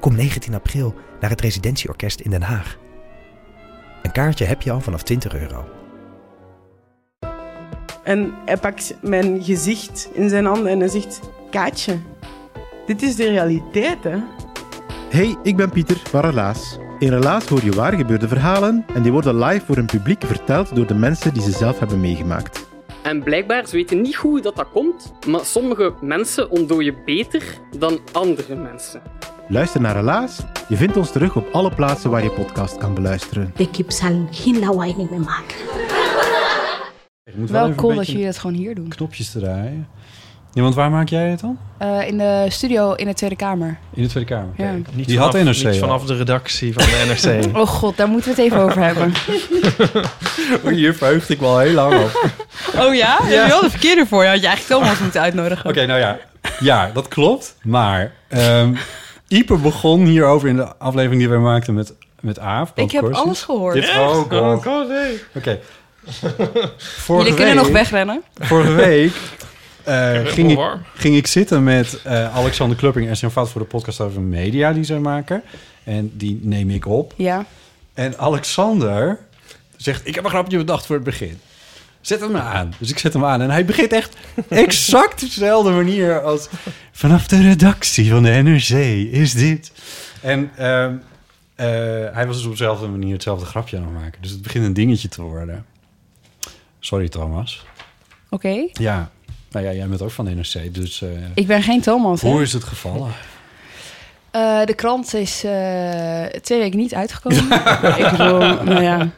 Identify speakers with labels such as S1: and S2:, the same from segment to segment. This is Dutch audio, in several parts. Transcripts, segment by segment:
S1: Kom 19 april naar het Residentieorkest in Den Haag. Een kaartje heb je al vanaf 20 euro.
S2: En hij pakt mijn gezicht in zijn handen en hij zegt: Kaatje, dit is de realiteit, hè?
S3: Hey, ik ben Pieter van Relaas. In Relaas hoor je waar gebeurde verhalen en die worden live voor een publiek verteld door de mensen die ze zelf hebben meegemaakt.
S4: En blijkbaar, ze weten niet goed hoe dat, dat komt, maar sommige mensen ontdooien beter dan andere mensen.
S3: Luister naar Relaas. Je vindt ons terug op alle plaatsen waar je podcast kan beluisteren.
S5: De kip zal geen lawaai niet meer maken.
S6: Ik moet wel
S7: Wel
S6: even
S7: cool
S6: een
S7: dat
S6: beetje
S7: jullie dat gewoon hier doen.
S6: knopjes draaien. Ja, want waar maak jij het dan?
S7: Eh, in de studio in de Tweede Kamer.
S6: In de Tweede Kamer.
S7: Ja.
S8: Niet
S6: Die
S8: vanaf,
S6: had NRC
S8: Niet
S6: al.
S8: vanaf de redactie van de NRC.
S7: Oh god, daar moeten we het even over hebben.
S6: Hier verheugde ik me al heel lang op. Oké,
S7: Oh ja? Je had de verkeerde voor je. Had je eigenlijk Thomas moeten uitnodigen.
S6: nou ja. Ja, dat klopt. Maar ehm Ieper begon hierover in de aflevering die we maakten met, met Aaf.
S7: Ik heb
S6: Corsi.
S7: alles gehoord.
S6: Dit, oh god. Oké.
S8: nee.
S6: Vorige
S7: Jullie kunnen
S6: week-
S7: nog wegrennen.
S6: Vorige week eh, ging, ik,
S8: warm.
S6: ging ik zitten met eh, Alexander Klupping en zijn fout voor de podcast over media die zij maken. En die neem ik op.
S7: Ja.
S6: En Alexander zegt: Ik heb een grapje bedacht voor het begin. Zet hem maar aan. Dus ik zet hem aan. En hij begint echt exact dezelfde manier als... Vanaf de redactie van de NRC is dit. En ehm, eh, hij was dus op dezelfde manier hetzelfde grapje aan het maken. Dus het begint een dingetje te worden. Sorry, Thomas.
S7: Oké.
S6: Ja, nou ja, jij bent ook van de NRC. Dus eh,
S7: Ik ben geen Thomas. hè?
S6: hoe is het gevallen?
S7: Eh, de krant is eh, twee weken niet uitgekomen. ik bedoel, nou ja.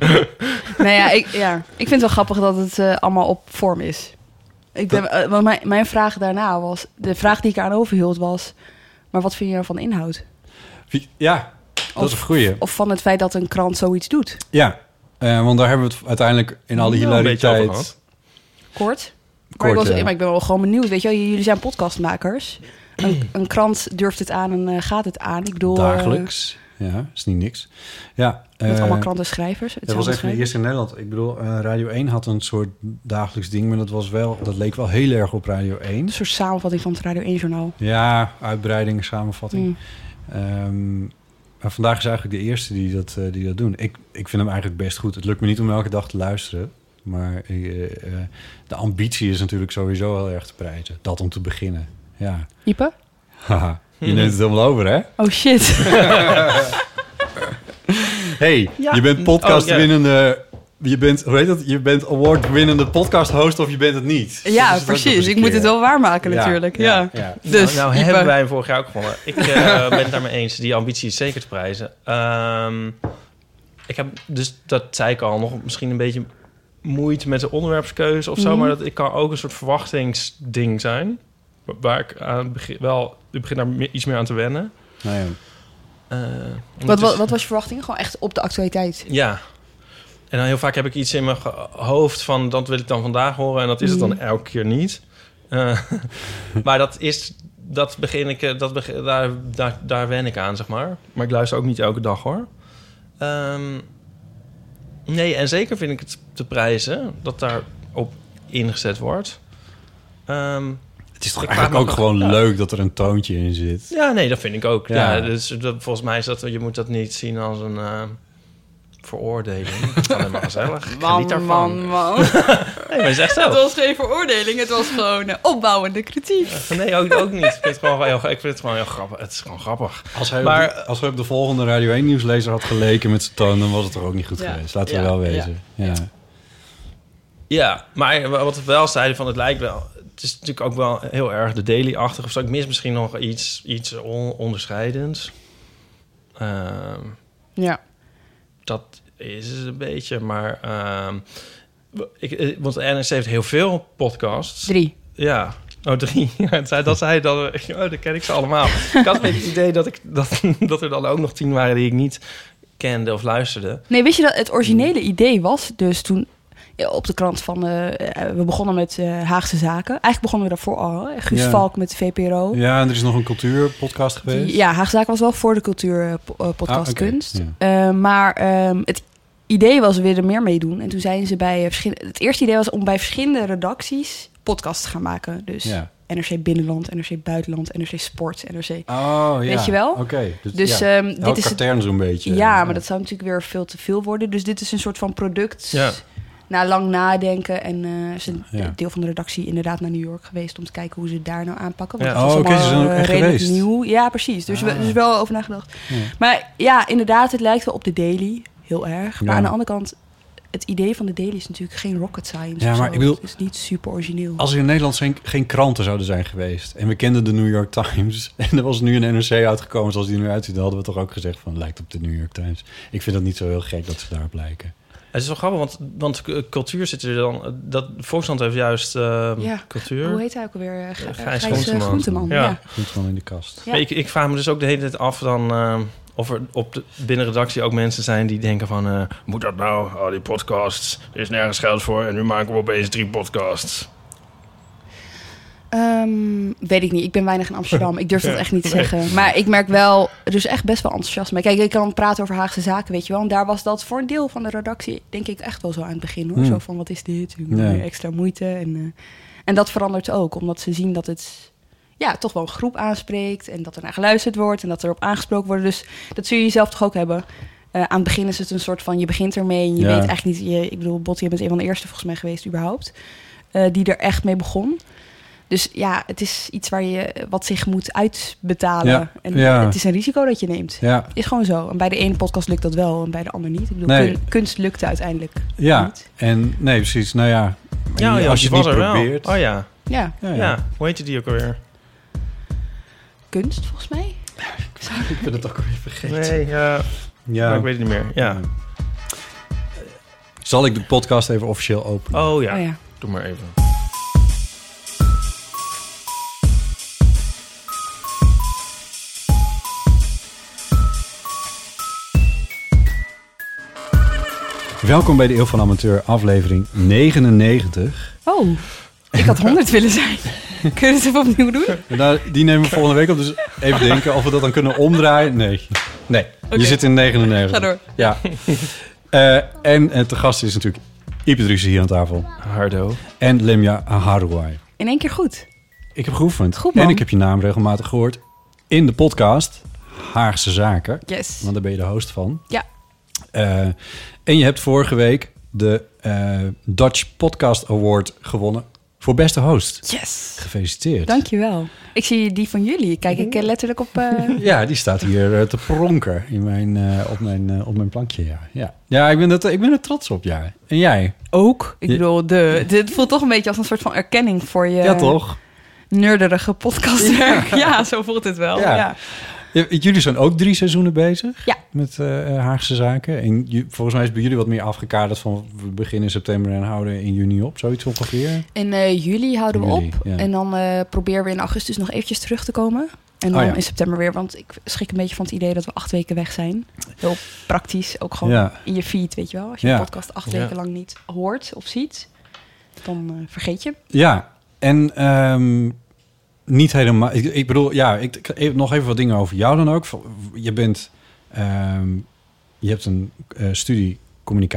S7: Nou ja ik, ja, ik vind het wel grappig dat het eh, allemaal op vorm is. Ik ben, eh, want mijn, mijn vraag daarna was... De vraag die ik aan overhield was... Maar wat vind je van de inhoud?
S6: Wie- Ja, dat is een goeie.
S7: Of van het feit dat een krant zoiets doet?
S6: Ja, eh, want daar hebben we het uiteindelijk in alle
S8: Nou, een beetje over
S6: hilariteit...
S8: gehad.
S7: Kort. Maar,
S6: Kort,
S7: ik, was,
S6: ja.
S7: maar ik ben wel gewoon benieuwd. Weet je, wel, jullie zijn podcastmakers. Een, een krant durft het aan en eh, gaat het aan. Ik bedoel, eh,
S6: Dagelijks. Ja, is niet niks. Ja,
S7: met
S6: eh,
S7: allemaal krantenschrijvers.
S6: dat was
S7: hetzelfde
S6: echt van de
S7: schrijvers.
S6: eerste in Nederland. Ik bedoel, eh, Radio 1 had een soort dagelijks ding, maar dat, was wel, dat leek wel heel erg op Radio 1.
S7: Een soort samenvatting van het Radio 1-journaal.
S6: Ja, uitbreiding,
S7: Mm.
S6: samenvatting. Ehm, maar vandaag is eigenlijk de eerste die dat, eh, die dat doen. Ik, ik vind hem eigenlijk best goed. Het lukt me niet om elke dag te luisteren. Maar eh, eh, de ambitie is natuurlijk sowieso heel erg te prijzen. Dat om te beginnen. Ja.
S7: Ipe?
S6: Haha, je neemt het helemaal over, hè?
S7: Oh shit.
S6: Hey,
S7: Ja.
S6: je bent podcastwinnende.
S8: podcastwinnende-
S6: Je bent, hoe heet dat? Je bent award-winnende podcast-host of je bent het niet.
S7: ja, precies. Ik moet het wel waarmaken natuurlijk. Ja.
S8: nou
S7: Dus,
S8: nou
S7: Ipe.
S8: hebben wij hem vorig jaar ook gewonnen. Ik eh, ben het daarmee eens. Die ambitie is zeker te prijzen. Ehm, ik heb, dus dat zei ik al, nog misschien een beetje moeite met de onderwerpskeuze of
S7: Mhm.
S8: zo. Maar dat ik kan ook een soort verwachtingsding zijn. wa- Waar ik aan het begin wel, ik begin daar me- iets meer aan te wennen.
S6: Nou
S8: Eh, omdat
S7: wat,
S8: het
S7: wat,
S8: is-
S7: wat was je verwachting? Gewoon echt op de actualiteit.
S8: Ja. En dan heel vaak heb ik iets in mijn ge- hoofd van dat wil ik dan vandaag horen en dat is het dan elke keer niet. Eh, maar dat is dat begin ik eh, dat begin, daar, daar daar wen ik aan zeg maar. Maar ik luister ook niet elke dag hoor. Ehm, nee, en zeker vind ik het te prijzen dat daar op ingezet wordt. Ehm,
S6: Het is toch
S8: Ik
S6: eigenlijk
S8: vraag me
S6: ook
S8: af-
S6: gewoon
S8: ja.
S6: leuk dat er een toontje in zit.
S8: ja, nee, dat vind ik ook. Ja.
S6: Ja.
S8: dus dat, volgens mij is dat je moet dat niet zien als een eh, veroordeling. Het is Alleen maar gezellig. Ik geniet daarvan.
S7: man.
S8: Nee, maar het is echt zo.
S7: Het was geen veroordeling. Het was gewoon eh, opbouwende kritiek.
S8: Nee, ook, ook niet. Ik vind, het gewoon heel, ik vind het gewoon heel grappig. Het is gewoon grappig.
S6: Als hij,
S8: Maar-
S6: op de, als hij op de volgende Radio 1 nieuwslezer had geleken met zijn toon, dan was het toch ook niet goed
S7: Ja.
S6: geweest. Laten we
S8: Ja.
S6: wel wezen. Ja.
S8: Ja, maar wat we wel zeiden van het lijkt wel... Het is natuurlijk ook wel heel erg de daily-achtig of zo. Ik mis misschien nog iets, iets on- onderscheidends. Ehm,
S7: Ja.
S8: dat is het een beetje, maar... ehm, ik, eh, want de NRC heeft heel veel podcasts.
S7: Drie.
S8: Ja, Oh, drie. Ja, zei, dat zei dan. Oh, dan ken ik ze allemaal. Ik had een beetje het idee dat, ik, dat, dat er dan ook nog tien waren die ik niet kende of luisterde.
S7: Nee, wist je dat het
S6: Hmm.
S7: originele idee was dus toen ja, op de krant van... eh, eh, we begonnen met eh, Haagse Zaken. Eigenlijk begonnen we daarvoor al. hè. Guus
S6: Ja.
S7: Valk met de VPRO. Ja.
S6: Ja, en er is nog een cultuurpodcast geweest.
S7: Haagse Zaken was wel voor de eh,
S6: Ah,
S7: cultuurpodcast
S6: oké.
S7: kunst.
S6: Ja.
S7: Eh, maar ehm, het idee was weer er meer mee doen. En toen zijn ze bij eh, verschillende... Het eerste idee was om bij verschillende redacties podcasts te gaan maken. Dus
S6: Ja.
S7: NRC Binnenland, NRC Buitenland, NRC Sport, NRC...
S6: Oh, ja.
S7: Weet je wel?
S6: Oké. Dus,
S7: Dus
S6: ja.
S7: ehm,
S6: Elk
S7: dit is het
S6: katern zo'n beetje. eh,
S7: Ja, maar dat zou natuurlijk weer veel te veel worden. Dus dit is een soort van product.
S8: Ja.
S7: Na lang nadenken. En eh is een
S6: Ja.
S7: deel van de redactie inderdaad naar New York geweest om te kijken hoe ze het daar nou aanpakken. Want
S8: Ja.
S7: het was
S6: Oh, oké, ze
S7: allemaal,
S6: zijn ook
S7: eh,
S6: echt
S7: redelijk
S6: geweest.
S7: nieuw. Ja, precies. Dus we
S6: Ah.
S7: dus wel over nagedacht. Maar ja, inderdaad, het lijkt wel op de Daily. Heel erg. Maar
S6: Ja.
S7: aan de andere kant, het idee van de Daily is natuurlijk geen rocket science.
S6: Ja,
S7: of
S6: maar
S7: zo.
S6: ik bedoel-
S7: Het is niet super origineel.
S6: Als er in Nederland geen, geen kranten zouden zijn geweest... en we kenden de New York Times... en er was nu een NRC uitgekomen zoals die er nu uitziet... dan hadden we toch ook gezegd van... lijkt op de New York Times. Ik vind dat niet zo heel gek dat ze daarop lijken.
S8: Het is wel grappig, want, want eh, cultuur zit er dan. Dat, Volksland heeft juist eh,
S7: Ja.
S8: cultuur.
S7: Hoe heet hij ook alweer? Eh, Gr-
S8: Gijs
S7: eh, Gijs eh,
S8: Groenteman.
S7: Groenteman.
S8: Ja.
S7: Ja.
S6: Goed van in de kast.
S7: Ja.
S8: Maar Ik, ik vraag me dus ook de hele tijd af dan, eh, of er op de, binnen redactie ook mensen zijn die denken van... eh, moet dat nou? Al die podcasts. Er is nergens geld voor en nu maken we opeens drie podcasts.
S7: Ehm, weet ik niet. Ik ben weinig in Amsterdam. Ik durf dat echt niet te zeggen. Maar ik merk wel, er is echt best wel enthousiasme. Kijk, ik kan praten over Haagse zaken, weet je wel. En daar was dat voor een deel van de redactie, denk ik, echt wel zo aan het begin. Hoor.
S6: Hmm.
S7: Zo van, wat is dit? Hoe
S6: Ja.
S7: meer Extra moeite. En, eh, en dat verandert ook, omdat ze zien dat het ja, toch wel een groep aanspreekt. En dat er naar geluisterd wordt en dat erop aangesproken wordt. Dus dat zul je jezelf toch ook hebben. Eh, aan het begin is het een soort van, je begint ermee en je
S6: Ja.
S7: weet eigenlijk niet... Je, ik bedoel, Bot, je bent een van de eerste volgens mij geweest überhaupt... eh, die er echt mee begon. Dus ja, het is iets waar je, eh, wat zich moet uitbetalen.
S6: Ja,
S7: En
S6: ja.
S7: het is een risico dat je neemt.
S6: Ja,
S7: Is gewoon zo. En bij de ene podcast lukt dat wel en bij de ander niet. Ik bedoel,
S6: Nee.
S7: kun- kunst lukte uiteindelijk
S6: ja.
S7: niet.
S6: En nee, precies. Nou ja,
S8: ja,
S6: als je
S8: die
S6: het niet
S8: was er wel.
S6: probeert...
S8: Oh ja.
S7: Ja,
S8: Ja. hoe heette die ook alweer?
S7: kunst volgens mij.
S6: Ik ben het ook weer vergeten.
S8: Nee, ja, maar
S6: Ja.
S8: ik weet het niet meer. Ja.
S6: Zal ik de podcast even officieel openen?
S8: Oh ja,
S7: Oh ja.
S8: doe maar even.
S6: Welkom bij de Eeuw van Amateur, aflevering 99.
S7: Oh, ik had 100 willen zijn. Kun je het even opnieuw doen?
S6: En daar- die nemen we volgende week op, dus even denken of we dat dan kunnen omdraaien. Nee, nee. je zit in 99.
S7: Ga door.
S6: Ja. Eh, en eh, te gast is natuurlijk Ipedrus hier aan tafel.
S8: Hardo.
S6: En Lemja Harouai.
S7: In één keer goed.
S6: Ik heb geoefend.
S7: Goed, man.
S6: en ik heb je naam regelmatig gehoord in de podcast Haagse Zaken.
S7: Yes.
S6: Want daar ben je de host van.
S7: Ja.
S6: Eh, en je hebt vorige week de eh, Dutch Podcast Award gewonnen voor beste host.
S7: Yes.
S6: Gefeliciteerd.
S7: Dankjewel. Ik zie die van jullie. Kijk ik eh, letterlijk op... eh,
S6: Ja, die staat hier eh, te pronken in mijn, eh, op, mijn, eh, op mijn plankje. Ja, ja. ja ik, ben dat, ik ben er trots op, ja. En jij?
S7: Ook. Ik
S6: Ja.
S7: bedoel, de, dit voelt toch een beetje als een soort van erkenning voor je...
S6: ja, toch?
S7: nerderige podcastwerk. Ja. zo voelt het wel.
S6: Ja.
S7: Ja.
S6: J- Jullie zijn ook drie seizoenen bezig
S7: Ja.
S6: met eh, Haagse zaken. En ju- volgens mij is bij jullie wat meer afgekaderd van we beginnen in september en houden in juni op. Zoiets ongeveer.
S7: In eh, juli houden we
S6: Juli,
S7: op.
S6: ja.
S7: En dan eh, proberen we in augustus nog eventjes terug te komen. En dan
S6: Oh ja.
S7: in september weer. Want ik schrik een beetje van het idee dat we acht weken weg zijn. Heel praktisch. Ook gewoon
S6: Ja.
S7: in je feed, weet je wel. Als je
S6: Ja.
S7: een podcast acht
S8: Ja.
S7: weken lang niet hoort of ziet. Dan eh, vergeet je.
S6: Ja, en ehm, niet helemaal. Ik, ik bedoel, ja, ik, ik- even- nog even wat dingen over jou dan ook. Je bent, ehm, je hebt een eh, studie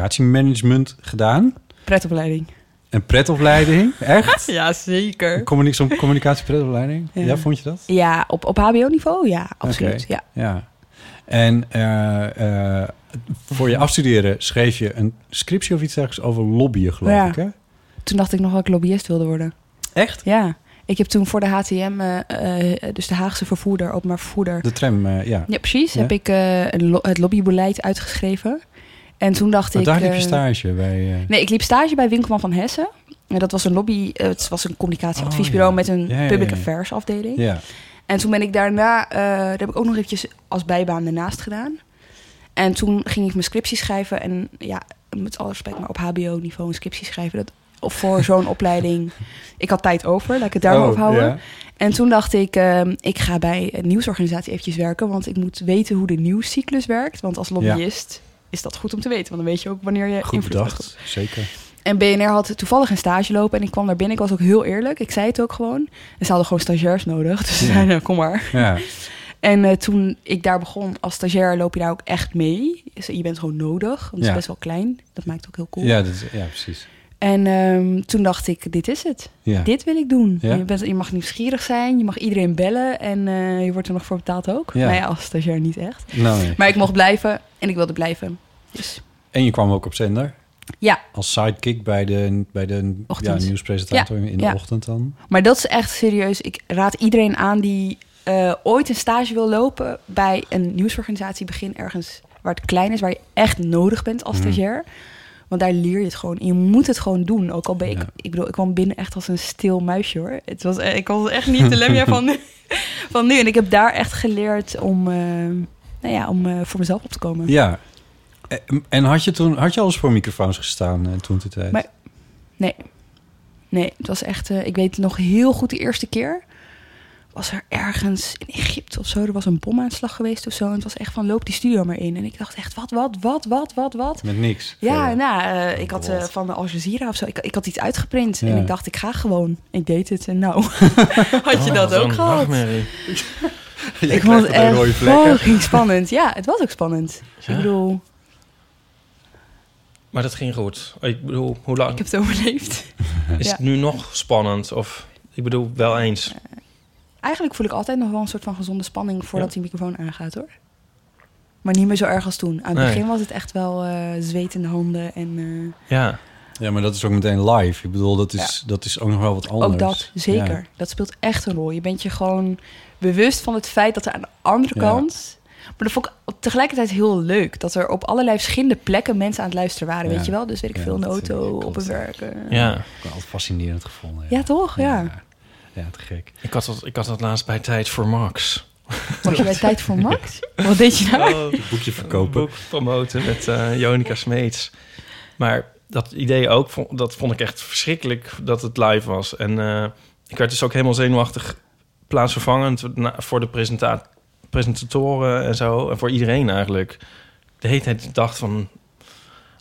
S6: communicatiemanagement gedaan.
S7: Pretopleiding.
S6: Een pretopleiding, echt?
S7: Ja, zeker.
S6: Communi Zo'n communicatiepretopleiding? Ja.
S7: Ja.
S6: vond je dat?
S7: Ja, op, op hbo-niveau? Ja, absoluut.
S6: Oké.
S7: Ja.
S6: Ja. En eh, eh, voor je afstuderen schreef je een scriptie of iets dergelijks over lobbyen, geloof
S7: Ja.
S6: ik, hè?
S7: Toen dacht ik nog dat ik lobbyist wilde worden.
S6: Echt?
S7: Ja, ik heb toen voor de HTM, eh, eh, dus de Haagse vervoerder, openbaar vervoerder.
S6: De tram, eh, ja.
S7: Ja, precies.
S6: Ja.
S7: Heb ik eh, een lo- het lobbybeleid uitgeschreven. En toen dacht
S6: Maar
S7: ik.
S6: daar liep je
S7: eh,
S6: stage bij... eh,
S7: Nee, ik liep stage bij Winkelman van Hessen. En dat was een lobby, eh, het was een communicatieadviesbureau
S6: Oh, ja.
S7: met een
S6: Ja, ja,
S7: public
S6: ja, ja.
S7: affairs afdeling.
S6: Ja.
S7: En toen ben ik daarna, eh dat heb ik ook nog eventjes als bijbaan daarnaast gedaan. En toen ging ik mijn scriptie schrijven. En ja, met alle respect, maar op HBO-niveau een scriptie schrijven, dat of voor zo'n opleiding. Ik had tijd over, laat ik het daar maar
S6: Oh,
S7: op houden.
S6: ja.
S7: En toen dacht ik, ehm, ik ga bij een nieuwsorganisatie eventjes werken, want ik moet weten hoe de nieuwscyclus werkt. Want als lobbyist is dat goed om te weten, want dan weet je ook wanneer je
S6: Goed
S7: invloed hebt.
S6: bedacht, zeker.
S7: En BNR had toevallig een stage lopen en ik kwam daar binnen. Ik was ook heel eerlijk, ik zei het ook gewoon. En ze hadden gewoon stagiairs nodig, dus ze
S6: Ja.
S7: zeiden, kom maar.
S6: Ja.
S7: En eh, toen ik daar begon als stagiair, loop je daar ook echt mee. Dus je bent gewoon nodig, want het
S6: Ja.
S7: is best wel klein. Dat maakt het ook heel cool.
S6: Ja, dat is, ja, precies.
S7: En ehm, toen dacht ik, dit is het.
S6: Ja.
S7: Dit wil ik doen.
S6: Ja.
S7: Je, bent, je mag nieuwsgierig zijn, je mag iedereen bellen en eh, je wordt er nog voor betaald ook.
S6: Ja.
S7: Nou ja, als stagiair niet echt.
S6: Nou, nee.
S7: Maar ik mocht blijven en ik wilde blijven. Dus
S6: En je kwam ook op zender
S7: ja,
S6: als sidekick bij de, bij de ja,
S7: Ochtend.
S6: nieuwspresentator in de
S7: ja.
S6: ochtend dan.
S7: maar dat is echt serieus. Ik raad iedereen aan die eh, ooit een stage wil lopen bij een nieuwsorganisatie. Begin ergens waar het klein is, waar je echt nodig bent als stagiair. Want daar leer je het gewoon. En je moet het gewoon doen. Ook al ben ik,
S6: Ja.
S7: ik bedoel, ik kwam binnen echt als een stil muisje hoor. Het was, eh, ik was echt niet de lemja van nu. Van nu. En ik heb daar echt geleerd om, eh, nou ja, om eh, voor mezelf op te komen.
S6: Ja. En- En had je toen had je al eens voor microfoons gestaan eh, toen de tijd?
S7: Maar- Nee, het was echt. eh, ik weet nog heel goed de eerste keer. Was er ergens in Egypte of zo. Er was een bomaanslag geweest of zo. En het was echt van loop die studio maar in. En ik dacht echt, wat, wat, wat, wat, wat, wat.
S6: Met niks.
S7: Ja,
S6: Verder.
S7: nou, eh, ik had eh,
S6: God.
S7: van de Al Jazeera of zo. Ik, ik had iets uitgeprint.
S6: Ja.
S7: En ik dacht, ik ga gewoon. Ik deed het. En nou, had je
S6: Oh,
S8: Oh,
S7: dat ook gehad?
S6: Jij
S7: Ik
S6: krijgt
S7: vond
S6: wat
S7: het
S6: een rode
S7: echt
S6: vlekken.
S7: fucking spannend. Ja, het was ook spannend.
S8: Ja.
S7: Ik bedoel,
S8: Maar dat ging goed. Ik bedoel, hoe
S7: ik
S8: lang
S7: heb het overleefd.
S8: is
S7: ja.
S8: het nu nog spannend? Of ik bedoel, wel eens.
S7: Eigenlijk voel ik altijd nog wel een soort van gezonde spanning voordat die microfoon aangaat hoor. Maar niet meer zo erg als toen. Aan het
S8: Nee.
S7: begin was het echt wel eh zweet in de handen en eh,
S8: Ja.
S6: Ja, maar dat is ook meteen live. Ik bedoel, dat is, dat is ook nog wel wat anders.
S7: ook dat, zeker.
S6: Ja.
S7: Dat speelt echt een rol. Je bent je gewoon bewust van het feit dat er aan de andere
S6: Ja.
S7: kant... Maar dat vond ik op- tegelijkertijd heel leuk. Dat er op allerlei verschillende plekken mensen aan het luisteren waren,
S6: Ja.
S7: weet je wel? Dus weet ik
S6: Ja,
S7: veel, in de
S6: dat, eh,
S7: auto,
S6: klopt.
S7: op een werk. eh.
S8: ja,
S6: Ik heb het altijd fascinerend gevonden.
S7: Ja, toch? Ja.
S6: Ja, Ja, te gek.
S8: Ik, had dat, ik had dat laatst bij Tijd voor Max. Oh.
S7: Was je bij Tijd voor Max? Wat deed je nou?
S6: Het boekje
S8: Een
S6: verkopen.
S8: boek promoten met eh Jonica Smeets. Maar dat idee ook, vo- dat vond ik echt verschrikkelijk dat het live was. En eh, ik werd dus ook helemaal zenuwachtig plaatsvervangend na- voor de presenta- presentatoren en zo. En voor iedereen eigenlijk. De hele tijd dacht van...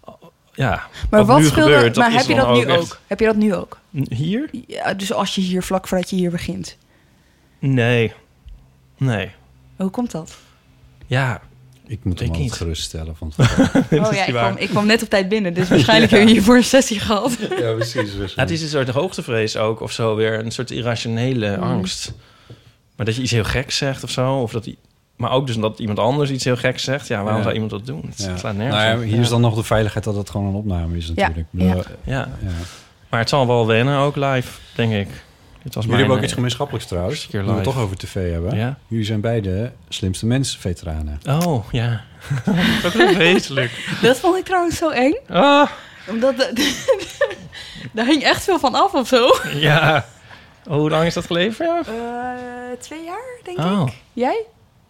S8: oh, Ja,
S7: Maar
S8: wat
S7: wat
S8: nu
S7: speelde...
S8: gebeurt, dat
S7: maar
S8: is
S7: heb je
S8: dan
S7: dat nu
S8: ook
S7: ook?
S8: echt-
S7: Heb je dat nu ook?
S8: n- hier?
S7: Ja, dus als je hier vlak voordat je hier begint.
S8: Nee. Nee.
S7: Hoe komt dat?
S8: Ja,
S6: Ik moet
S8: Ik
S6: hem altijd
S8: niet.
S6: geruststellen. Van
S7: Oh
S8: is
S7: ja,
S8: niet
S7: ik
S8: waar.
S7: kwam, ik kwam net op tijd binnen, dus waarschijnlijk heb je hiervoor een sessie gehad.
S6: ja, precies.
S8: Ja, het is een soort hoogtevrees ook of zo weer. Een soort irrationele
S6: Mm.
S8: angst. Maar dat je iets heel geks zegt of zo. Of dat, i- maar ook dus dat iemand anders iets heel geks zegt. Ja, waarom
S6: Ja.
S8: zou iemand dat doen? Het
S6: Ja.
S8: slaat nergens
S6: Nou ja,
S8: op.
S6: hier is dan nog de veiligheid dat het gewoon een opname is natuurlijk. Ik bedoel, eh,
S7: Ja.
S8: Ja,
S6: ja.
S8: maar het zal wel wennen ook live, denk ik. Het was
S6: Jullie hebben ook
S8: mijn,
S6: iets gemeenschappelijks trouwens.
S8: Eerste keer
S6: Nu we het
S8: live.
S6: toch over tv hebben.
S8: Ja.
S6: Jullie zijn beide slimste mensen veteranen.
S8: eh, Oh, ja. dat is vreselijk.
S7: Dat vond ik trouwens zo eng,
S8: Ah,
S7: omdat de- daar hing echt veel van af of zo.
S8: ja. Oh, hoe lang is dat geleden voor jou?
S7: Eh, twee jaar, denk
S8: Oh,
S7: Jij?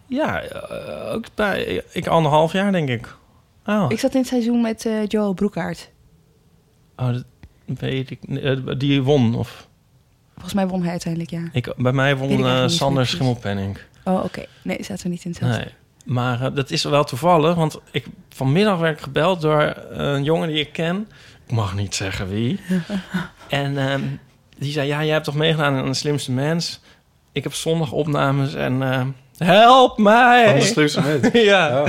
S8: ja. eh, ook bij, ik anderhalf jaar, denk ik. Oh,
S7: Ik zat in het seizoen met eh, Joel Broekaert.
S8: oh dat weet ik. niet. Eh, Die won, of...
S7: Volgens mij won hij uiteindelijk, ja.
S8: Ik, bij mij
S7: Weet
S8: won
S7: ik eigenlijk
S8: eh
S7: niet
S8: Sander
S7: precies.
S8: Schimmelpenning.
S7: Oh, oké. Nee, zaten we niet in hetzelfde.
S8: Nee. Maar eh, dat is wel toevallig, want ik, vanmiddag werd ik gebeld door eh, een jongen die ik ken. Ik mag niet zeggen wie. en ehm, die zei, ja, jij hebt toch meegedaan aan de slimste mens? Ik heb zondag opnames en ehm, help mij!
S6: slimste mensen.
S8: ja.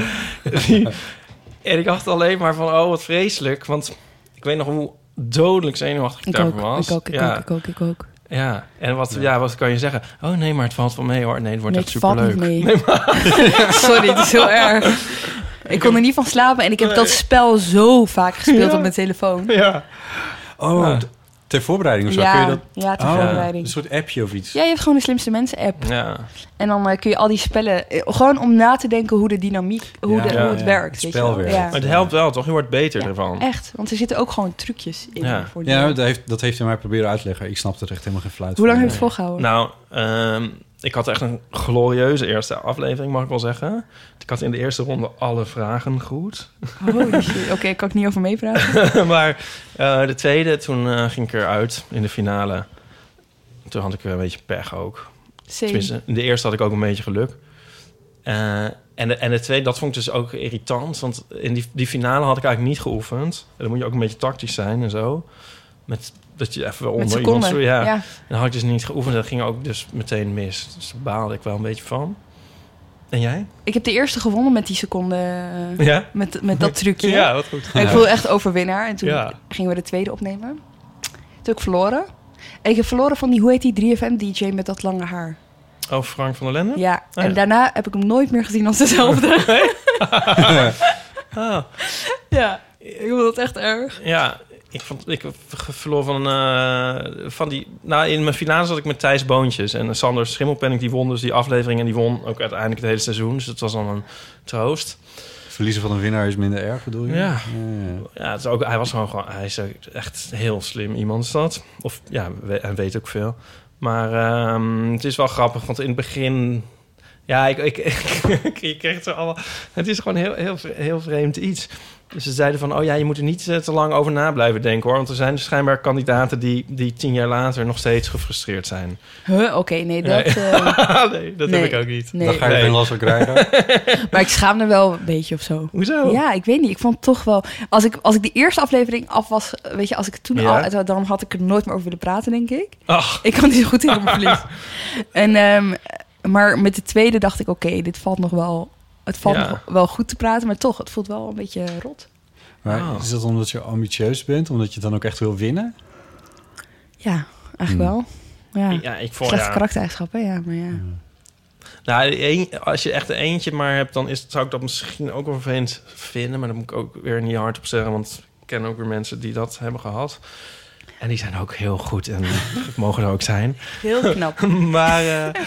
S8: en ik dacht alleen maar van, oh, wat vreselijk. Want ik weet nog hoe dodelijk zenuwachtig ik,
S7: Ik,
S8: daarvan
S7: ook,
S8: was.
S7: ik ook, ik
S8: ja.
S7: ook, ik ook, ik ook.
S8: Ja, en wat, ja. wat kan je zeggen? Oh nee, maar het valt wel mee hoor. Nee, het wordt
S7: Nee,
S8: echt
S7: het valt
S8: superleuk.
S7: niet mee. Sorry, het is heel erg. Ik kon er niet van slapen en ik heb dat spel zo vaak gespeeld op mijn telefoon.
S8: Ja.
S6: Oh,
S8: Ja.
S6: d- ter voorbereiding of zo. Kun je
S7: Ja,
S6: dat...
S7: ja, ter
S6: Oh,
S7: voorbereiding.
S6: Een soort appje of iets.
S7: Ja, je hebt gewoon de slimste mensen app.
S8: ja.
S7: En dan eh, kun je al die spellen... eh, gewoon om na te denken hoe de dynamiek... hoe,
S6: Ja,
S7: de,
S8: ja,
S7: hoe het
S6: ja.
S7: werkt.
S6: Het
S7: weet
S6: spel
S7: je wel.
S6: werkt.
S7: Ja.
S8: Maar het helpt wel toch? Je wordt beter
S7: Ja,
S8: ervan.
S7: Echt, want er zitten ook gewoon trucjes in.
S8: Ja.
S7: Voor die-
S6: Ja, dat heeft, dat heeft hij mij proberen uit te leggen. Ik snap er echt helemaal geen fluit
S7: hoe lang
S6: van.
S7: heb je het volgehouden?
S8: Nou, ehm, Ik had echt een glorieuze eerste aflevering, mag ik wel zeggen. Ik had in de eerste ronde alle vragen goed.
S7: Holy shit. Oké, kan ik niet over meepraten.
S8: maar eh, de tweede, toen eh, ging ik eruit in de finale. Toen had ik weer een beetje pech ook.
S7: Same.
S8: Tenminste, in de eerste had ik ook een beetje geluk. Eh, en, de, en de tweede, dat vond ik dus ook irritant. Want in die, die finale had ik eigenlijk niet geoefend. En dan moet je ook een beetje tactisch zijn en zo. Met, dat je even
S7: Met
S8: onder iemand...
S7: seconden.
S8: zo- Ja.
S7: Ja.
S8: En dat had ik dus niet geoefend. Dat ging ook dus meteen mis. Dus daar baalde ik wel een beetje van. En jij?
S7: Ik heb de eerste gewonnen met die seconde. eh,
S8: Ja?
S7: Met, met dat trucje.
S8: Ja, wat goed.
S7: En ik voelde echt overwinnaar. En toen
S8: Ja.
S7: gingen we de tweede opnemen. Toen heb ik verloren. En ik heb verloren van die, hoe heet die 3FM-DJ met dat lange haar?
S8: Oh, Frank van der Lende?
S7: Ja.
S8: Oh, ja.
S7: En daarna heb ik hem nooit meer gezien als dezelfde.
S8: Ah,
S7: ja. Ik vond dat echt erg.
S8: ja, ik, vond, ik v- verloor van, eh, van die... Nou, in mijn finale zat ik met Thijs Boontjes. En Sander Schimmelpenning, die won dus die aflevering. En die won ook uiteindelijk het hele seizoen. Dus dat was dan een troost.
S6: Verliezen van een winnaar is minder erg, bedoel je?
S8: Ja.
S6: ja.
S8: Ja, het is ook, hij was gewoon, gewoon hij is ook echt heel slim iemand is dat. Of ja, we- hij weet ook veel. Maar ehm, het is wel grappig, want in het begin... Ja, ik, ik, ik, je kreeg het zo allemaal... Het is gewoon heel, heel, heel vreemd iets. Dus ze zeiden van, oh ja, je moet er niet eh, te lang over na blijven denken hoor. Want er zijn dus schijnbaar kandidaten die, die tien jaar later nog steeds gefrustreerd zijn.
S7: Huh? Oké, nee, dat...
S8: Nee.
S7: eh,
S8: nee, dat
S7: Nee.
S8: heb ik ook niet.
S7: nee.
S6: Dan ga je
S8: Nee. Oh.
S6: geen last van krijgen.
S7: Maar ik schaamde wel een beetje of zo.
S8: Hoezo?
S7: Ja, ik weet niet. Ik vond het toch wel... Als ik, als ik de eerste aflevering af was... Weet je, als ik het toen
S8: Ja.
S7: al... Dan had ik er nooit meer over willen praten, denk ik.
S8: Ach,
S7: Ik kan niet zo goed tegen mijn verlies. En, ehm, maar met de tweede dacht ik, oké, dit valt nog wel... Het valt
S8: Ja.
S7: nog wel goed te praten, maar toch, het voelt wel een beetje rot.
S6: Maar
S8: Oh.
S6: is dat omdat je ambitieus bent? Omdat je het dan ook echt wil winnen?
S7: Ja, eigenlijk
S6: Hmm.
S7: wel. Ja.
S8: ja, ik vond...
S7: Slechte
S8: ja.
S7: karaktereigenschappen, ja, maar ja.
S8: Nou, een- als je echt eentje maar hebt, dan is, zou ik dat misschien ook wel vervelend vinden. Maar daar moet ik ook weer niet hard op zeggen, want ik ken ook weer mensen die dat hebben gehad. En die zijn ook heel goed en mogen er ook zijn.
S7: Heel knap.
S8: maar eh,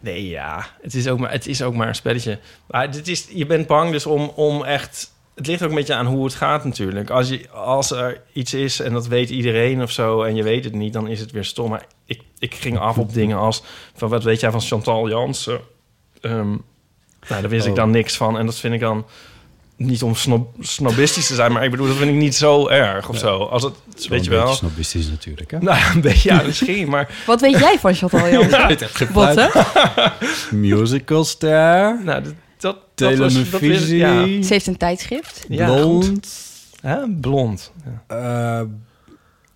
S8: nee, ja, het is, ook maar, het is ook maar een spelletje. Maar dit is, je bent bang dus om, om echt... Het ligt ook een beetje aan hoe het gaat natuurlijk. Als, je, als er iets is en dat weet iedereen of zo... en je weet het niet, dan is het weer stom. Maar ik, ik ging af op dingen als... van wat weet jij van Chantal Jansen? Ehm, nou, daar wist ik
S6: Oh.
S8: dan niks van. En dat vind ik dan... Niet om snob, snobistisch te zijn, maar ik bedoel, dat vind ik niet zo erg of zo. Als het,
S6: is
S8: weet je
S6: een beetje
S8: wel.
S6: snobistisch natuurlijk, hè?
S8: Nou, een beetje, ja, misschien, maar
S7: Wat weet jij van Chantal Jansen?
S6: Ik weet echt geen
S7: Wat, hè?
S6: fluit. Musicalster,
S8: Nou, dat, dat, dat was... Dat is,
S6: televisie,
S8: ja.
S7: Ze heeft een tijdschrift.
S8: Ja, goed.
S6: blond,
S8: Hè, blond.
S6: eh,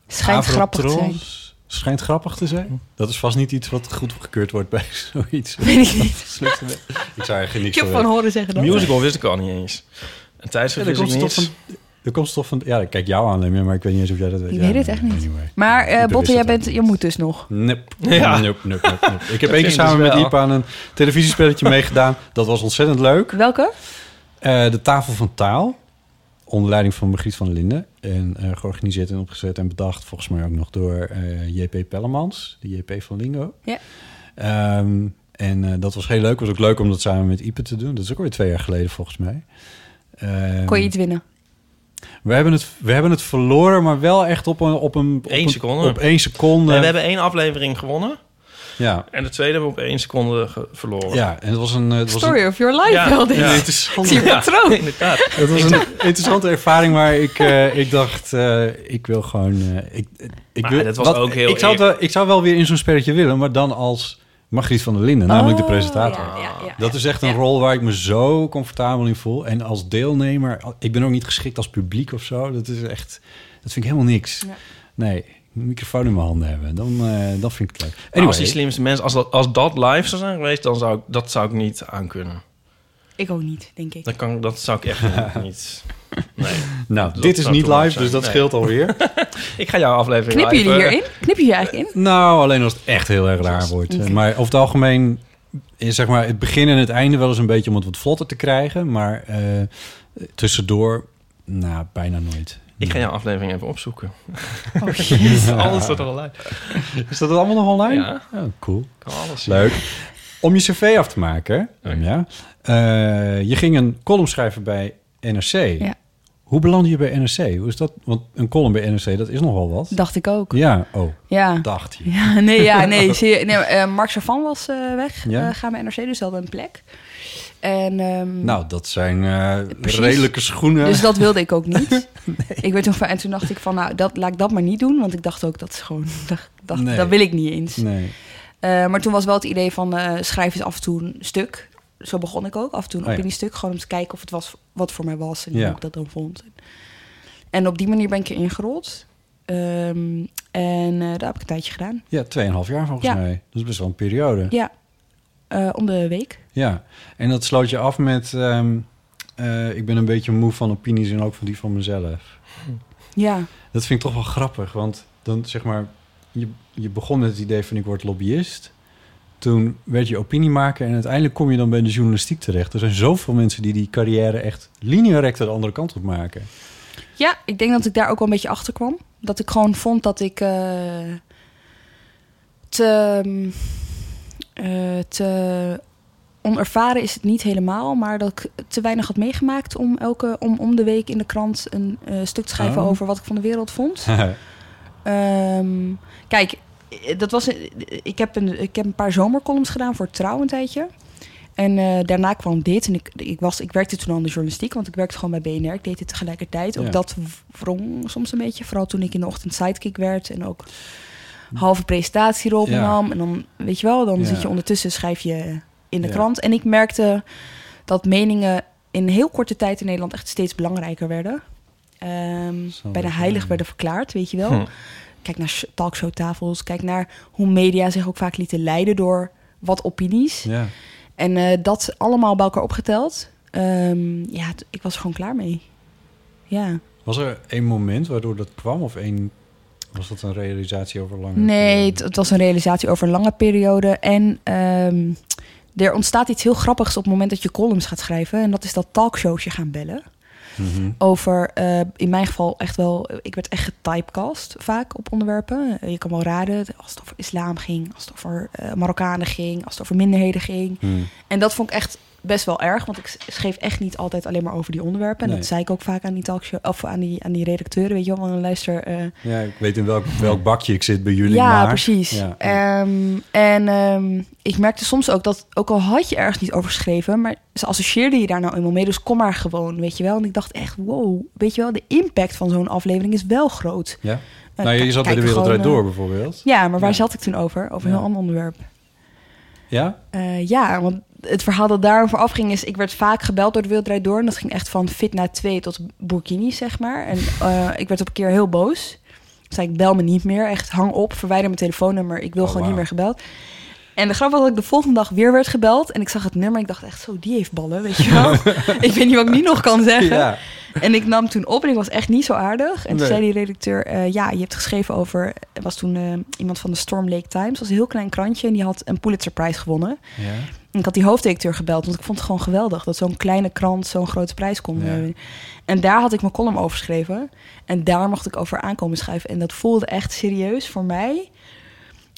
S7: Schijnt grappig te zijn.
S6: Avrotros. Schijnt grappig te zijn. Hm. Dat is vast niet iets wat goed gekeurd wordt bij zoiets.
S7: Weet ik niet.
S6: Slechte me- ik zou eigenlijk niks
S7: Ik heb van horen zeggen dat.
S8: Musical wist ik al niet eens. Een
S6: Ja,
S8: tijdschrift
S6: de
S8: wist ik
S6: komst
S8: niet.
S6: toch van... De komst toch van... Ja, ik kijk jou aan, Lemmy, maar ik weet niet eens of jij dat weet.
S7: Ik
S6: Ja,
S7: weet het
S6: nee,
S7: echt niet.
S6: anyway.
S7: Maar eh,
S6: Ik wist
S7: Botte, jij
S6: het
S7: bent,
S6: ook
S7: je
S6: niet.
S7: moet dus nog.
S6: Nep.
S8: Ja.
S6: Nep, nep, nep, nep. Ik heb
S8: Dat
S6: één keer
S8: vind ik
S6: samen
S8: dus
S6: met
S8: wel.
S6: Iep aan een televisiespelletje meegedaan. Dat was ontzettend leuk.
S7: Welke?
S6: Eh, de Tafel van Taal. Onder leiding van Margriet van Linden. En eh, georganiseerd en opgezet en bedacht volgens mij ook nog door eh, JP Pellemans. De JP van Lingo.
S7: Ja.
S6: Ehm, en eh, dat was heel leuk. was ook leuk om dat samen met Ipe te doen. Dat is ook alweer twee jaar geleden volgens mij. Ehm,
S7: Kon je iets winnen?
S6: we, hebben het, we hebben het verloren, maar wel echt op een... Op een op
S8: Eén
S6: een-
S8: seconde.
S6: Op één seconde.
S8: Nee, we hebben één aflevering gewonnen.
S6: Ja.
S8: En de tweede hebben we op één seconde ge- verloren.
S6: Ja, en het was een... eh, Het was een
S7: Story of your life,
S8: Ja,
S7: wel dit.
S8: ja.
S6: een
S7: Ik
S6: interessante
S7: zie een patroon.
S8: Inderdaad.
S6: Het was een interessante ervaring, maar ik, eh, ik dacht, eh, ik wil gewoon... eh, ik, ik
S8: Maar
S6: wil,
S8: dat was
S6: wat-
S8: ook heel
S6: ik zou, het wel, ik zou wel weer in zo'n spelletje willen, maar dan als Margriet van der Linden, namelijk de
S7: Oh,
S6: presentator.
S7: ja, ja, ja.
S6: Dat is echt een rol waar ik me zo comfortabel in voel. En als deelnemer, ik ben ook niet geschikt als publiek of zo. Dat is echt, dat vind ik helemaal niks.
S7: Ja.
S6: Nee, ik moet een microfoon in mijn handen hebben, dan, eh, dan vind ik het leuk.
S8: Maar Nou,
S6: Anyway,
S8: Als die slimste mensen, als dat, als dat live zou zijn geweest, dan zou ik dat zou ik niet aankunnen.
S7: Ik ook niet, denk ik.
S8: Dat, kan, dat zou ik echt niet- niet. Nee.
S6: nou,
S8: dat
S6: dit is
S8: zou
S6: niet
S8: te lang
S6: live,
S8: zijn.
S6: dus dat
S8: Nee.
S6: scheelt alweer.
S8: Ik ga jouw aflevering
S7: Knippen
S8: live,
S7: jullie
S8: eh,
S7: hierin? Knippen jullie eigenlijk in?
S6: Nou, alleen als het echt heel erg raar wordt.
S7: Oké.
S6: Maar over het algemeen is zeg maar het begin en het einde wel eens een beetje om het wat vlotter te krijgen. Maar eh, tussendoor, nou, bijna nooit.
S8: Ik ga jouw aflevering even opzoeken.
S7: Oh shit.
S8: Alles staat er al uit.
S6: Is dat allemaal nog online?
S8: Ja.
S6: Oh, cool.
S8: Kan alles.
S6: Leuk. Om je cv af te maken.
S7: Oh,
S8: Oké.
S6: Ja. Eh, je ging een column schrijven bij NRC.
S7: Ja.
S6: Hoe beland je bij NRC? Hoe is dat? Want een column bij NRC, dat is nogal wat.
S7: Dacht ik ook.
S6: Ja, oh,
S7: Ja.
S6: dacht je.
S7: Ja, nee, ja, nee. Zie je, nee maar, eh, Mark Savan was eh, weg.
S6: Ja.
S7: Eh, gaan we NRC, dus hadden we een plek. En, ehm,
S6: Nou, dat zijn eh,
S7: Precies.
S6: redelijke schoenen.
S7: Dus dat wilde ik ook niet. Ik weet nog van, en toen dacht ik van, nou, dat, laat ik dat maar niet doen. Want ik dacht ook, dat is gewoon, dacht, dacht,
S6: Nee.
S7: dat wil ik niet eens.
S6: Nee.
S7: Eh, maar toen was wel het idee van, eh, schrijf eens af en toe een stuk. Zo begon ik ook, af en toe een
S6: Oh ja.
S7: opiniestuk. Gewoon om te kijken of het was wat voor mij was en
S6: Ja.
S7: hoe ik dat dan vond. En op die manier ben ik erin gerold. Ehm, en eh, daar heb ik een tijdje gedaan.
S6: Ja, 2,5 jaar volgens
S7: Ja.
S6: mij. Dat is best wel een periode. Ja.
S7: Ja, Eh, om de week.
S6: En dat sloot je af met... ehm, eh, ik ben een beetje moe van opinies en ook van die van mezelf.
S7: Ja,
S6: Dat vind ik toch wel grappig, want dan zeg maar... Je, je begon met het idee van ik word lobbyist. Toen werd je opiniemaker en uiteindelijk kom je dan bij de journalistiek terecht. Er zijn zoveel mensen die die carrière echt lineairect de andere kant op maken.
S7: Ja, ik denk dat ik daar ook wel een beetje achter kwam. Dat ik gewoon vond dat ik eh, te, mm, eh, te onervaren is het niet helemaal, maar dat ik te weinig had meegemaakt om elke om, om de week in de krant een eh, stuk te schrijven
S6: Oh.
S7: over wat ik van de wereld vond. Ehm, kijk, eh, dat was, eh, ik, heb een, ik heb een paar zomercolumns gedaan voor Trouw een tijdje. En eh, daarna kwam dit. En ik, ik, was, ik werkte toen al in de journalistiek, want ik werkte gewoon bij BNR. Ik deed dit tegelijkertijd. Ook
S6: Ja.
S7: dat w- wrong soms een beetje. Vooral toen ik in de ochtend sidekick werd en ook halve presentatierol
S6: Ja.
S7: nam. En dan, weet je wel, dan
S6: Ja.
S7: zit je ondertussen, schrijf je in de
S6: Ja.
S7: krant. En ik merkte dat meningen in heel korte tijd in Nederland echt steeds belangrijker werden. Ehm,
S6: Zo
S7: bij de
S6: dat,
S7: heilig
S6: ja.
S7: werden verklaard, weet je wel.
S8: Hm.
S7: Kijk naar sh- talkshowtafels, kijk naar hoe media zich ook vaak lieten leiden door wat opinies.
S6: ja.
S7: En eh, dat allemaal bij elkaar opgeteld. Ehm, ja, t- ik was er gewoon klaar mee. Ja.
S6: Was er één moment waardoor dat kwam? Of één, was dat een realisatie over lang?
S7: Nee, het, het was een realisatie over een lange periode. En ehm, er ontstaat iets heel grappigs op het moment dat je columns gaat schrijven. En dat is dat talkshowsje gaan bellen.
S6: Mhm.
S7: Over, eh, in mijn geval echt wel, eh, ik werd echt getypecast vaak op onderwerpen. Eh, Je kan wel raden, als het over islam ging, als het over eh, Marokkanen ging, als het over minderheden ging.
S6: Mhm.
S7: En dat vond ik echt best wel erg, want ik s- schreef echt niet altijd alleen maar over die onderwerpen. En
S6: Nee.
S7: dat zei ik ook vaak aan die talkshow, of aan die, aan die redacteuren, weet je wel, van luister, eh,
S6: Ja, ik weet in welk, welk bakje ik zit bij jullie.
S7: ja,
S6: maar-
S7: precies.
S6: Ja.
S7: Ehm, en ehm, ik merkte soms ook dat, ook al had je ergens niet over geschreven, maar ze associeerden je daar nou eenmaal mee. Dus kom maar gewoon, weet je wel. En ik dacht echt, wow, weet je wel, de impact van zo'n aflevering is wel groot.
S6: Ja?
S7: Eh,
S6: nou, je
S7: kijk-
S6: zat bij
S7: kijk
S6: de Wereld
S7: gewoon,
S6: Draait
S7: eh,
S6: Door bijvoorbeeld.
S7: Ja, maar waar
S6: Ja.
S7: zat ik toen over? Over een
S6: Ja.
S7: heel ander onderwerp.
S6: Ja?
S7: Eh, ja, want het verhaal dat daarover afging is... ik werd vaak gebeld door de Wereld Draait Door... en dat ging echt van Fitna 2 tot Burkini, zeg maar. En eh, ik werd op een keer heel boos. Toen zei ik, bel me niet meer. Echt, hang op, verwijder mijn telefoonnummer. Ik wil
S6: Oh,
S7: gewoon
S6: wauw.
S7: niet meer gebeld. En de grap was dat ik de volgende dag weer werd gebeld... en ik zag het nummer en ik dacht echt, zo, die heeft ballen, weet je wel. ik weet niet wat ik nu nog kan zeggen.
S6: Ja.
S7: En ik nam toen op en ik was echt niet zo aardig. En toen
S6: Nee.
S7: zei die redacteur, eh, ja, je hebt geschreven over... er was toen eh, iemand van de Storm Lake Times. Dat was een heel klein krantje en die had een Pulitzerprijs gewonnen.
S6: Ja.
S7: En Ik had die hoofddirecteur gebeld, want ik vond het gewoon geweldig... dat zo'n kleine krant zo'n grote prijs kon
S6: Ja.
S7: winnen. En daar had ik mijn column over geschreven. En daar mocht ik over aankomen schrijven. En dat voelde echt serieus voor mij...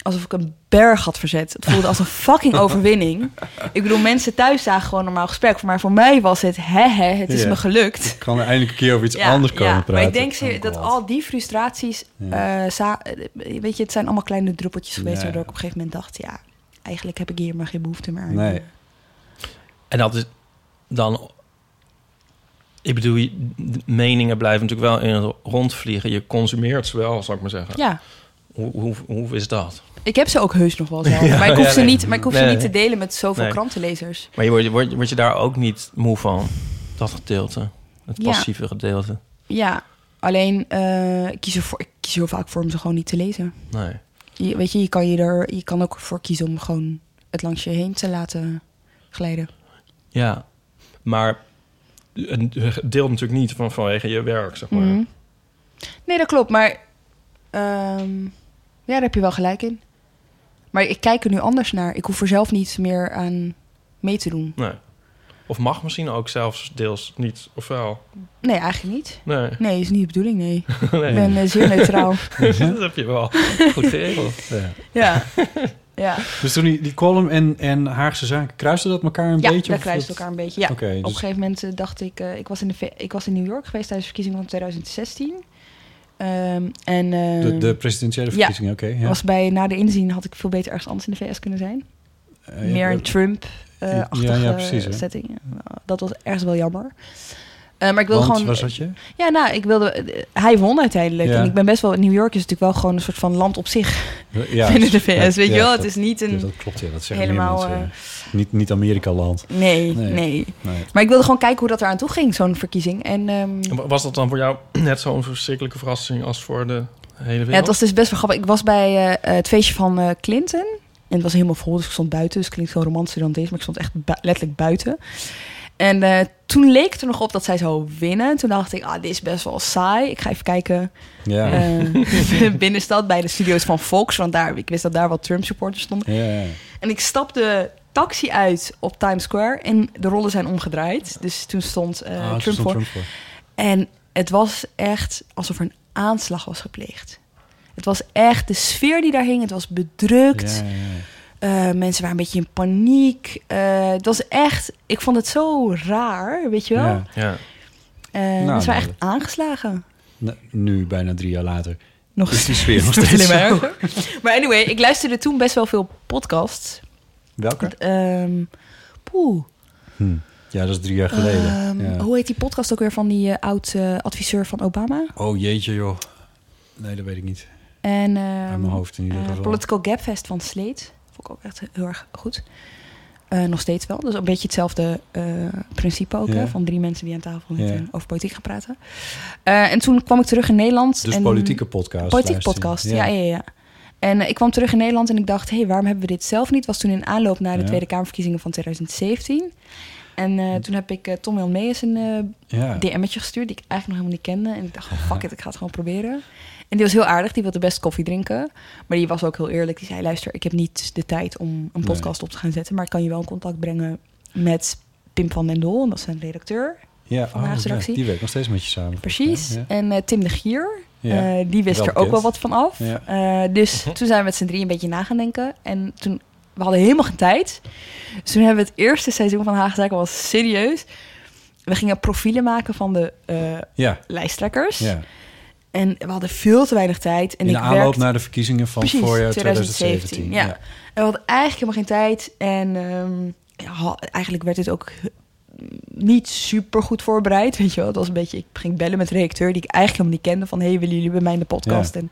S7: alsof ik een berg had verzet. Het voelde als een fucking overwinning. Ik bedoel, mensen thuis zagen gewoon een normaal gesprek. Maar voor mij was het, hè hè, het is
S6: Ja.
S7: me gelukt.
S6: Ik kan er eindelijk een keer over iets anders komen praten.
S7: Maar ik denk
S6: Oh,
S7: ze- dat
S6: God.
S7: al die frustraties... eh, za- eh, weet je, het zijn allemaal kleine druppeltjes geweest...
S6: Ja.
S7: waardoor ik op een gegeven moment dacht... ja, eigenlijk heb ik hier maar geen behoefte meer aan.
S6: Nee.
S8: En dat is dan... Ik bedoel, je- de meningen blijven natuurlijk wel in rondvliegen. Je consumeert ze wel, zou ik maar zeggen.
S7: Ja,
S8: Hoe, hoe, hoe is dat?
S7: ik heb ze ook heus nog wel zelf. maar ik hoef,
S8: ja,
S7: ze,
S8: nee.
S7: niet, maar ik hoef ze
S8: Nee,
S7: niet
S8: nee.
S7: te delen met zoveel
S8: Nee.
S7: krantenlezers.
S8: Maar je word, word, word je daar ook niet moe van? Dat gedeelte. Het
S7: Ja.
S8: passieve gedeelte.
S7: Ja, alleen eh, ik, kies ervoor, ik kies heel vaak voor om ze gewoon niet te lezen.
S8: Nee.
S7: Je, weet je, je kan, je, er, je kan ook voor kiezen om gewoon het langs je heen te laten glijden.
S8: Ja. Maar het deelt natuurlijk niet van, vanwege je werk, zeg maar.
S7: Mhm. Nee, dat klopt. Maar ehm, ja, daar heb je wel gelijk in. Maar ik kijk er nu anders naar. Ik hoef er zelf niet meer aan mee te doen.
S8: Nee. Of mag misschien ook zelfs deels niet, of wel?
S7: Nee, eigenlijk niet.
S8: Nee.
S7: Nee, is niet de bedoeling, nee.
S8: nee.
S7: Ik ben eh, zeer neutraal.
S8: dat heb je wel goed geregeld.
S7: ja. ja. Ja,
S6: Dus toen die, die column en, en Haagse Zaken, kruisten dat elkaar een
S7: ja
S6: beetje?
S7: dat
S6: of
S7: kruist
S6: dat-
S7: elkaar een beetje. Ja.
S6: Oké,
S7: Op een
S6: dus-
S7: gegeven moment eh, dacht ik, eh, ik, was in de, V- ik was in New York geweest tijdens de verkiezingen van 2016. Ehm, en ehm,
S6: De, de presidentiële
S7: Ja.
S6: verkiezingen, oké. ja.
S7: was bij, na de inzien had ik veel beter ergens anders in de VS kunnen zijn.
S6: Eh, ja,
S7: meer een
S6: dat- ja,
S7: Trump-achtige
S6: ja, precies, hè.
S7: setting. Nou, Dat was ergens wel jammer. Eh, maar ik wilde
S6: want,
S7: gewoon...
S6: waar zat je?
S7: Ja, nou, ik wilde... eh, Hij won uiteindelijk.
S6: Ja.
S7: En ik ben best wel... New York is natuurlijk wel gewoon een soort van land op zich
S6: Ja,
S7: binnen de
S6: ja,
S7: VS. Weet
S6: ja,
S7: je wel?
S6: dat-
S7: Het is niet een...
S6: Ja, dat klopt, ja. Dat zeggen
S7: helemaal, eh,
S6: meer mensen. ja. Niet, niet Amerika-land.
S7: Nee,
S6: Nee.
S7: nee,
S6: Nee.
S7: Maar ik wilde gewoon kijken hoe dat eraan toe ging, zo'n verkiezing. En ehm,
S8: Was dat dan voor jou net zo'n verschrikkelijke verrassing als voor de hele wereld?
S7: ja, het was dus best wel grappig. Ik was bij eh, het feestje van eh, Clinton. En het was helemaal vol, dus ik stond buiten. Dus het klinkt zo romantischer dan deze, maar ik stond echt bu- letterlijk buiten. En eh, toen leek het er nog op dat zij zou winnen. Toen dacht ik, ah, dit is best wel saai. Ik ga even kijken
S6: Ja. Ja.
S7: eh, in de binnenstad bij de studio's van Fox. Want daar, ik wist dat daar wat Trump supporters stonden.
S6: ja.
S7: En ik stapte taxi uit op Times Square. En de rollen zijn omgedraaid. Dus toen stond eh,
S6: Ah,
S7: Trump
S6: toen stond
S7: voor.
S6: Trump voor.
S7: En het was echt alsof er een aanslag was gepleegd. Het was echt de sfeer die daar hing. Het was bedrukt.
S6: Ja, ja, ja.
S7: Eh, mensen waren een beetje in paniek. Eh, het was echt... Ik vond het zo raar, weet je wel?
S6: Ja.
S8: Ja.
S7: Eh,
S6: nou,
S7: mensen waren echt aangeslagen.
S6: Nou, Nu, bijna drie jaar later.
S7: Nog
S6: Is die sfeer nog
S7: steeds
S6: steeds
S7: alleen
S6: zo?
S7: maar erger. Maar anyway, ik luisterde toen best wel veel podcasts.
S6: Welke?
S7: Ehm, poeh.
S6: Hm. Ja, dat is drie jaar geleden.
S7: Ehm,
S6: ja.
S7: Hoe heet die podcast ook weer van die eh, oud eh, adviseur van Obama?
S6: Oh jeetje joh. Nee, dat weet ik niet.
S7: En
S6: Uit
S7: ehm
S6: mijn hoofd in ieder
S7: eh,
S6: geval.
S7: Political Gapfest van Sleet. Vond ik ook echt heel erg goed. Eh, nog steeds wel. Dus een beetje hetzelfde eh, principe ook.
S6: Ja.
S7: Hè? Van drie mensen die aan tafel zitten
S6: Ja.
S7: en over politiek gaan praten. Eh, en toen kwam ik terug in Nederland.
S6: Dus
S7: en,
S6: politieke podcast.
S7: Politiek
S6: luisteren.
S7: podcast, ja. ja, ja, ja. En eh, ik kwam terug in Nederland en ik dacht... hé, hey, waarom hebben we dit zelf niet? was toen in aanloop naar de
S6: Ja. Hm.
S7: Tweede Kamerverkiezingen van 2017. En eh, toen heb ik eh, Tom Wilmees een eh,
S6: Ja.
S7: DM'tje gestuurd die ik eigenlijk nog helemaal niet kende. En ik dacht, oh, fuck it, ik ga het gewoon proberen. En die was heel aardig, die wilde best koffie drinken. Maar die was ook heel eerlijk. Die zei, luister, ik heb niet de tijd om een podcast op te gaan zetten. Maar ik kan je wel in contact brengen met Pim van den Doel. En dat is zijn redacteur,
S6: Ja,
S7: van de
S6: oh, ja,
S7: Haagse redactie.
S6: die werkt nog steeds met je samen.
S7: precies.
S6: Ja,
S7: En eh, Tim de Gier,
S6: Ja.
S7: eh, die wist
S6: Wel
S7: er ook wel
S6: bekend.
S7: wat van af.
S6: Ja. Mhm.
S7: Eh, dus toen zijn we met z'n drieën een beetje na gaan denken. En toen, we hadden helemaal geen tijd. Dus toen hebben we het eerste seizoen van Haagse Zaken was serieus. We gingen profielen maken van de eh,
S6: ja.
S7: lijsttrekkers.
S6: ja.
S7: En we hadden veel te weinig tijd. En
S6: In de
S7: ik
S6: aanloop
S7: werkte
S6: naar de verkiezingen van
S7: precies
S6: voorjaar
S7: 2017.
S6: 2017.
S7: ja. En we hadden eigenlijk helemaal geen tijd. En ehm, ja, ha- eigenlijk werd dit ook eh, niet super goed voorbereid. Weet je wel, het was een beetje. Ik ging bellen met de redacteur die ik eigenlijk helemaal niet kende. Van hey, willen jullie bij mij in de podcast? En,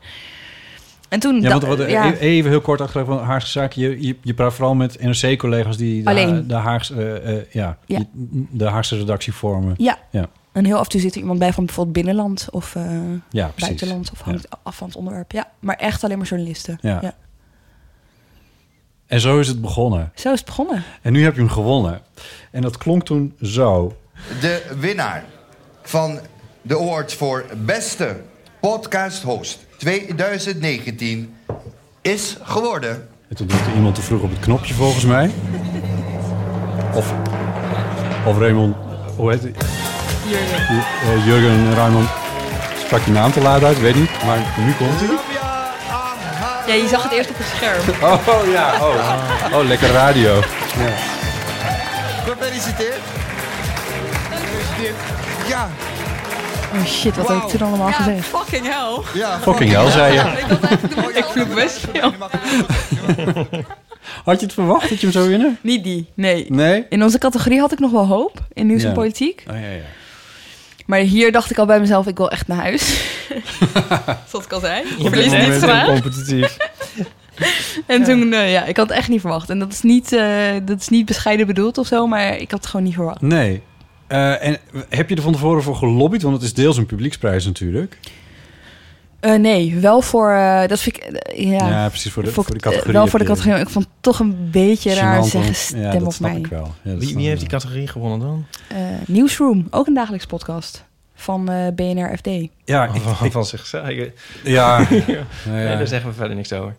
S7: en toen.
S6: Ja,
S7: da-
S6: want wat-
S7: ja.
S6: e- even heel kort achter van Haagse zaken. Je, je, je praat vooral met NRC-collega's die de,
S7: Alleen.
S6: de, Haagse, eh, eh, ja,
S7: Ja.
S6: die- de Haagse redactie vormen.
S7: Ja.
S6: e- Ja.
S7: En heel af en toe zit er iemand bij van bijvoorbeeld binnenland of eh,
S6: Ja, precies.
S7: buitenland. Of hangt af van het onderwerp. Ja, maar echt alleen maar journalisten.
S6: Ja. En zo is het begonnen.
S7: Zo is het begonnen.
S6: En nu heb je hem gewonnen. En dat klonk toen zo.
S9: De winnaar van de award voor beste podcast host 2019 is geworden.
S6: En toen drukte iemand te vroeg op het knopje volgens mij. Of, of Raymond, hoe heet hij? Jurgen. Jurgen Raymond sprak je naam te laat uit, weet niet. Maar nu komt hij.
S7: Ja, je zag het eerst op het scherm.
S6: Oh ja, oh. Oh, lekker radio.
S9: Gefeliciteerd. Gefeliciteerd. Ja,
S7: Oh shit, wat heb ik toen allemaal gezegd?
S10: Fucking hell.
S9: ja.
S6: Fucking hell, zei je.
S7: Ik vloek best veel.
S6: Had je het verwacht dat je hem zou winnen?
S7: Niet die, nee.
S6: Nee?
S7: In onze categorie had ik nog wel hoop, in nieuws
S6: Ja.
S7: en politiek.
S6: Oh ja, ja.
S7: Maar hier dacht ik al bij mezelf, ik wil echt naar huis. Zoals ik al zei. Je
S6: Op dit
S7: verliest
S6: moment
S7: niets
S6: heel
S7: maar.
S6: competitief.
S7: En toen, eh, ja, ik had het echt niet verwacht. En dat is niet, eh, dat is niet bescheiden bedoeld of zo, maar ik had het gewoon niet verwacht.
S6: Nee. Eh, en heb je er van tevoren voor gelobbyd? Want het is deels een publieksprijs natuurlijk.
S7: Eh, nee, wel voor, eh, dat vind ik, eh, ja.
S6: precies. Voor de,
S7: Voor,
S6: voor de categorie.
S7: eh, wel voor de
S6: heb je-
S7: categorie. maar Ik vond het toch een beetje raar
S6: Gênant
S7: zeggen
S6: om-
S7: stem
S6: ja, dat
S7: op
S6: snap
S7: mij.
S6: Ik wel. Ja, dat
S8: Wie,
S6: snap
S8: wie
S6: ik
S8: heeft die
S6: wel.
S8: categorie gewonnen dan?
S7: Eh, Newsroom, ook een dagelijks podcast van eh, BNR FD.
S6: Ja, ik-
S8: Van, van zichzelf. Ik-
S6: ja.
S8: Nee, daar
S6: ja.
S8: zeggen we verder niks over.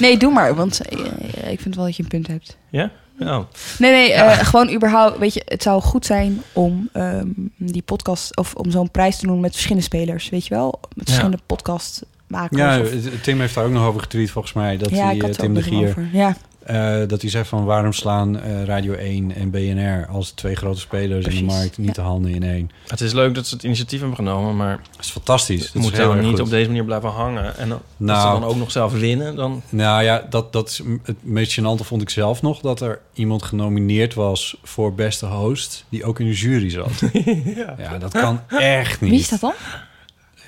S7: Nee, doe maar, want eh, eh, ik vind wel dat je een punt hebt.
S8: Ja? Oh.
S7: Nee, nee, eh, gewoon überhaupt. Weet je, het zou goed zijn om ehm, die podcast of om zo'n prijs te doen met verschillende spelers, weet je wel, met verschillende podcast makers.
S6: Ja,
S7: of-
S6: Tim heeft daar ook nog over getweet volgens mij. Dat
S7: ja,
S6: hij,
S7: ik
S6: eh,
S7: had er
S6: Tim
S7: ook
S6: de
S7: nog
S6: Gier,
S7: over. Ja,
S6: eh, dat hij zei van waarom slaan eh, Radio 1 en BNR als twee grote spelers in de
S7: Precies,
S6: markt niet
S7: ja.
S6: de handen in één.
S8: Het is leuk dat ze het initiatief hebben genomen, maar
S6: Dat is fantastisch.
S8: het
S6: Dat
S8: moet
S6: is heel
S8: dan
S6: erg
S8: niet
S6: goed.
S8: op deze manier blijven hangen. En dan, als ze
S6: Nou.
S8: dan ook nog zelf winnen, dan...
S6: Nou ja, dat, dat is m- het meest gênante vond ik zelf nog. Dat er iemand genomineerd was voor beste host... die ook in de jury zat. ja. dat kan echt niet.
S7: wie is dat dan?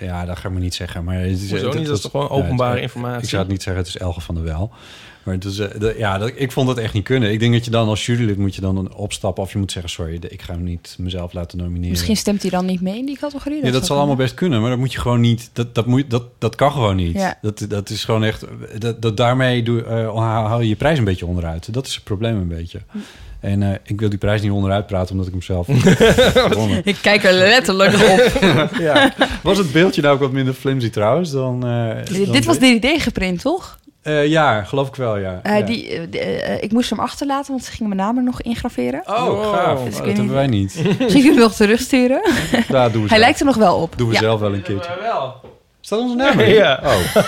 S6: Ja, dat ga ik me niet zeggen. Maar het is,
S8: Hoezo niet? Dat is toch gewoon
S6: nee, het-
S8: openbare informatie?
S6: Ik zou het niet zeggen, het is Elge van der Wel. Maar het is, eh, dat- ja, dat, ik vond het echt niet kunnen. Ik denk dat je dan als jurylid moet je dan een opstappen... of je moet zeggen, sorry, de- ik ga hem niet mezelf laten nomineren.
S7: Misschien stemt hij dan niet mee in die categorie.
S6: eh, Ja, dat
S7: zou
S6: zal allemaal best kunnen, maar dat moet je gewoon niet. Dat, dat, moet, dat, dat kan gewoon niet.
S7: Ja.
S6: Dat, dat is gewoon echt. Dat, dat daarmee doe, eh, haal je je prijs een beetje onderuit. Dat is het probleem een beetje.
S7: Hm.
S6: En eh, ik wil die prijs niet onderuit praten, omdat ik hem zelf. gewonnen.
S7: Ik kijk er letterlijk op.
S6: ja. Was het beeldje nou ook wat minder flimsy trouwens dan. eh, dan-
S7: Dit was DDD geprint, toch?
S6: Eh, ja, geloof ik wel, ja.
S7: Eh,
S6: Ja.
S7: die, eh, de- eh, ik moest hem achterlaten, want ze gingen mijn naam er nog ingraveren.
S6: Oh, gaaf.
S7: Dus ik
S6: dat
S7: weet
S6: hebben wij niet.
S7: Misschien kunnen we nog terugsturen.
S6: Ja, doen we
S7: Hij
S6: zelf.
S7: lijkt er nog wel op.
S6: Doen we
S7: Ja.
S6: zelf wel een keertje.
S8: wel.
S6: Staat onze naam in?
S8: Ja.
S6: Oh.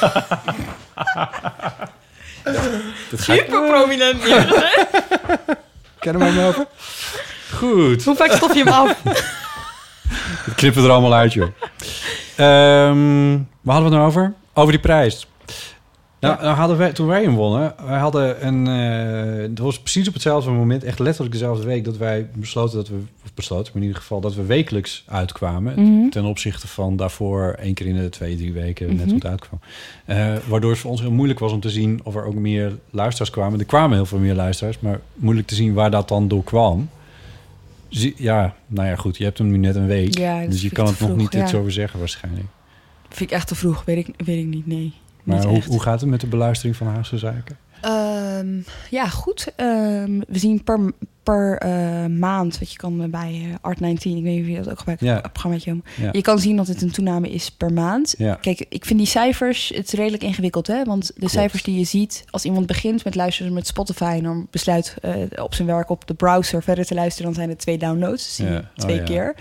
S6: Dat ga ik
S7: prominent.
S6: kennen we hem over. Goed.
S7: Hoe vaak stof je hem af?
S6: Het knippen er allemaal uit, joh. Ehm, waar hadden we het nou over? Over die prijs. Nou, nou hadden wij, toen wij hem wonnen, wij hadden een... eh het was precies op hetzelfde moment, echt letterlijk dezelfde week... dat wij besloten dat we... Of besloten, maar in ieder geval dat we wekelijks uitkwamen.
S7: Mhm.
S6: Ten opzichte van daarvoor één keer in de twee, drie weken
S7: Mhm.
S6: net hoe het uitkwam. Eh, waardoor het voor ons heel moeilijk was om te zien of er ook meer luisteraars kwamen. Er kwamen heel veel meer luisteraars, maar moeilijk te zien waar dat dan door kwam. Zie- Ja, nou ja, goed. Je hebt hem nu net een week.
S7: Ja, dat
S6: dus je
S7: vind
S6: kan
S7: ik
S6: het
S7: te
S6: nog
S7: vroeg,
S6: niet iets
S7: ja.
S6: over zeggen waarschijnlijk.
S7: Vind ik echt te vroeg, weet ik, weet ik niet, nee.
S6: Maar
S7: Niet
S6: hoe,
S7: echt.
S6: hoe gaat het met de beluistering van Haagse Zaken?
S7: Ehm, ja, goed. Ehm, we zien per, per eh, maand wat je kan eh, bij eh, Art19. Ik weet niet of je dat ook gebruikt,
S6: Ja.
S7: het programmaatje. om-
S6: Ja.
S7: Je kan zien dat het een toename is per maand.
S6: Ja.
S7: Kijk, ik vind die cijfers, het is redelijk ingewikkeld, hè? Want de cijfers die je ziet als iemand begint met luisteren met Spotify... en dan besluit eh, op zijn werk op de browser verder te luisteren... dan zijn het twee downloads, dus zie je
S6: Ja. Oh,
S7: twee
S6: ja.
S7: keer.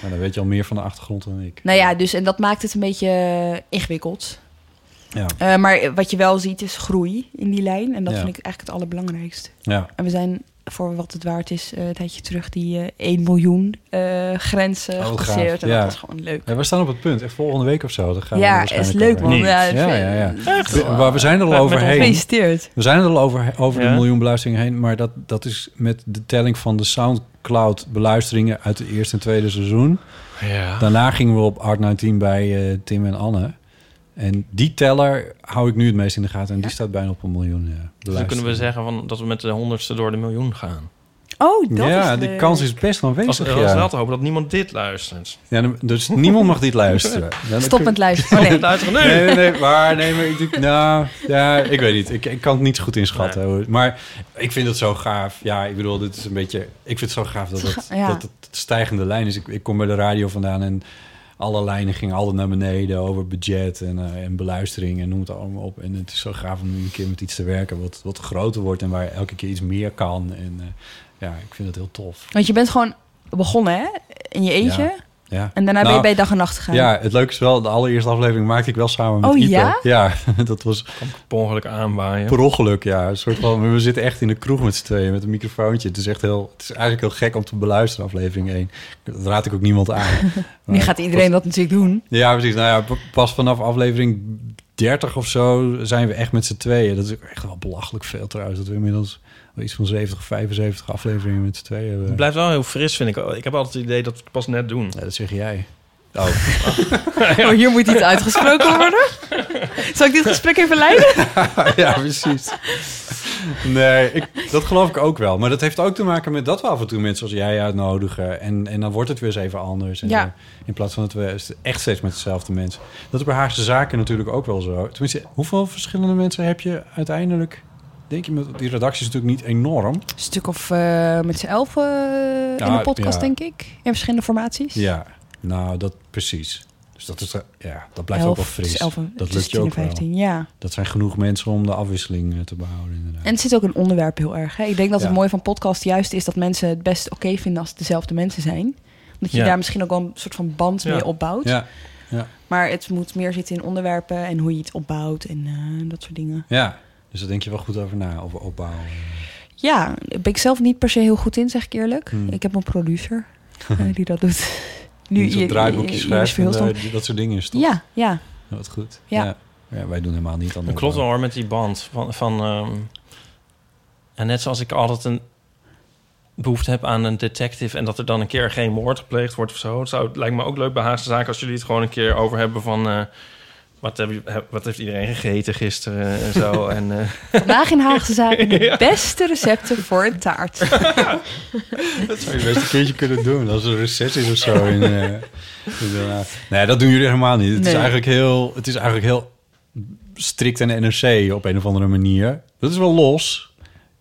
S6: Nou, dan weet je al meer van de achtergrond dan ik.
S7: Nou ja, dus en dat maakt het een beetje eh, ingewikkeld.
S6: Ja.
S7: Eh, maar wat je wel ziet is groei in die lijn. En dat
S6: Ja.
S7: vind ik eigenlijk het allerbelangrijkste.
S6: ja.
S7: En we zijn voor wat het waard is, eh, een tijdje terug, die eh 1 miljoen eh grenzen
S6: Oh, gaaf.
S7: gepasseerd. En
S6: Ja.
S7: dat was gewoon leuk.
S6: Ja, we staan op het punt. Echt volgende week of zo. Dan gaan we
S7: ja,
S6: er
S7: is
S6: waarschijnlijk
S7: leuk man.
S6: over.
S7: Ja,
S8: Niet.
S6: Ja, ja, ja.
S8: Echt?
S6: We- Maar we zijn er al
S8: Met- met
S6: overheen.
S7: Gefeliciteerd.
S6: We zijn er al over, over de
S8: Ja.
S6: miljoen beluisteringen heen. Maar dat, dat is met de telling van de Soundcloud beluisteringen uit het eerste en tweede seizoen.
S8: Ja.
S6: Daarna gingen we op Art 19 bij eh, Tim en Anne. En die teller hou ik nu het meest in de gaten. En die staat bijna op een miljoen. eh, Ja,
S8: Dus dan kunnen we zeggen van, dat we met de honderdste door de miljoen gaan.
S7: Oh, dat is
S6: ja, die
S7: leuk.
S6: kans is best
S8: Als,
S6: aanwezig.
S8: als we
S6: Ja.
S8: wel te hopen dat niemand dit luistert.
S6: Ja, dan- dus niemand mag dit luisteren. Ja, dan
S7: Stop
S6: kun-
S7: met luisteren. Oh, nee.
S8: Dit luisteren nu!
S6: Nee, nee, nee, maar, nee, maar ik, denk- nou, ja, ik weet niet. Ik, ik kan het niet zo goed inschatten. hoor. Maar ik vind het zo gaaf. Ja, ik bedoel, dit is een beetje... Ik vind het zo gaaf dat het,
S7: Ja.
S6: dat het stijgende lijn is. Ik, ik kom bij de radio vandaan en alle lijnen gingen altijd naar beneden... over budget en, eh, en beluistering en noem het allemaal op. En het is zo gaaf om nu een keer met iets te werken... wat, wat groter wordt en waar je elke keer iets meer kan. En eh, ja, ik vind het heel tof.
S7: Want je bent gewoon begonnen, hè? In je eentje.
S6: Ja. Ja.
S7: En daarna ben
S6: Nou,
S7: je bij dag en nacht gegaan.
S6: Ja, het leuke is wel, de allereerste aflevering maakte ik wel samen met
S7: Oh,
S6: Ipe.
S7: ja?
S6: Ja, dat was
S8: Per ongeluk aanwaaien.
S6: Per ongeluk, ja. Een soort van, we zitten echt in de kroeg met z'n tweeën met een microfoontje. Het is echt heel, het is eigenlijk heel gek om te beluisteren, aflevering 1. Dat raad ik ook niemand aan.
S7: nu gaat iedereen dat natuurlijk doen.
S6: Ja, precies. Nou ja, p- pas vanaf aflevering 30 of zo zijn we echt met z'n tweeën. Dat is ook echt wel belachelijk veel trouwens. Dat we inmiddels wel iets van 70, 75 afleveringen met z'n tweeën hebben.
S8: Het blijft wel heel fris, vind ik. Ik heb altijd het idee dat we het pas net doen.
S6: Ja, dat zeg jij. Oh,
S7: Oh, hier moet iets uitgesproken worden. Zal ik dit gesprek even leiden?
S6: ja, precies. Nee, ik, dat geloof ik ook wel. Maar dat heeft ook te maken met dat we af en toe mensen als jij uitnodigen. En, en dan wordt het weer eens even anders. En
S7: Ja.
S6: zo. in plaats van dat we echt steeds met dezelfde mensen. Dat is bij Haagse Zaken natuurlijk ook wel zo. Tenminste, hoeveel verschillende mensen heb je uiteindelijk? Denk je, met die redactie is natuurlijk niet enorm.
S7: Een stuk of eh, met z'n elf in
S6: Ja,
S7: de podcast,
S6: Ah, ja.
S7: denk ik. In verschillende formaties.
S6: Ja, nou, dat precies. Dus dat, is, ja, dat blijft ook wel
S7: Elf, het
S6: fris.
S7: is elf en-
S6: dat lukt
S7: het is
S6: je
S7: 10
S6: ook
S7: en
S6: wel.
S7: 15, Ja.
S6: Dat zijn genoeg mensen om de afwisseling eh, te behouden inderdaad.
S7: En het zit ook een onderwerp heel erg. Hè? Ik denk dat
S6: Ja.
S7: het mooie van podcast juist is dat mensen het best oké vinden als het dezelfde mensen zijn. Omdat je
S8: Ja.
S7: daar misschien ook wel een soort van band
S8: Ja.
S7: mee opbouwt.
S6: ja,
S7: Maar het moet meer zitten in onderwerpen en hoe je het opbouwt en eh, dat soort dingen.
S6: Ja, dus daar denk je wel goed over na, over opbouw.
S7: Ja, daar ben ik zelf niet per se heel goed in, zeg ik eerlijk.
S6: Hmm.
S7: Ik heb een producer eh, die dat doet.
S6: Nu zo'n
S7: je-
S6: draaiboekjes
S7: je- je-
S6: schrijft
S7: je- je-
S6: en
S7: je-
S6: eh, die- dat soort dingen is toch?
S7: Ja, ja.
S6: Wat goed.
S7: Ja.
S6: ja. Ja, wij doen helemaal niet aan
S8: Dat klopt wel hoor, met die band. Van, van, ehm, en net zoals ik altijd een behoefte heb aan een detective... en dat er dan een keer geen moord gepleegd wordt of zo... Het zou, het lijkt me ook leuk bij Haagse Zaken als jullie het gewoon een keer over hebben van... eh, wat, heb je, heb- wat heeft iedereen gegeten gisteren en zo. en, eh,
S7: Vandaag in Haagse Zaken de beste recepten voor een taart.
S6: Dat zou je best een keertje kunnen doen als er reces is of zo. In, eh, in Den Haag. nee, dat doen jullie helemaal niet. Het, is
S7: Nee.
S6: eigenlijk heel, het is eigenlijk heel strikt aan de NRC op een of andere manier. Dat is wel los.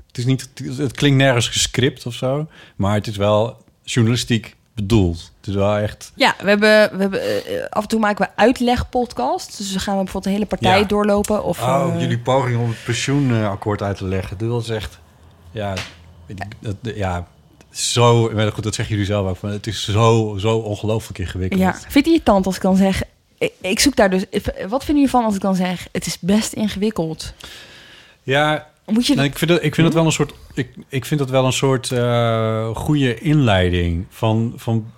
S6: Het, is niet, het klinkt nergens gescript of zo, maar het is wel journalistiek bedoeld. Het is wel echt.
S7: Ja, we hebben, we hebben eh, af en toe maken we uitlegpodcasts. Dus dan gaan we bijvoorbeeld een hele partij
S6: Ja.
S7: doorlopen. Of,
S6: Oh,
S7: eh,
S6: jullie poging om het pensioenakkoord uit te leggen. Dat is echt... Ja, weet ik, dat, ja zo... Maar goed, dat zeggen jullie zelf ook. Van, het is zo, zo ongelooflijk ingewikkeld.
S7: Ja, vind je het irritant als ik dan zeg... Ik, ik zoek daar dus... Wat vinden jullie van als ik dan zeg... Het is best ingewikkeld.
S6: ja
S7: Moet je...
S6: nou, ik, vind dat, ik vind dat wel een soort... Ik, ik vind dat wel een soort eh, goede inleiding. Van, van,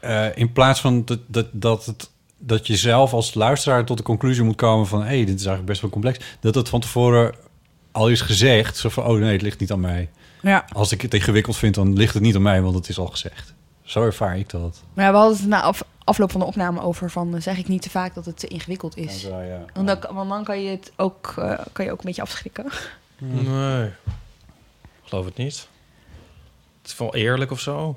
S6: eh, in plaats van dat, dat, dat, het, dat je zelf als luisteraar tot de conclusie moet komen van... hé, hey, dit is eigenlijk best wel complex. Dat dat van tevoren al is gezegd. Zo van, oh nee, het ligt niet aan mij.
S7: Ja.
S6: Als ik het ingewikkeld vind, dan ligt het niet aan mij, want het is al gezegd. Zo ervaar ik dat.
S7: Maar ja, we hadden het na af- afloop van de opname over van... eh, Zeg ik niet te vaak dat het te ingewikkeld is. Want dan, kan- want dan kan je het ook, eh, kan je ook een beetje afschrikken.
S8: Nee. Ik Geloof het niet. Het is wel eerlijk of zo.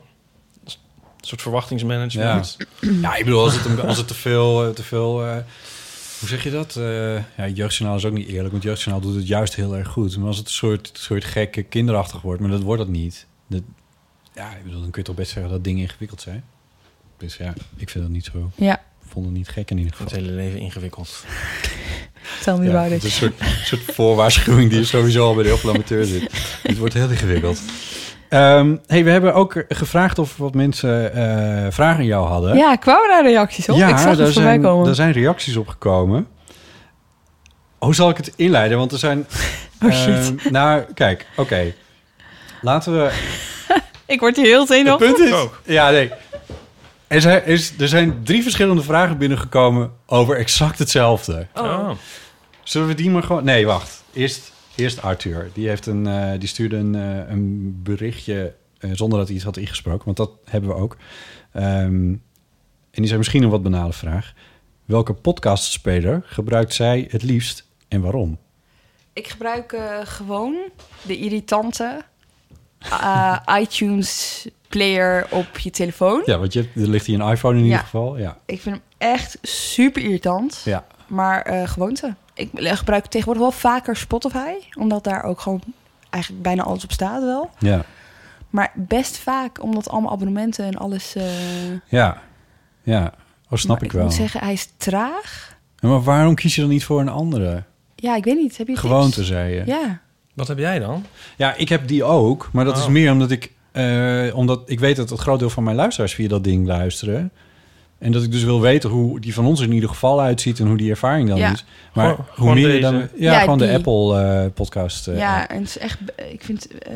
S8: Een soort verwachtingsmanagement.
S6: Ja, ik bedoel, als het, als het te veel... eh, Te veel eh, hoe zeg je dat? Eh ja, Jeugdjournaal is ook niet eerlijk, want Jeugdjournaal doet het juist heel erg goed. Maar als het een soort, soort gekke kinderachtig wordt, maar dat wordt het niet. Dat, ja, ik bedoel, dan kun je toch best zeggen dat dingen ingewikkeld zijn. Dus ja, ik vind dat niet zo...
S7: Ja,
S6: Ik vond het niet gek in ieder geval.
S8: Het hele leven ingewikkeld.
S7: tell me
S6: Ja,
S7: about
S6: het
S7: it.
S6: is een soort, soort voorwaarschuwing die er sowieso al bij de heel veel amateurs zit. Het wordt heel ingewikkeld. Ehm, hey, we hebben ook gevraagd of wat mensen eh, vragen aan jou hadden.
S7: Ja, kwamen daar reacties op? ik zag het voorbij
S6: zijn,
S7: komen.
S6: daar zijn reacties op gekomen. Hoe zal ik het inleiden? Want er zijn...
S7: Oh, shit.
S6: ehm, nou, kijk, oké. Laten we
S7: Ik word hier heel zenuwachtig.
S6: het punt is... Ja, nee. Er zijn, is, er zijn drie verschillende vragen binnengekomen over exact hetzelfde.
S8: Ah.
S6: Zullen we die maar gewoon... Nee, wacht. Eerst, eerst Arthur. Die, heeft een, eh, die stuurde een, eh, een berichtje eh, zonder dat hij iets had ingesproken. Want dat hebben we ook. Ehm, en die zei misschien een wat banale vraag. Welke podcastspeler gebruikt zij het liefst en waarom?
S7: Ik gebruik eh, gewoon de irritante eh, iTunes player op je telefoon.
S6: Ja, want je, hebt- er ligt hier een iPhone in
S7: Ja.
S6: ieder geval. Ja.
S7: Ik vind hem echt super irritant.
S6: ja.
S7: Maar eh, gewoonte. Ik gebruik tegenwoordig wel vaker Spotify. Omdat daar ook gewoon eigenlijk bijna alles op staat wel.
S6: Ja.
S7: Maar best vaak, omdat allemaal abonnementen en alles... eh,
S6: Ja. Ja. Oh, snap
S7: maar
S6: ik wel.
S7: moet zeggen, hij is traag.
S6: Ja, Maar waarom kies je dan niet voor een andere?
S7: Ja, ik weet niet. Heb je
S6: Gewoonte,
S7: tips?
S6: zei je.
S7: Ja.
S8: Wat heb jij dan?
S6: Ja, ik heb die ook. Maar dat is
S8: Oh.
S6: meer omdat ik, eh, omdat ik weet dat het groot deel van mijn luisteraars via dat ding luisteren. En dat ik dus wil weten hoe die van ons in ieder geval uitziet en hoe die ervaring dan
S7: Ja.
S6: is. Maar
S8: Gewoon-
S6: hoe
S8: gewoon
S6: meer je
S8: deze.
S6: dan. Ja,
S7: Ja,
S6: gewoon de eh,
S7: die.
S6: Apple-podcast.
S7: ja, en het is echt... Ik vind... eh,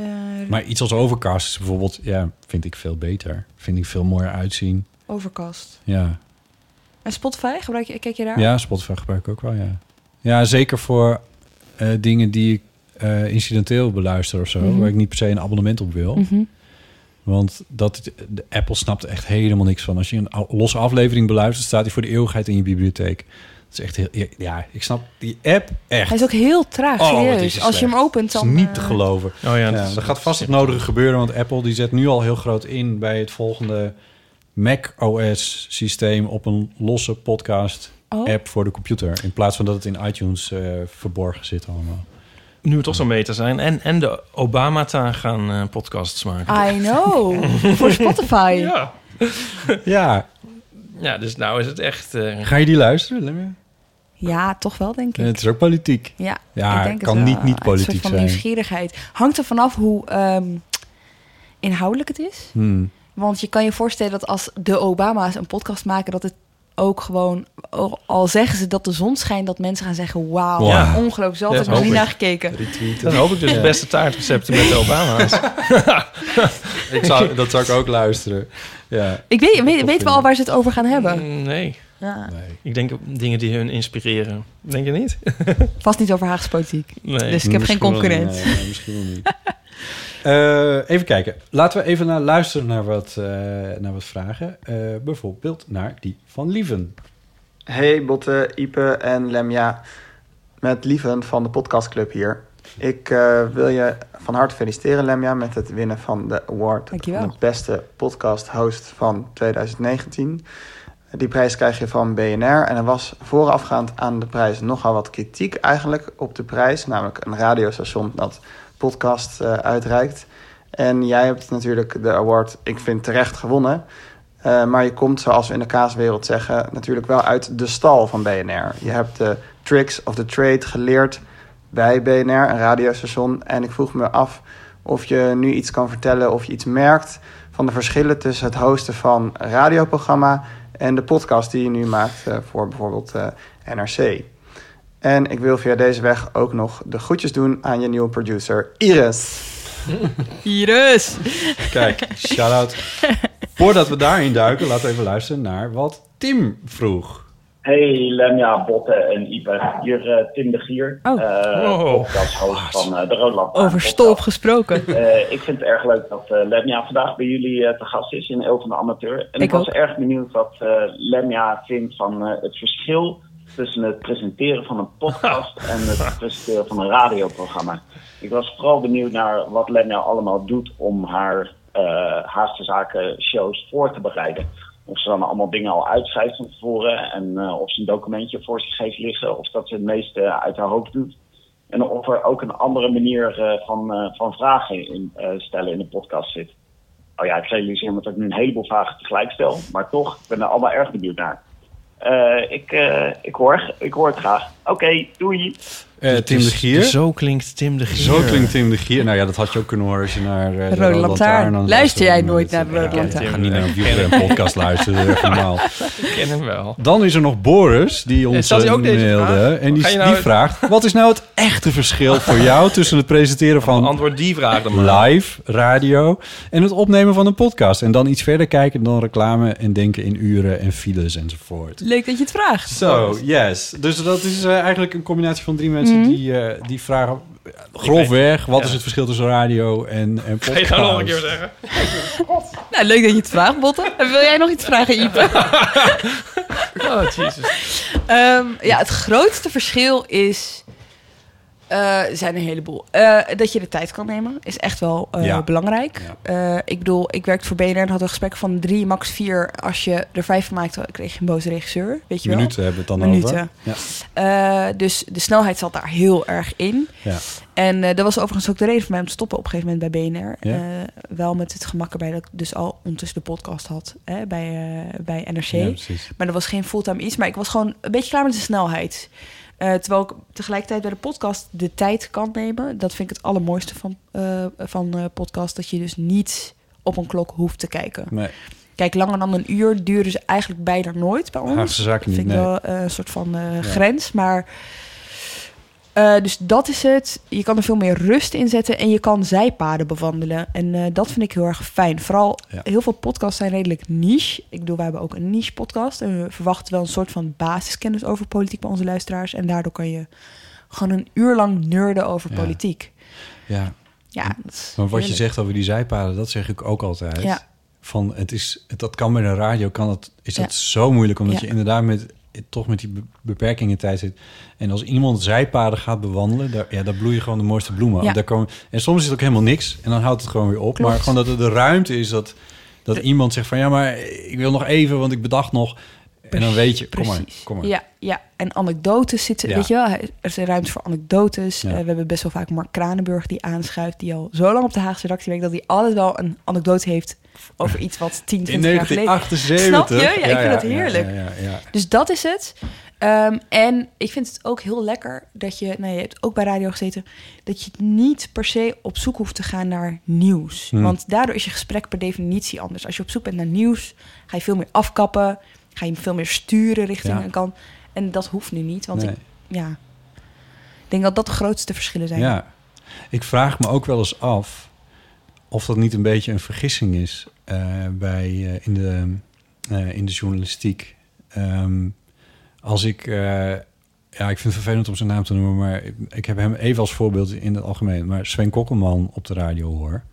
S6: Maar iets als Overcast is bijvoorbeeld, ja, vind ik veel beter. Vind ik veel mooier uitzien.
S7: Overcast.
S6: Ja,
S7: En Spotify, gebruik je, kijk je daar?
S6: ja Spotify gebruik ik ook wel, ja. Ja, zeker voor eh, dingen die ik eh, incidenteel beluister of zo.
S7: Mhm.
S6: Waar ik niet per se een abonnement op wil.
S7: Mhm.
S6: Want dat, de Apple snapt er echt helemaal niks van. Als je een a- losse aflevering beluistert, staat die voor de eeuwigheid in je bibliotheek. Dat is echt heel... Ja, ik snap die app echt.
S7: Hij is ook heel traag,
S6: Oh, wat is
S7: serieus.
S6: hij
S7: Als je hem
S6: slecht.
S7: opent,
S6: Dat
S7: dan...
S6: is niet te
S7: eh,
S6: geloven.
S8: Oh ja,
S6: Ja,
S8: dat is-
S6: er gaat vast het nodige gebeuren, want Apple die zet nu al heel groot in bij het volgende Mac OS systeem op een losse podcast
S7: Oh.
S6: app voor de computer. In plaats van dat het in iTunes eh, verborgen zit allemaal.
S8: Nu we toch zo meta zijn. En, en de Obamata gaan eh, podcasts maken.
S7: I know. Voor Spotify.
S8: Ja.
S6: Ja,
S8: ja, dus nou is het echt... eh,
S6: ga je die luisteren? Lemme?
S7: Ja, toch wel, denk ik.
S6: Het is ook politiek.
S7: Ja,
S6: Ja,
S7: ik denk
S6: kan
S7: het wel.
S6: niet niet
S7: Een soort
S6: politiek
S7: van
S6: zijn.
S7: nieuwsgierigheid. Hangt er vanaf hoe ehm, inhoudelijk het is.
S6: Hmm.
S7: Want je kan je voorstellen dat als de Obama's een podcast maken... dat het ook gewoon, al- al zeggen ze dat de zon schijnt, dat mensen gaan zeggen: Wauw,
S6: Ja.
S7: ongelooflijk. Zo
S8: Ja,
S7: had ik
S8: dat
S7: nog niet
S8: hoop
S7: naar
S8: ik.
S7: gekeken.
S8: Dan hoop ik dus het beste taartrecepten met de Obama's.
S6: Ik zou, dat zou ik ook luisteren. Ja.
S7: Ik weet, weet, weten we al waar ze het over gaan hebben?
S8: Mm, Nee,
S7: Ja.
S6: Nee.
S8: ik denk op dingen die hun inspireren. Denk je niet?
S7: Vast niet over Haagse politiek.
S8: Nee.
S7: Dus ik heb geen
S6: Misschien wel
S7: concurrent.
S6: niet, nee, nee, misschien wel niet. Eh, even kijken. Laten we even naar luisteren naar wat, eh, naar wat vragen. Eh, bijvoorbeeld naar die van Lieven.
S10: Hey Botte, Ipe en Lemja. Met Lieven van de podcastclub hier. Ik eh, wil je van harte feliciteren Lemja met het winnen van de award
S7: Dankjewel.
S10: van de beste podcast host van 2019. Die prijs krijg je van BNR en er was voorafgaand aan de prijs nogal wat kritiek eigenlijk op de prijs, namelijk een radiostation dat podcast eh, uitreikt. En jij hebt natuurlijk de award, ik vind terecht gewonnen. Eh, maar je komt, zoals we in de kaaswereld zeggen, natuurlijk wel uit de stal van BNR. Je hebt de tricks of the trade geleerd bij BNR, een radiostation. En ik vroeg me af of je nu iets kan vertellen of je iets merkt van de verschillen tussen het hosten van een radioprogramma en de podcast die je nu maakt eh, voor bijvoorbeeld eh, NRC. En ik wil via deze weg ook nog de groetjes doen aan je nieuwe producer Iris.
S7: Iris!
S6: Kijk, shout-out. Voordat we daarin duiken, laten we even luisteren naar wat Tim vroeg.
S11: Hey Lemja, Botte en Ipe. Hier eh, Tim de Gier,
S7: Oh.
S11: eh,
S8: Wow.
S11: podcasthost van eh, de Roodland.
S7: Over stolp gesproken.
S11: Eh, ik vind het erg leuk dat eh, Lemja vandaag bij jullie eh, te gast is in Eeuw van de Amateur. En ik,
S7: Ik
S11: was
S7: ook.
S11: erg benieuwd wat eh, Lemja vindt van eh, het verschil tussen het presenteren van een podcast en het presenteren van een radioprogramma. Ik was vooral benieuwd naar wat Lemja allemaal doet om haar eh Haagse Zaken shows voor te bereiden. Of ze dan allemaal dingen al uitschrijft van tevoren en eh, of ze een documentje voor zich heeft liggen of dat ze het meeste uit haar hoofd doet. En of er ook een andere manier eh, van, eh, van vragen in, eh, stellen in de podcast zit. Oh ja, ik realiseer me dat ik nu een heleboel vragen tegelijk stel. Maar toch, ik ben er allemaal erg benieuwd naar. Eh, ik, eh, ik, hoor, ik hoor het graag. Oké, doei.
S6: Eh, Tim de Gier. Zo,
S8: Zo klinkt Tim de Gier.
S6: klinkt Tim de Gier. Nou ja, dat had je ook kunnen horen als je naar eh, de
S7: Rode Lantaarn.
S6: aan het
S7: Luister jij
S6: luisteren
S7: nooit
S6: bent.
S7: naar de Rode
S6: Ja,
S7: Lantaarn?
S6: Ik ga niet naar een wielren podcast luisteren. echt normaal.
S8: Ik ken hem wel.
S6: Dan is er nog Boris, die ons
S8: Stelt hij ook
S6: een
S8: deze
S6: mailde.
S8: vraag?
S6: En die,
S8: Ga je nou-
S6: die vraagt, wat is nou het echte verschil voor jou... tussen het presenteren van
S8: Antwoord die vraag dan maar.
S6: live radio en het opnemen van een podcast? En dan iets verder kijken dan reclame en denken in uren en files enzovoort.
S7: Leuk dat je het vraagt.
S6: Zo, yes. Dus dat is eh, eigenlijk een combinatie van drie mensen
S7: Mhm.
S6: die, eh, die vragen... Grofweg, wat is het verschil tussen radio en, en podcast?
S8: Ga je nou nog een keer zeggen?
S7: Nou, leuk dat je het vraagt, Botte. En wil jij nog iets vragen, Ipe?
S8: Oh, jezus.
S7: Ehm, ja, het grootste verschil is... eh, er zijn een heleboel. Eh, dat je de tijd kan nemen is echt wel eh,
S6: Ja.
S7: belangrijk. Eh, ik bedoel, ik werkte voor BNR en had een gesprek van drie, max vier. Als je er vijf van maakte, kreeg je een boze regisseur. Weet je wel?
S6: Minuten hebben we het dan over.
S7: Minuten.
S6: Ja.
S7: Eh, dus de snelheid zat daar heel erg in.
S6: Ja.
S7: En eh, dat was overigens ook de reden voor mij om te stoppen op een gegeven moment bij BNR.
S6: Ja.
S7: Eh, wel met het gemak erbij dat ik dus al ondertussen de podcast had hè, bij, eh, bij NRC.
S6: Ja, precies.
S7: Maar dat was geen fulltime iets. Maar ik was gewoon een beetje klaar met de snelheid. Eh, terwijl ik tegelijkertijd bij de podcast de tijd kan nemen. Dat vind ik het allermooiste van, eh, van eh, podcast. Dat je dus niet op een klok hoeft te kijken.
S6: Nee.
S7: Kijk, langer dan een uur duren ze eigenlijk bijna nooit bij ons.
S6: Haagse zaken
S7: Dat
S6: niet,
S7: vind ik
S6: nee.
S7: wel eh, een soort van eh, grens. Maar eh, dus dat is het. Je kan er veel meer rust in zetten en je kan zijpaden bewandelen. En eh, dat vind ik heel erg fijn. Vooral
S6: Ja.
S7: heel veel podcasts zijn redelijk niche. Ik bedoel, wij hebben ook een niche podcast. En we verwachten wel een soort van basiskennis over politiek bij onze luisteraars. En daardoor kan je gewoon een uur lang nerden over
S6: Ja.
S7: politiek.
S6: Ja.
S7: Ja, dat is
S6: Maar wat je
S7: heerlijk.
S6: zegt over die zijpaden, dat zeg ik ook altijd.
S7: Ja.
S6: Van het is, het- dat kan bij de radio, kan dat, is dat
S7: Ja.
S6: zo moeilijk, omdat
S7: Ja.
S6: je inderdaad met, toch met die be- beperkingen tijd zit. En als iemand zijpaden gaat bewandelen, daar, ja, daar bloeien gewoon de mooiste bloemen.
S7: Ja.
S6: Daar komen, en soms is het ook helemaal niks en dan houdt het gewoon weer op.
S7: Klopt.
S6: Maar gewoon dat er de ruimte is dat, dat iemand zegt van ja, maar ik wil nog even, want ik bedacht nog. En dan weet je, kom maar, kom maar.
S7: Ja, ja, en anekdotes zitten.
S6: Ja.
S7: Weet je wel, er zijn ruimte voor anekdotes.
S6: Ja.
S7: Eh, we hebben best wel vaak Mark Kranenburg die aanschuift, die al zo lang op de Haagse redactie werkt, dat hij altijd wel een anekdote heeft over iets wat 10, 20
S6: In
S7: jaar geleden.
S6: 1978.
S7: Snap je? Ja, ik vind dat heerlijk.
S6: Ja, ja, ja.
S7: Dus dat is het. Ehm, en ik vind het ook heel lekker dat je, nou je hebt ook bij radio gezeten, dat je niet per se op zoek hoeft te gaan naar
S6: Hmm.
S7: nieuws. Want daardoor is je gesprek per definitie anders. Als je op zoek bent naar nieuws, ga je veel meer afkappen.
S12: ga je veel meer sturen richting
S6: Ja.
S12: een kant. En dat hoeft nu niet, want
S6: Nee.
S12: ik, ja, ik denk dat dat de grootste verschillen zijn.
S6: Ja, ik vraag me ook wel eens af of dat niet een beetje een vergissing is eh, bij, eh, in, de, eh, in de journalistiek. Ehm, als ik, eh, ja, ik vind het vervelend om zijn naam te noemen, maar ik, ik heb hem even als voorbeeld in het algemeen. Maar Sven Kokkelman op de radio hoor.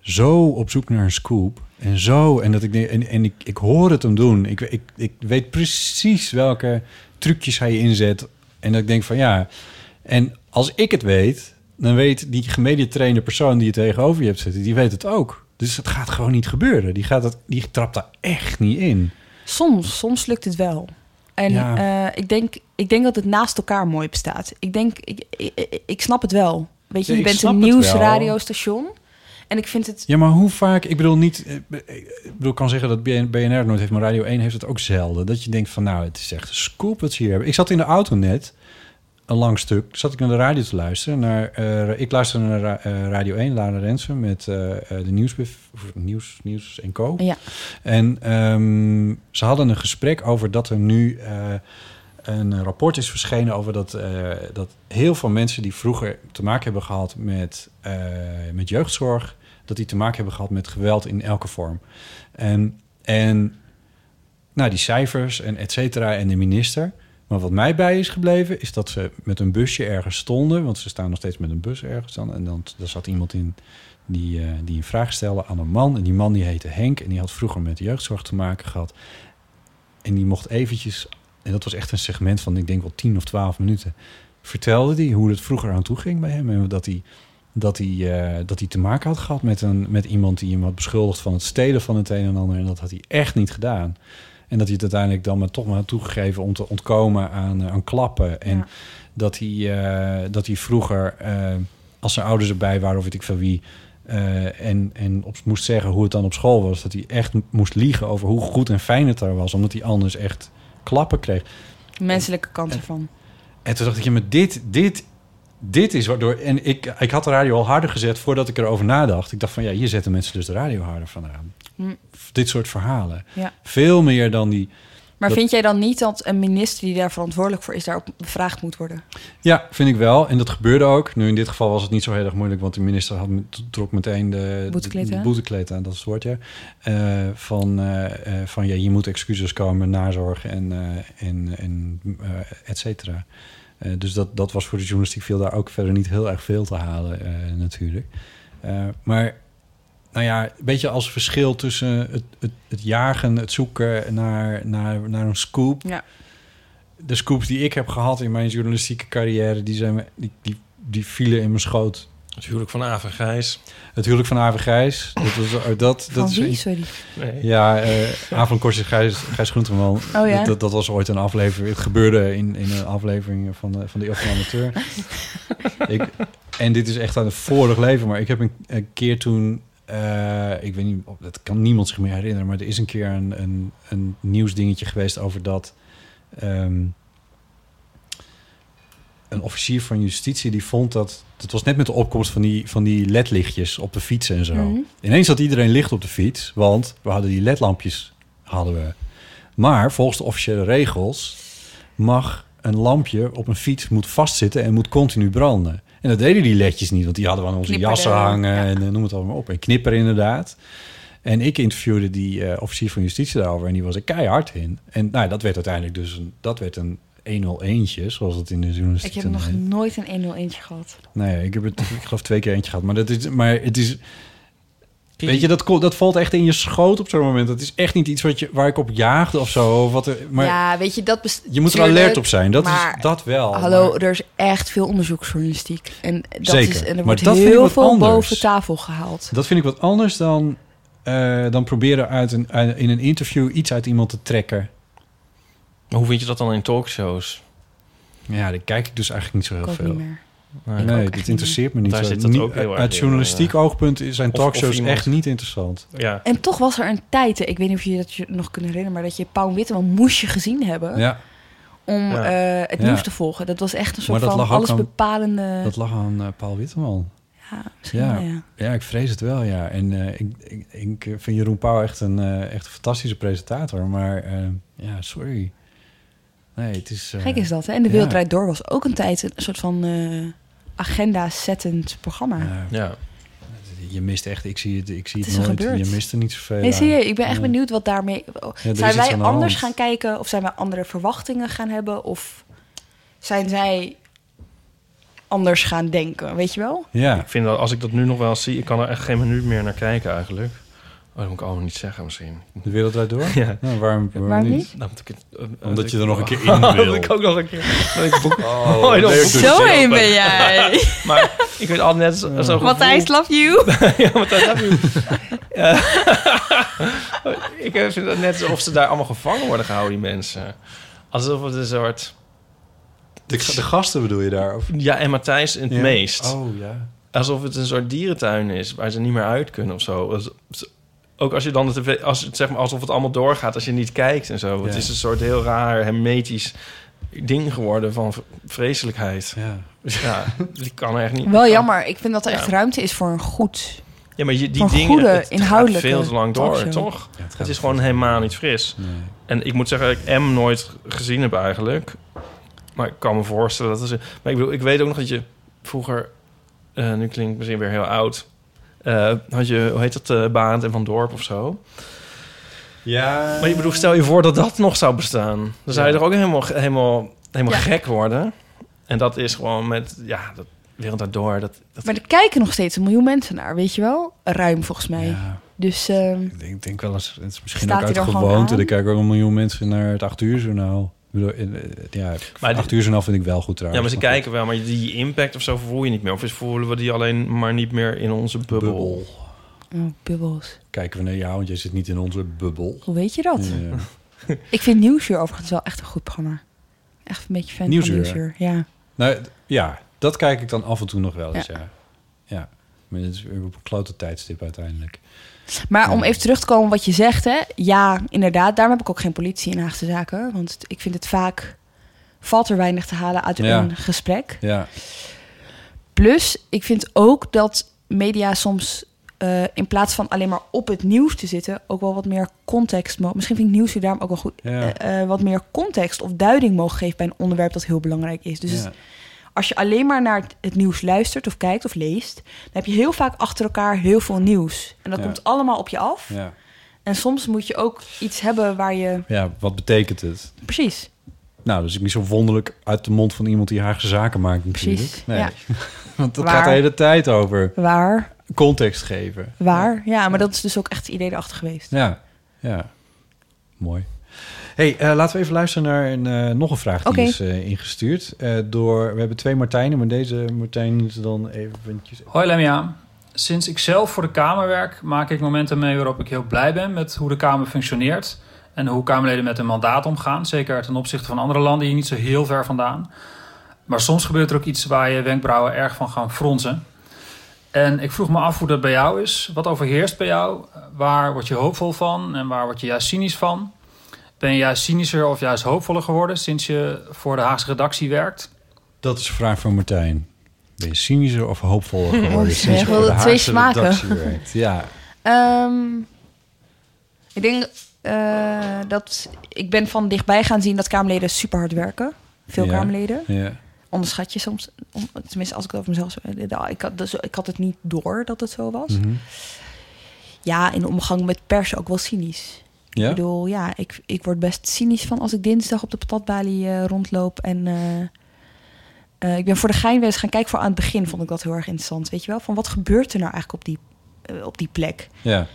S6: Zo op zoek naar een scoop. En zo, en, dat ik, denk- en, en ik, ik hoor het hem doen. Ik, ik, ik weet precies welke trucjes hij inzet. En dat ik denk van ja, en als ik het weet, dan weet die gemediatrainde persoon die je tegenover je hebt zitten, die weet het ook. Dus het gaat gewoon niet gebeuren. Die, gaat het, die trapt daar echt niet in.
S12: Soms, soms lukt het wel. En
S6: Ja.
S12: eh, ik, denk, ik denk dat het naast elkaar mooi bestaat. Ik denk, ik, ik, ik snap het wel. Weet je,
S6: Ja,
S12: je
S6: ik
S12: bent
S6: snap
S12: een
S6: het wel.
S12: nieuwsradiostation. En ik vind het
S6: Ja, maar hoe vaak? Ik bedoel niet. eh, Ik bedoel, ik kan zeggen dat BN BNR nooit heeft, maar Radio 1 heeft het ook zelden. Dat je denkt van, nou, het is echt een scoop wat ze hier hebben. Ik zat in de auto net, een lang stuk, zat ik naar de radio te luisteren. Naar, eh, ik luisterde naar ra- eh, Radio 1, Lara Rensen, met eh, eh, de nieuwsbrief, of nieuws, nieuws en co.
S12: Ja.
S6: En ehm, ze hadden een gesprek over dat er nu eh, een rapport is verschenen over dat, eh, dat heel veel mensen die vroeger te maken hebben gehad met, eh, met jeugdzorg, dat die te maken hebben gehad met geweld in elke vorm. En, en nou, die cijfers en et cetera en de minister. Maar wat mij bij is gebleven, is dat ze met een busje ergens stonden. Want ze staan nog steeds met een bus ergens dan. En dan daar zat iemand in die, eh, die een vraag stelde aan een man. En die man die heette Henk. En die had vroeger met jeugdzorg te maken gehad. En die mocht eventjes, en dat was echt een segment van ik denk wel 10 of 12 minuten. Vertelde hij hoe het vroeger aan toe ging bij hem. En dat hij, dat hij, eh, dat hij te maken had gehad met, een, met iemand die hem had beschuldigd van het stelen van het een en ander. En dat had hij echt niet gedaan. En dat hij het uiteindelijk dan maar toch maar had toegegeven om te ontkomen aan, eh, aan klappen. En dat, hij, eh, dat hij vroeger, eh, als zijn ouders erbij waren of weet ik veel wie. eh, en en op, moest zeggen hoe het dan op school was. Dat hij echt moest liegen over hoe goed en fijn het daar was. Omdat hij anders echt klappen kreeg.
S12: de menselijke kant ervan.
S6: En toen dacht ik, ja, maar dit, dit, dit is waardoor... En ik, ik had de radio al harder gezet voordat ik erover nadacht. Ik dacht van, ja, hier zetten mensen dus de radio harder van aan.
S12: Hm.
S6: Dit soort verhalen.
S12: Ja.
S6: Veel meer dan die...
S12: Maar
S6: dat-
S12: vind jij dan niet dat een minister die daar verantwoordelijk voor is, daarop bevraagd moet worden?
S6: Ja, vind ik wel. En dat gebeurde ook. Nu in dit geval was het niet zo heel erg moeilijk, want de minister had, met- trok meteen de
S12: Boetekleed
S6: de- de
S12: aan.
S6: boetekleed aan, dat is het woord, ja. Eh, van, eh, eh, van ja, hier moeten excuses komen, nazorg en, eh, en, en eh, et cetera. Eh, dus dat, dat was voor de journalistiek veel daar ook verder niet heel erg veel te halen, eh, natuurlijk. Eh, maar nou ja, een beetje als verschil tussen het, het, het jagen, het zoeken naar, naar, naar een scoop.
S12: Ja.
S6: De scoops die ik heb gehad in mijn journalistieke carrière, die, zijn, me- die, die, die vielen in mijn schoot.
S8: Het huwelijk van Avengrijs.
S6: Het huwelijk van Aver Gijs. Dat was, eh, dat,
S12: Van
S6: dat is
S12: wie,
S6: een-
S12: sorry?
S8: Nee.
S6: Ja, eh Aver Kors en Gijs, Gijs Groenteman.
S12: Oh ja.
S6: dat, dat, dat was ooit een aflevering. Het gebeurde in, in een aflevering van de, van de Eeuw van de Amateur. ik, en dit is echt aan het vorig leven. Maar ik heb een, een keer toen... eh, ik weet niet, of- dat kan niemand zich meer herinneren... maar er is een keer een, een, een nieuwsdingetje geweest over dat... ehm, een officier van justitie die vond dat... Dat was net met de opkomst van die, van die ledlichtjes op de fiets en
S12: Hmm.
S6: zo.
S13: Mhm.
S6: Ineens had iedereen licht op de fiets, want we hadden die ledlampjes. Hadden we. Maar volgens de officiële regels mag een lampje op een fiets moet vastzitten en moet continu branden. En dat deden die ledjes niet, want die hadden we aan onze
S13: Knipperden,
S6: jassen hangen en eh, noem het allemaal op. En knipper inderdaad. En ik interviewde die eh, officier van justitie daarover en die was er keihard in. En nou, dat werd uiteindelijk dus een, dat werd een 101'tje, zoals het in de journalistiek
S12: Ik heb
S6: dan
S12: nog
S6: heet.
S12: nooit een 101 gehad.
S6: Nee, ik heb het, ik geloof twee keer eentje gehad. Maar, dat is, maar het is... Weet je, dat, ko- dat valt echt in je schoot op zo'n moment. Dat is echt niet iets wat je, waar ik op jaagde of zo. Of wat er, maar
S12: ja, weet je, dat best-
S6: je moet er
S12: tuurlijk,
S6: alert op zijn. Dat,
S12: maar
S6: is, dat wel.
S12: Hallo, er is echt veel onderzoeksjournalistiek. En dat
S6: Zeker,
S12: is en
S6: maar
S12: er wordt
S6: dat vind ik
S12: heel
S6: wat
S12: veel
S6: anders.
S12: boven tafel gehaald.
S6: Dat vind ik wat anders dan, eh, dan proberen uit een, uit- in een interview iets uit iemand te trekken.
S8: Maar hoe vind je dat dan in talkshows?
S6: Ja, daar kijk ik dus eigenlijk niet zo heel
S8: Ik ook
S6: veel.
S8: niet meer.
S6: Nee,
S8: Ik ook echt
S6: dit
S8: niet
S6: interesseert me
S8: meer.
S6: niet.
S8: Daar
S6: zo.
S8: zit dat
S6: Niet-
S8: ook heel erg
S6: uit
S8: in,
S6: journalistiek
S8: ja.
S6: oogpunt zijn
S8: Of- of
S6: talkshows
S8: iemand-
S6: echt niet interessant.
S8: Ja.
S12: En toch was er een tijd, ik weet niet of je dat je nog kunnen herinneren, maar dat je Pauw Witteman moest je gezien hebben
S6: Ja.
S12: om
S6: Ja.
S12: eh, het
S6: Ja.
S12: nieuws te volgen. Dat was echt een
S6: Maar
S12: soort
S6: dat
S12: van
S6: lag ook aan-
S12: allesbepalende.
S6: Dat lag aan eh, Paul Witteman.
S7: misschien
S6: Ja,
S7: wel, ja.
S6: ja. ik vrees het wel, ja. En eh, ik, ik, ik vind Jeroen Pauw echt een, eh, echt een fantastische presentator. Maar eh, ja, sorry. Nee, het is... eh,
S7: Gek is dat, hè? En De Wereld
S6: ja.
S7: Draait Door was ook een tijd een soort van eh, agenda-zettend programma.
S8: Ja.
S6: Je mist echt, ik zie het, ik zie
S7: Wat
S6: het,
S7: is er
S6: nooit.
S7: gebeurd?
S6: Je mist er niet zoveel.
S7: Nee,
S6: aan.
S7: zie je, ik ben echt
S6: Ja.
S7: benieuwd wat daarmee...
S6: is
S7: zijn
S6: iets
S7: wij
S6: aan de hand.
S7: anders gaan kijken of zijn wij andere verwachtingen gaan hebben? Of zijn zij anders gaan denken, weet je wel?
S6: Ja.
S8: Ik vind dat als ik dat nu nog wel zie, ik kan er echt geen minuut meer naar kijken eigenlijk. Oh, dat moet ik allemaal niet zeggen misschien.
S6: De wereld draait door?
S8: Ja.
S6: Nou, waarom, waarom
S8: Waarom
S6: niet?
S8: niet? Nou, omdat ik het- eh,
S6: Omdat
S8: eh,
S6: je er nog een keer
S8: Oh,
S6: in wil.
S8: dat ik ook nog een keer. dat ik boek-
S6: Oh,
S8: Oh, dat
S6: leuk.
S8: boek-
S6: Zo
S7: heen ben jij.
S8: maar ik weet altijd net zo- zo
S7: Matthijs, love you!
S8: ja, Matthijs, love you. Ja. ik eh, vind het net alsof ze daar allemaal gevangen worden gehouden, die mensen. Alsof het een soort...
S6: De, de gasten bedoel je daar? Of?
S8: Ja, en Matthijs in het
S6: Ja.
S8: meest.
S6: Oh, ja.
S8: Alsof het een soort dierentuin is waar ze niet meer uit kunnen of zo. Als- Ook als je dan de tv, als, zeg maar, alsof het allemaal doorgaat als je niet kijkt en zo. Het
S6: Ja.
S8: is een soort heel raar, hermetisch ding geworden van v- vreselijkheid.
S6: Ja,
S8: ja die kan er echt niet.
S7: Wel jammer, ik vind dat er
S8: Ja.
S7: echt ruimte is voor een goed...
S8: Ja, maar je, die
S7: Van
S8: dingen
S7: goede,
S8: het gaat
S7: inhoudelijke
S8: veel te lang door,
S7: talkshow.
S8: toch? het, is gewoon helemaal niet fris. En ik moet zeggen dat ik M nooit gezien heb eigenlijk. Maar ik kan me voorstellen dat ze. Maar ik bedoel, ik weet ook nog dat je vroeger, eh, nu klinkt het misschien weer heel oud, eh, had je, hoe heet dat, eh Baand en Van Dorp of zo.
S6: Ja.
S8: Maar ik bedoel, stel je voor dat dat nog zou bestaan. Dan zou je
S6: Ja.
S8: er ook helemaal, helemaal, helemaal gek worden. En dat is gewoon met, ja, dat wereld daardoor. Dat,
S7: Maar er kijken nog steeds een miljoen mensen naar, weet je wel? Ruim volgens mij. Dus ehm,
S6: Ik denk, denk wel eens, het is misschien
S7: Staat
S6: ook uit
S7: hij er gewoon
S6: gewoonte.
S7: aan?
S6: Er kijken ook een miljoen mensen naar het 8 uur journaal. Ik bedoel, in- eh, Ja, het
S8: Ah, die-
S6: 8 uur journaal vind ik wel goed
S8: Ja, maar
S6: trouwens.
S8: ze kijken wel, maar die impact of zo voel je niet meer. Of is voelen we die alleen maar niet meer in onze bubbel.
S6: Bubbel.
S7: oh, bubbels.
S6: Kijken we naar jou, want jij zit niet in onze bubbel. eh,
S7: Hoe weet je dat?
S6: Ja.
S7: Ik vind Nieuwsuur overigens wel echt een goed programma. Echt een beetje fan
S6: Nieuwsuur,
S7: van Nieuwsuur.
S6: hè?
S7: Ja.
S6: Nou, d- ja, dat kijk ik dan af en toe nog wel eens,
S7: Ja.
S6: ja. Ja, maar het is weer op een klote tijdstip uiteindelijk.
S7: Maar om even terug te komen op wat je zegt, hè? ja, inderdaad, daarom heb ik ook geen politie in Haagse zaken. Want ik vind het vaak, valt er weinig te halen uit
S6: Ja.
S7: een gesprek.
S6: Ja,
S7: Plus, ik vind ook dat media soms eh, in plaats van alleen maar op het nieuws te zitten, ook wel wat meer context. mo- Misschien vind ik nieuws daarom ook wel goed.
S6: Ja.
S7: eh, eh, wat meer context of duiding mogen geven bij een onderwerp dat heel belangrijk is. Dus
S6: Ja.
S7: het- als je alleen maar naar het- het nieuws luistert of kijkt of leest, dan heb je heel vaak achter elkaar heel veel nieuws. En dat
S6: Ja.
S7: komt allemaal op je af.
S6: ja.
S7: En soms moet je ook iets hebben waar je.
S6: ja, wat betekent het?
S7: Precies.
S6: Nou, dat is ook niet zo wonderlijk uit de mond van iemand die Haagse zaken maakt natuurlijk.
S7: Precies,
S6: Nee.
S7: ja.
S6: Want dat
S7: Waar?
S6: gaat de hele tijd over.
S7: Waar?
S6: Context geven.
S7: Waar? Ja, maar dat is dus ook echt het idee erachter geweest.
S6: Ja, ja. Mooi. hey, eh, laten we even luisteren naar een, eh, nog een vraag die
S7: Oké.
S6: is eh, ingestuurd. eh, door, we hebben twee Martijnen, maar deze Martijn is dan eventjes...
S13: Hoi Lemia. Sinds ik zelf voor de Kamer werk, maak ik momenten mee waarop ik heel blij ben met hoe de Kamer functioneert en hoe Kamerleden met hun mandaat omgaan. Zeker ten opzichte van andere landen hier niet zo heel ver vandaan. Maar soms gebeurt er ook iets waar je wenkbrauwen erg van gaan fronsen. En ik vroeg me af hoe dat bij jou is. Wat overheerst bij jou? Waar word je hoopvol van en waar word je juist cynisch van? Ben je juist cynischer of juist hoopvoller geworden sinds je voor de Haagse redactie werkt?
S6: Dat is een vraag van Martijn. Ben je cynischer of hoopvoller geworden?
S7: Oh,
S6: sinds je
S7: zeg, wel
S6: voor de
S7: de twee
S6: Haagse
S7: smaken.
S6: redactie werkt? Ja,
S7: Ehm, ik denk eh, dat ik ben van dichtbij gaan zien dat Kamerleden super hard werken. Veel
S6: Ja,
S7: Kamerleden.
S6: ja.
S7: Onderschat je soms, om- tenminste als ik het over mezelf zou- nou, ik had, dus, ik had het niet door dat het zo was.
S6: Mhm.
S7: Ja, in de omgang met pers ook wel cynisch.
S6: Ja?
S7: Ik bedoel, ja, ik, ik word best cynisch van als ik dinsdag op de patatbalie eh, rondloop. En eh, eh, ik ben voor de gein wel eens gaan kijken. Voor aan het begin vond ik dat heel erg interessant. Weet je wel, van wat gebeurt er nou eigenlijk op die, eh, op die plek?
S6: ja.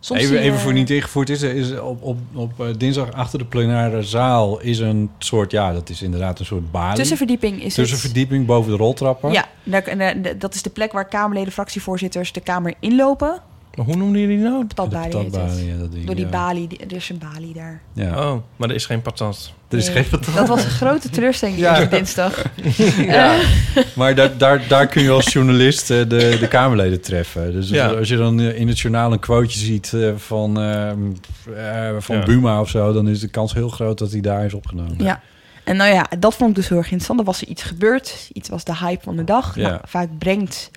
S7: Soms
S6: even,
S7: zie je- eh,
S6: even voor niet ingevoerd is, er is op, op, op eh, dinsdag achter de plenaire zaal is een soort, ja, dat is inderdaad een soort balie.
S7: Tussenverdieping is
S6: Tussenverdieping boven de roltrapper.
S7: Ja, daar- en, eh, d- dat is de plek waar Kamerleden, fractievoorzitters de Kamer inlopen.
S8: Maar hoe noemden jullie die nou?
S7: Patatbalie
S6: De
S7: heet het.
S6: patatbalie, ja, dat ding,
S7: Door die
S6: ja.
S7: balie, die- er is een balie daar.
S6: Ja.
S8: Oh, maar er is geen patat.
S6: Er is
S7: Nee.
S6: geen patat.
S7: Dat was een grote teleurstelling die
S6: Ja.
S7: eerste dinsdag.
S6: Ja.
S7: Eh,
S6: Maar daar, daar, daar kun je als journalist eh, de, de Kamerleden treffen. Dus
S8: Ja.
S6: als je dan eh, in het journaal een quoteje ziet eh, van, ehm, eh, van
S8: Ja.
S6: Buma of zo... dan is de kans heel groot dat hij daar is opgenomen.
S7: ja. En nou ja, dat vond ik dus heel erg interessant. Er was er iets gebeurd. Iets was de hype van de dag.
S6: Ja.
S7: Nou, vaak brengt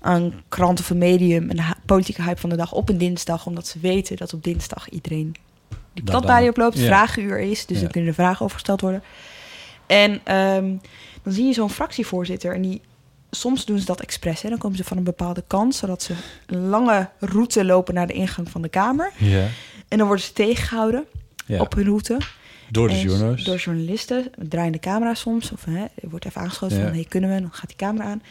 S7: aan krant of een medium en de ha- politieke hype van de dag op een dinsdag. Omdat ze weten dat op dinsdag iedereen die
S3: Dat
S7: platbalie
S3: dan.
S7: oploopt,
S3: Ja.
S7: vragenuur is. Dus
S3: Ja.
S7: dan kunnen er vragen over gesteld worden. En ehm, dan zie je zo'n fractievoorzitter en die... Soms doen ze dat expres. Hè. Dan komen ze van een bepaalde kant, zodat ze een lange route lopen naar de ingang van de Kamer.
S6: Ja.
S7: En dan worden ze tegengehouden
S6: Ja.
S7: op hun route.
S6: Door de
S7: En
S6: journo's.
S7: Door journalisten. Draaiende camera soms. Of hè, er wordt even aangeschoten
S6: Ja.
S7: van, hey, kunnen we? Dan gaat die camera aan.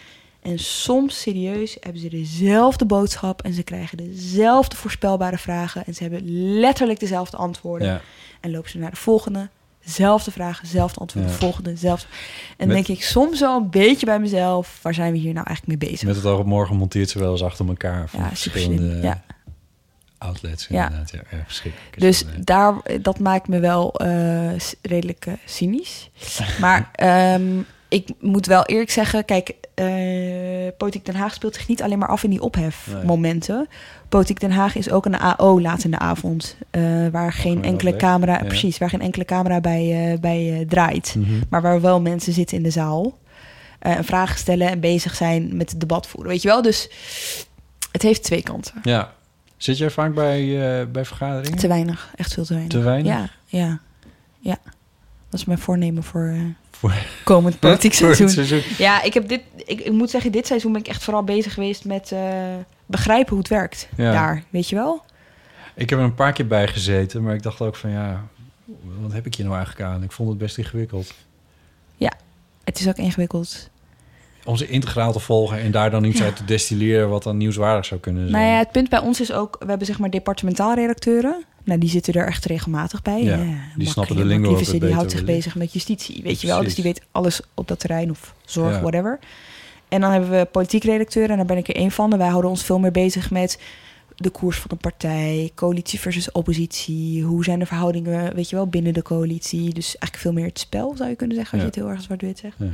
S7: En soms, serieus, hebben ze dezelfde boodschap... en ze krijgen dezelfde voorspelbare vragen... en ze hebben letterlijk dezelfde antwoorden.
S6: Ja.
S7: En lopen ze naar de volgende... Zelfde vragen, zelfde antwoorden,
S6: Ja.
S7: volgende, zelfde. En
S6: Met-
S7: denk ik soms wel een beetje bij mezelf... waar zijn we hier nou eigenlijk mee bezig?
S6: Met het oog op morgen monteert ze wel eens achter elkaar van
S7: Ja, super slim.
S6: verschillende
S7: Ja.
S6: outlets.
S7: Ja.
S6: Inderdaad. Ja, ja, verschrikkelijk. is
S7: Dus
S6: dat, hè.
S7: daar, dat maakt me wel eh, s- redelijk eh, cynisch. Maar ehm, ik moet wel eerlijk zeggen, kijk, eh Politiek Den Haag speelt zich niet alleen maar af in die ophefmomenten. Politiek Den Haag is ook een AO laat in de avond, eh, waar geen enkele
S3: overleg,
S7: camera,
S3: ja.
S7: precies, waar geen enkele camera bij, eh, bij eh, draait,
S3: Mhm.
S7: maar waar wel mensen zitten in de zaal. eh, en vragen stellen en bezig zijn met het debat voeren. Weet je wel? Dus het heeft twee kanten.
S6: Ja. Zit jij vaak bij, eh, bij vergaderingen?
S7: Te weinig, echt veel te weinig.
S6: Te weinig?
S7: Ja, ja, ja. Dat is mijn voornemen voor, eh, komend politiek
S6: Voor het
S7: seizoen.
S6: seizoen.
S7: Ja, ik, heb dit, ik, ik moet zeggen, dit seizoen ben ik echt vooral bezig geweest met eh, begrijpen hoe het werkt
S6: Ja.
S7: daar, weet je wel?
S6: Ik heb er een paar keer bij gezeten, maar ik dacht ook van ja, wat heb ik hier nou eigenlijk aan? Ik vond het best ingewikkeld.
S7: Ja, het is ook ingewikkeld.
S6: Om ze integraal te volgen en daar dan iets
S7: Ja.
S6: uit te destilleren wat dan nieuwswaardig zou kunnen zijn.
S7: Nou ja, het punt bij ons is ook, we hebben zeg maar departementaal redacteuren. Nou, die zitten er echt regelmatig bij.
S6: Ja,
S7: Eh,
S6: die
S7: Mark-
S6: snappen de
S7: Mark
S6: lingo ook wat
S7: Lievense, Die
S6: beter,
S7: houdt zich
S6: wellicht.
S7: bezig met justitie, weet je wel. Dus
S6: Precies.
S7: die weet alles op dat terrein of zorg,
S6: Ja.
S7: whatever. En dan hebben we politiek redacteuren en daar ben ik er één van. En wij houden ons veel meer bezig met de koers van een partij, coalitie versus oppositie. Hoe zijn de verhoudingen, weet je wel, binnen de coalitie. Dus eigenlijk veel meer het spel, zou je kunnen zeggen, als
S3: Ja.
S7: je het heel erg zwart-wit zegt.
S3: Ja.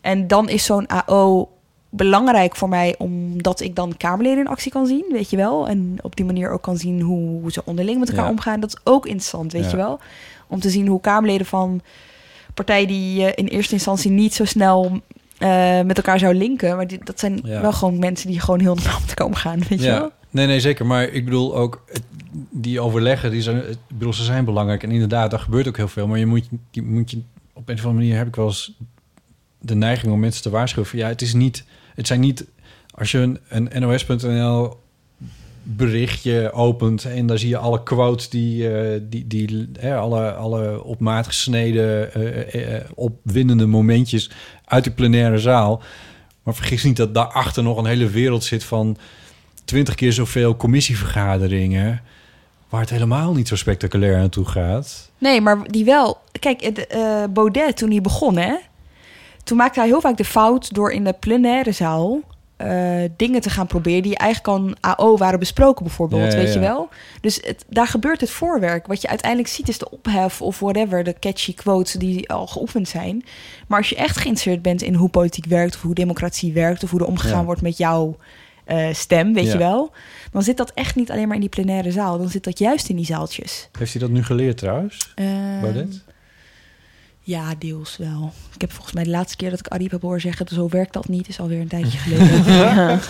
S7: En dan is zo'n AO belangrijk voor mij, omdat ik dan Kamerleden in actie kan zien, weet je wel. En op die manier ook kan zien hoe ze onderling met elkaar
S3: Ja.
S7: omgaan. Dat is ook interessant, weet
S3: Ja.
S7: je wel. Om te zien hoe Kamerleden van partijen die je in eerste instantie niet zo snel eh, met elkaar zou linken. Maar die, dat zijn
S6: Ja.
S7: wel gewoon mensen die gewoon heel normaal met elkaar omgaan, weet je wel.
S6: Nee, nee, zeker. Maar ik bedoel ook, het- die overleggen, die zijn, ik bedoel, ze zijn belangrijk. En inderdaad, daar gebeurt ook heel veel. Maar je moet, je moet je, op een of andere manier heb ik wel eens de neiging om mensen te waarschuwen. Van, ja, het is niet, het zijn niet, als je een, een NOS.nl berichtje opent en daar zie je alle quotes die, eh, die, die hè, alle, alle op maat gesneden, eh, eh, eh, opwindende momentjes uit de plenaire zaal. Maar vergis niet dat daarachter nog een hele wereld zit van twintig keer zoveel commissievergaderingen. Waar het helemaal niet zo spectaculair aan toe gaat.
S7: Nee, maar die wel. Kijk, het, eh, Baudet toen hij begon, hè, toen maakte hij heel vaak de fout door in de plenaire zaal eh, dingen te gaan proberen die eigenlijk al een AO waren besproken, bijvoorbeeld.
S3: Ja, ja,
S7: weet
S3: ja.
S7: je wel? Dus het, daar gebeurt het voorwerk. Wat je uiteindelijk ziet is de ophef of whatever, de catchy quotes die al geoefend zijn. Maar als je echt geïnteresseerd bent in hoe politiek werkt, of hoe democratie werkt, of hoe er omgegaan
S3: Ja.
S7: wordt met jouw eh, stem, weet
S6: Ja.
S7: je wel, dan zit dat echt niet alleen maar in die plenaire zaal. Dan zit dat juist in die zaaltjes.
S6: Heeft hij dat nu geleerd trouwens?
S7: Ehm,
S6: Baudet?
S7: Ja, deels wel. Ik heb volgens mij de laatste keer dat ik Ariep heb horen zeggen... zo werkt dat niet, is alweer een tijdje geleden.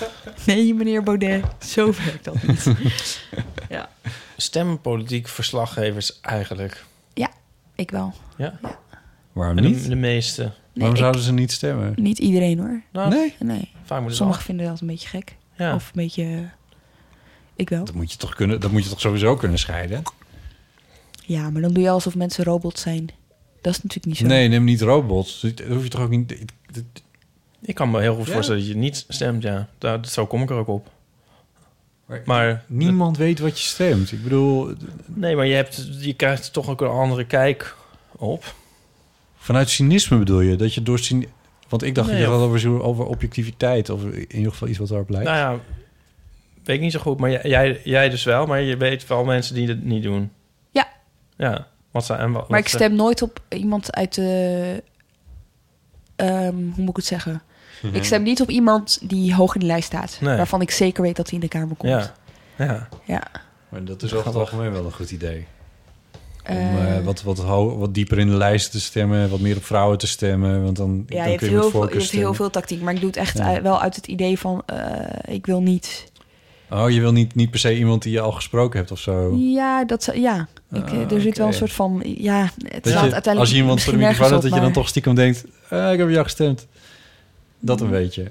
S7: nee, meneer Baudet, zo werkt dat niet. ja.
S8: Stempolitiek verslaggevers eigenlijk.
S7: ja, ik wel.
S8: Ja.
S6: Waarom
S8: En de-
S6: niet?
S8: De, meeste.
S6: Waarom
S7: ik-
S6: zouden ze niet stemmen?
S7: Niet iedereen hoor.
S8: Nou, Nee?
S7: nee.
S8: vaak moeten ze
S7: Sommigen
S8: af.
S7: vinden dat een beetje gek.
S8: Ja.
S7: Of een beetje... eh, Ik wel.
S6: Dat moet je toch, kunnen, dat moet je toch sowieso kunnen scheiden?
S7: Ja, maar dan doe je alsof mensen robots zijn. Dat is natuurlijk niet zo.
S6: Nee, neem niet robots. Dat hoef je toch ook niet...
S8: Ik kan me heel goed
S6: Ja?
S8: voorstellen dat je niet stemt, ja. Daar, zo kom ik er ook op.
S6: Maar,
S8: maar
S6: niemand weet wat je stemt. Ik bedoel...
S8: Nee, maar je, hebt, je krijgt toch ook een andere kijk op.
S6: Vanuit cynisme bedoel je? Dat je door cyni- Want ik dacht,
S8: Nee,
S6: je had
S8: of-
S6: het over, zo- over objectiviteit. Of in ieder geval iets wat daarop lijkt.
S8: Nou ja, weet ik niet zo goed, maar jij- jij, jij dus wel. Maar je weet wel mensen die het niet doen.
S7: Ja.
S8: Ja. Wat zijn, en wat,
S7: Maar
S8: wat
S7: ik
S8: ze-
S7: stem nooit op iemand uit de. ehm, hoe moet ik het zeggen?
S8: Mhm.
S7: Ik stem niet op iemand die hoog in de lijst staat.
S6: Nee.
S7: Waarvan ik zeker weet dat hij in de Kamer komt.
S6: Ja.
S8: Ja.
S7: Ja.
S6: Maar dat is over het algemeen wel een goed idee. Om
S14: Eh,
S6: eh, wat, wat, ho- wat dieper in de lijst te stemmen, wat meer op vrouwen te stemmen. Want dan,
S7: Ja,
S6: dan
S7: je hebt,
S6: kun je met
S7: heel
S6: voorkeur
S7: veel, je hebt heel
S6: stemmen.
S7: veel tactiek, maar ik doe het echt
S6: Ja.
S7: uit- wel uit het idee van eh, ik wil niet.
S6: Oh, je wil niet, niet per se iemand die je al gesproken hebt of zo.
S7: Ja, dat, zou- ja. Ik, eh, er
S6: Ah,
S7: zit wel een
S6: oké.
S7: soort van. Ja, het
S6: Dat
S7: slaat
S6: je,
S7: uiteindelijk.
S6: als je iemand voor de
S7: misschien
S6: microfoon hebt, dat
S7: nergens
S6: je dan
S7: op,
S6: toch stiekem denkt... eh, ik heb jou gestemd. Dat een
S7: Ja.
S6: beetje.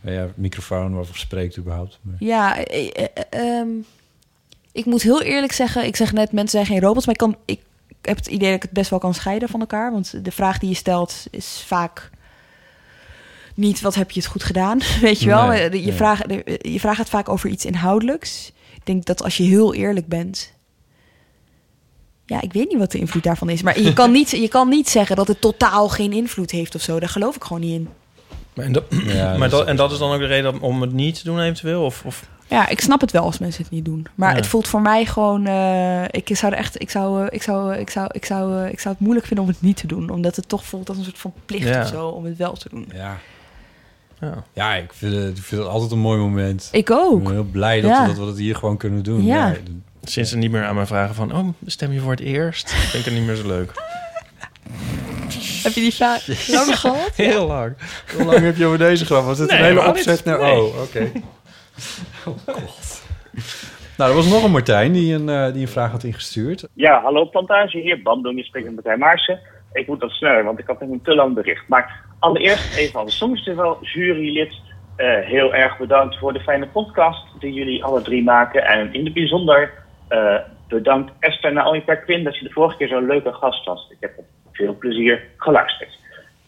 S6: Maar ja, microfoon, waarvoor spreekt überhaupt. Maar-
S7: maar- Ja, eh, eh, eh, ehm, ik moet heel eerlijk zeggen, ik zeg net, mensen zijn geen robots, maar ik, kan, ik heb het idee dat ik het best wel kan scheiden van elkaar. Want de vraag die je stelt is vaak niet wat heb je het goed gedaan, weet je wel.
S4: Nee,
S7: Eh, de- je,
S4: nee.
S7: vraag, de- eh, je vraagt het vaak over iets inhoudelijks. Ik denk dat als je heel eerlijk bent... Ja, ik weet niet wat de invloed daarvan is. Maar je kan niet, je kan niet zeggen dat het totaal geen invloed heeft of zo. Daar geloof ik gewoon niet in.
S8: Maar en, dat,
S6: Ja, dus
S8: maar
S6: dat
S8: dat, en dat is dan ook de reden om het niet te doen eventueel? Of, of,
S7: Ja, ik snap het wel als mensen het niet doen. Maar
S8: Ja.
S7: het voelt voor mij gewoon. eh, ik zou er echt. Ik zou, eh, ik, zou, eh, ik, zou, ik, zou, eh, ik zou het moeilijk vinden om het niet te doen. Omdat het toch voelt als een soort van plicht
S6: Ja.
S7: of zo om het wel te doen.
S6: Ja. Ja, ik vind, het, ik vind het altijd een mooi moment.
S7: Ik ook.
S6: Ik ben heel blij dat,
S7: Ja.
S6: we, dat we dat hier gewoon kunnen doen.
S7: Ja.
S8: Sinds ze niet meer aan mij vragen van... oh, stem je voor het eerst? vind ik het niet meer zo leuk.
S7: Heb je die vraag lang gehad?
S8: Heel lang.
S6: Hoe lang heb je over deze grap? Was het
S8: Nee,
S6: een hele
S8: helemaal niet.
S6: opzet naar...
S8: Nee.
S6: Oh, oké. Oh, god. Nou, er was nog een Martijn die een, eh, die een vraag had ingestuurd.
S11: Ja, hallo plantage, hier Bandung, je spreekt met Martijn Maarsen. Ik moet dat sneller, want ik had nog een te lang bericht. Maar allereerst even als Songfestival jurylid, eh, heel erg bedankt voor de fijne podcast die jullie alle drie maken. En in het bijzonder eh, bedankt Esther Naomi Perquin dat je de vorige keer zo'n leuke gast was. Ik heb met veel plezier geluisterd.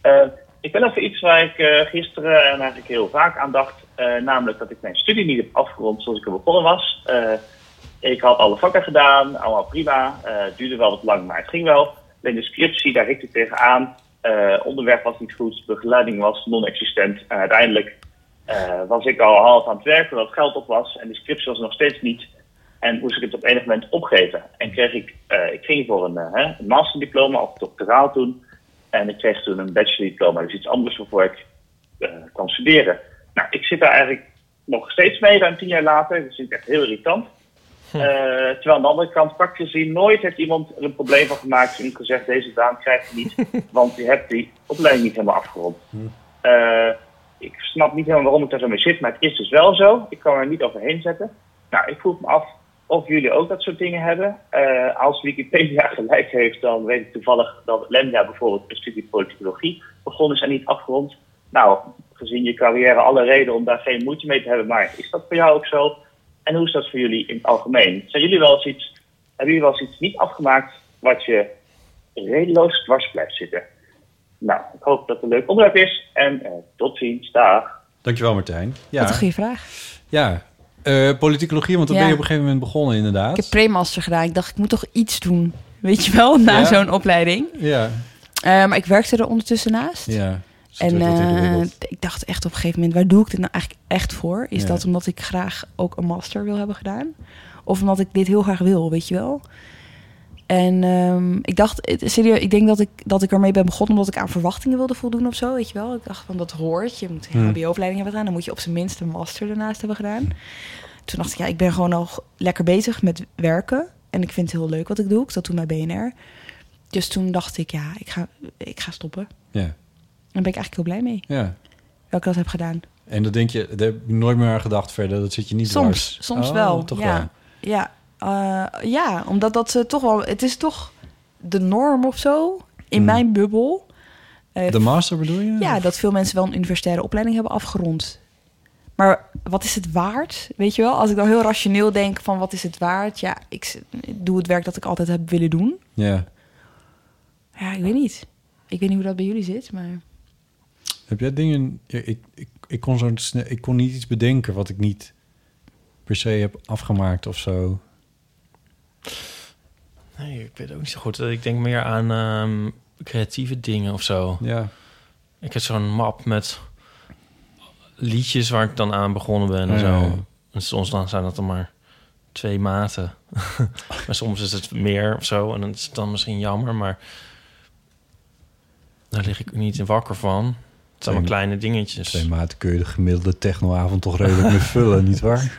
S11: Eh, ik wil even iets waar ik eh, gisteren en eigenlijk heel vaak aan dacht. eh, namelijk dat ik mijn studie niet heb afgerond zoals ik er begonnen was. Eh, ik had alle vakken gedaan, allemaal prima. Eh, Het duurde wel wat lang, maar het ging wel. Alleen de scriptie, daar hikte ik tegenaan. Eh onderwerp was niet goed, begeleiding was non-existent. En uiteindelijk eh, was ik al half aan het werken, dat geld op was. En de scriptie was er nog steeds niet. En moest ik het op enig moment opgeven. En kreeg ik, eh, ik ging voor een, eh, hè, een masterdiploma of doctoraal toen. En ik kreeg toen een bachelordiploma, dus iets anders waarvoor ik eh kwam studeren. Nou, ik zit daar eigenlijk nog steeds mee, ruim tien jaar later. Dat vind ik echt heel irritant. Eh, terwijl aan de andere kant, praktisch gezien, nooit heeft iemand er een probleem van gemaakt en gezegd: deze baan krijg je niet, want je hebt die opleiding niet helemaal afgerond. Eh, ik snap niet helemaal waarom ik daar zo mee zit, maar het is dus wel zo. Ik kan er niet overheen zetten. Nou, ik vroeg me af of jullie ook dat soort dingen hebben. Eh, als Wikipedia gelijk heeft, dan weet ik toevallig dat Lemja bijvoorbeeld een studie politicologie begonnen is en niet afgerond. Nou, gezien je carrière alle reden om daar geen moeite mee te hebben, maar is dat voor jou ook zo? En hoe is dat voor jullie in het algemeen? Zijn jullie wel eens iets, hebben jullie wel eens iets niet afgemaakt wat je redeloos dwars blijft zitten? Nou, ik hoop dat het een leuk onderwerp is. En eh, tot ziens. Dag.
S6: Dankjewel, Martijn. Ja.
S7: Wat een goede vraag.
S6: Ja. Eh, politicologie, want dan
S7: Ja.
S6: ben je op een gegeven moment begonnen, inderdaad.
S7: Ik heb pre-master gedaan. Ik dacht, ik moet toch iets doen. Weet je wel, na
S6: Ja.
S7: zo'n opleiding.
S6: Ja.
S7: Eh, maar ik werkte er ondertussen naast.
S6: Ja. Dus het
S7: En
S6: werd wat
S7: eh,
S6: ingewikkeld.
S7: ik dacht echt op een gegeven moment, waar doe ik dit nou eigenlijk echt voor? Is
S6: Ja.
S7: dat omdat ik graag ook een master wil hebben gedaan? Of omdat ik dit heel graag wil, weet je wel? En ehm, ik dacht, eh, serieus, ik denk dat ik, dat ik ermee ben begonnen omdat ik aan verwachtingen wilde voldoen of zo, weet je wel? Ik dacht van, dat hoort, je moet een
S4: Hmm.
S7: hbo-opleiding hebben gedaan, dan moet je op zijn minst een master ernaast hebben gedaan. Toen dacht ik, ja, ik ben gewoon al g- lekker bezig met werken en ik vind het heel leuk wat ik doe. Ik zat toen bij BNR. Dus toen dacht ik, ja, ik ga, ik ga stoppen.
S6: Ja.
S7: Daar ben ik eigenlijk heel blij mee
S6: Ja.
S7: welke dat heb gedaan.
S6: En dat denk je, daar heb ik nooit meer aan gedacht verder. Dat zit je niet
S7: Soms,
S6: dwars.
S7: soms
S6: Oh,
S7: wel.
S6: Toch
S7: ja.
S6: wel.
S7: Ja, eh, ja, omdat dat ze toch wel. Het is toch de norm of zo in
S6: Hmm.
S7: mijn bubbel. Eh,
S6: De master bedoel je?
S7: Ja, dat veel mensen wel een universitaire opleiding hebben afgerond. Maar wat is het waard? Weet je wel, als ik dan heel rationeel denk van wat is het waard? Ja, ik s- doe het werk dat ik altijd heb willen doen.
S6: Ja.
S7: Ja, ik weet niet. Ik weet niet hoe dat bij jullie zit, maar...
S6: Heb jij dingen... ja, Ik, ik, ik, kon zo sne- ik kon niet iets bedenken wat ik niet per se heb afgemaakt of zo.
S8: Nee, ik weet het ook niet zo goed. Ik denk meer aan ehm, creatieve dingen of zo.
S6: Ja.
S8: Ik heb zo'n map met liedjes waar ik dan aan begonnen ben
S6: Ja,
S8: en
S6: ja,
S8: zo.
S6: ja.
S8: En soms dan zijn dat dan maar twee maten. maar soms is het meer of zo. En dat is dan misschien jammer, maar daar lig ik niet in wakker van. Het zijn maar
S6: Twee-
S8: kleine dingetjes.
S6: Twee maat kun je de gemiddelde technoavond toch redelijk mee vullen, nietwaar?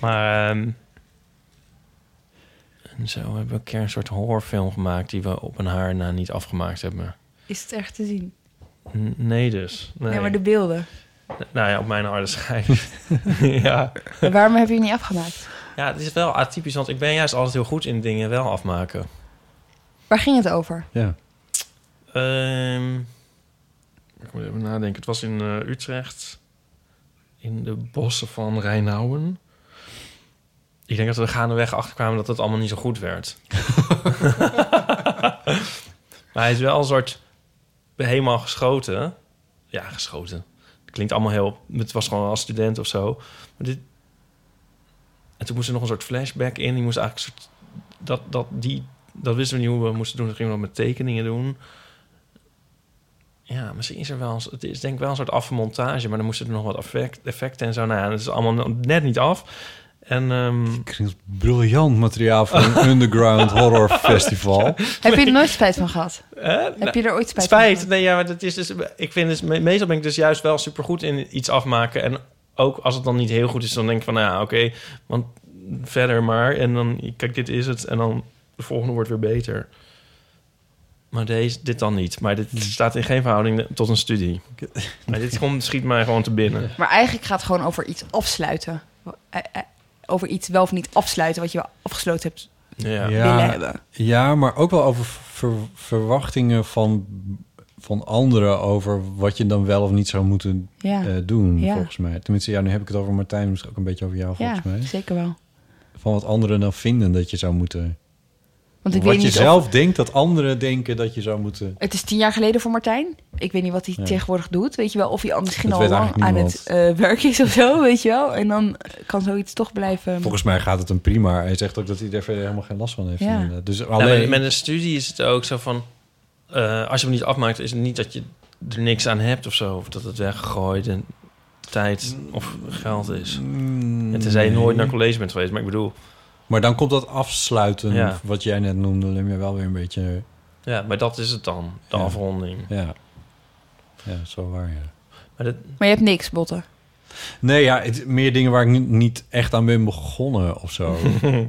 S8: Maar ehm, En zo hebben we een keer een soort horrorfilm gemaakt die we op een haar na niet afgemaakt hebben.
S7: Is het echt te zien?
S8: N- nee dus. Nee.
S7: Nee, maar de beelden.
S8: N- Nou ja, op mijn harde schijf. ja.
S7: En waarom heb je het niet afgemaakt?
S8: ja, het is wel atypisch, want ik ben juist altijd heel goed in dingen wel afmaken.
S7: Waar ging het over?
S8: Ehm, ik moet even nadenken. Het was in eh, Utrecht. In de bossen van Rijnauwen. Ik denk dat we er gaandeweg achterkwamen dat het allemaal niet zo goed werd. maar hij is wel een soort helemaal geschoten. Ja, geschoten. Het klinkt allemaal heel... Het was gewoon als student of zo. Maar dit... En toen moest er nog een soort flashback in. Die moest eigenlijk een soort... Dat, dat, die, dat wisten we niet hoe we moesten doen. Dat gingen we met tekeningen doen. Ja, misschien is er wel... Een, het is denk ik wel een soort afmontage. Maar dan moesten er nog wat effect, effecten en zo. Nou ja, dat is allemaal nog net niet af. En... ehm,
S6: Briljant materiaal voor een underground horror festival.
S7: Heb je er nooit spijt van gehad?
S8: Hè?
S7: Heb
S8: Nou,
S7: je er ooit spijt,
S8: Spijt? Nee, ja, maar dat is dus. Ik vind dus. me- Meestal ben ik dus juist wel supergoed in iets afmaken. En ook als het dan niet heel goed is, dan denk ik van, nou ja, oké, want verder maar. En dan, kijk, dit is het. En dan de volgende wordt weer beter. Maar deze, dit dan niet. Maar dit staat in geen verhouding tot een studie. Maar dit komt, schiet mij gewoon te binnen.
S7: Maar eigenlijk gaat het gewoon over iets afsluiten. Eh, eh, Over iets wel of niet afsluiten wat je wel afgesloten hebt willen hebben.
S6: Ja, maar ook wel over ver- verwachtingen van, van anderen over wat je dan wel of niet zou moeten
S7: Ja.
S6: eh, doen,
S7: Ja.
S6: volgens mij. Tenminste, ja, nu heb ik het over Martijn, misschien ook een beetje over jou, volgens
S7: ja,
S6: mij.
S7: zeker wel.
S6: Van wat anderen dan vinden dat je zou moeten...
S7: Want ik
S6: wat
S7: weet
S6: je
S7: niet of-
S6: zelf denkt dat anderen denken dat je zou moeten...
S7: Het is tien jaar geleden voor Martijn. Ik weet niet wat hij
S6: Ja.
S7: tegenwoordig doet. Weet je wel, of hij al misschien
S6: Dat
S7: al
S6: weet
S7: lang
S6: eigenlijk
S7: aan het eh, werk is of zo, weet je wel. En dan kan zoiets toch blijven.
S6: Volgens mij gaat het hem prima. Hij zegt ook dat hij daar verder helemaal geen last van heeft.
S7: Ja.
S6: inderdaad. Dus
S8: Ja,
S6: alleen...
S8: met, met een studie is het ook zo van... eh, als je hem niet afmaakt, is het niet dat je er niks aan hebt of zo. Of dat het weggegooid en tijd of geld is. en tenzij je nooit
S6: nee.
S8: naar college bent geweest, maar ik bedoel...
S6: Mm. Maar dan komt dat afsluiten,
S8: Ja.
S6: wat jij net noemde, Lim, wel weer een beetje...
S8: Ja, maar dat is het dan. De
S6: Ja.
S8: afronding.
S6: Ja. ja, zo waar, ja.
S8: Maar dat,
S7: Maar je hebt niks, Botten.
S6: Nee, ja, het, meer dingen waar ik niet, niet echt aan ben begonnen of zo.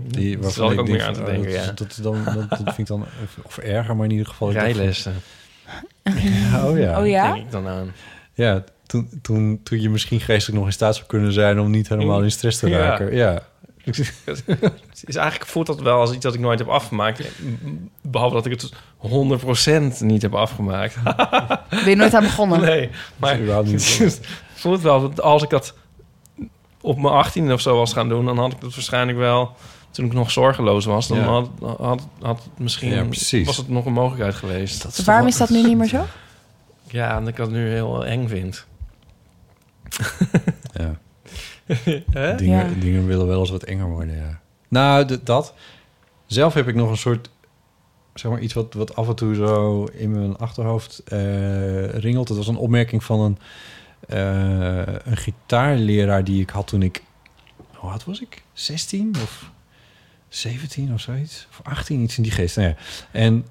S6: Die,
S8: Dat
S6: waarvan
S8: zal ik ook
S6: denk
S8: meer aan te
S6: van, oh,
S8: denken,
S6: dat,
S8: ja.
S6: dat, is dan, dat, dat vind ik dan... Of erger, maar in ieder geval... ik dacht van-
S8: Rijlessen.
S6: Ja, oh ja.
S7: Oh ja?
S8: Denk ik dan aan.
S6: Ja, toen, toen, toen je misschien geestelijk nog in staat zou kunnen zijn... om niet helemaal in stress te
S8: Ja.
S6: raken. Ja.
S8: Het is eigenlijk voelt dat wel als iets dat ik nooit heb afgemaakt. Behalve dat ik het 100% niet heb afgemaakt.
S7: Ben je nooit aan begonnen?
S8: Nee, maar het voelt wel dat als ik dat op mijn 18 of zo was gaan doen, dan had ik dat waarschijnlijk wel toen ik nog zorgeloos was. Dan
S6: Ja.
S8: had, had, had het misschien
S6: Ja, precies.
S8: was het nog een mogelijkheid geweest.
S7: Waarom is dat nu niet meer zo?
S8: Ja, omdat ik dat nu heel eng vind.
S6: Ja.
S8: Hè?
S6: Dingen,
S8: Ja.
S6: dingen willen wel eens wat enger worden, ja. Nou, d- dat. Zelf heb ik nog een soort... Zeg maar iets wat, wat af en toe zo in mijn achterhoofd eh, ringelt. Dat was een opmerking van een, eh, een gitaarleraar die ik had toen ik... Hoe oud was ik? 16 of 17 of zoiets? Of 18, iets in die geest. Nou ja. En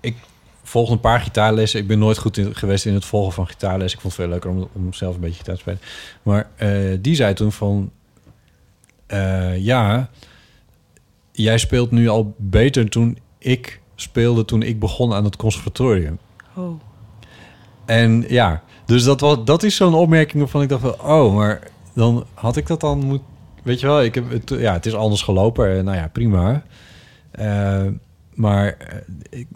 S6: ik volgde een paar gitaarlessen. Ik ben nooit goed in- geweest in het volgen van gitaarlessen. Ik vond het veel leuker om, om zelf een beetje gitaar te spelen. Maar eh, die zei toen van... eh, ja, jij speelt nu al beter toen ik speelde... toen ik begon aan het conservatorium.
S7: Oh.
S6: En ja, dus dat, was, dat is zo'n opmerking waarvan ik dacht van... oh, maar dan had ik dat dan moet... Weet je wel, ik heb, het, ja, het is anders gelopen. Eh, Nou ja, prima. Eh, maar eh, ik,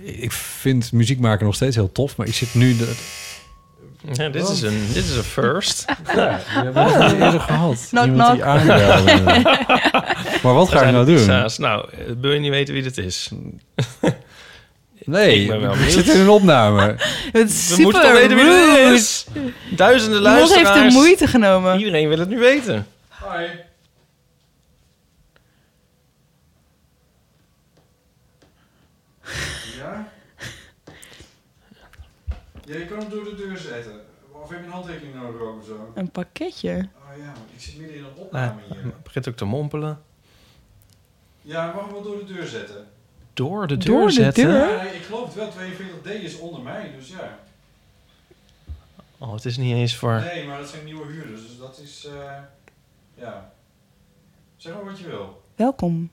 S6: ik vind muziek maken nog steeds heel tof. Maar ik zit nu... Dat,
S8: Ja, dit, is een, dit is een first.
S6: Ja, we hebben het niet eerder gehad.
S7: Knock,
S6: Iemand die
S7: knock.
S6: aanbelde. Maar wat ga ik nou doen?
S8: Nou, eh, wil je niet weten wie dit is?
S6: Nee,
S8: Ik ben wel
S6: ik
S8: benieuwd.
S6: zit in een opname.
S7: Het is
S8: We
S7: super
S8: moeten toch weten wie dit
S7: rude.
S8: is. Duizenden
S7: Iemand heeft de
S8: luisteraars.
S7: moeite genomen.
S8: Iedereen wil het nu weten.
S6: Ja? Ja, je kan hem door de deur zetten. Of heb je een handtekening nodig of zo?
S7: Een pakketje.
S6: Oh ja, ik zit midden in een
S8: Ah, het begint ook te mompelen.
S6: Ja, mag hem wel door de deur zetten.
S8: Door de deur
S7: Door de
S8: zetten.
S7: deur?
S6: nee, ik geloof het wel, 42D is onder mij, dus ja.
S8: Oh, het is niet eens voor...
S6: Nee, maar dat zijn nieuwe huurders, dus dat is... eh, ja. Zeg maar wat je wil.
S7: Welkom.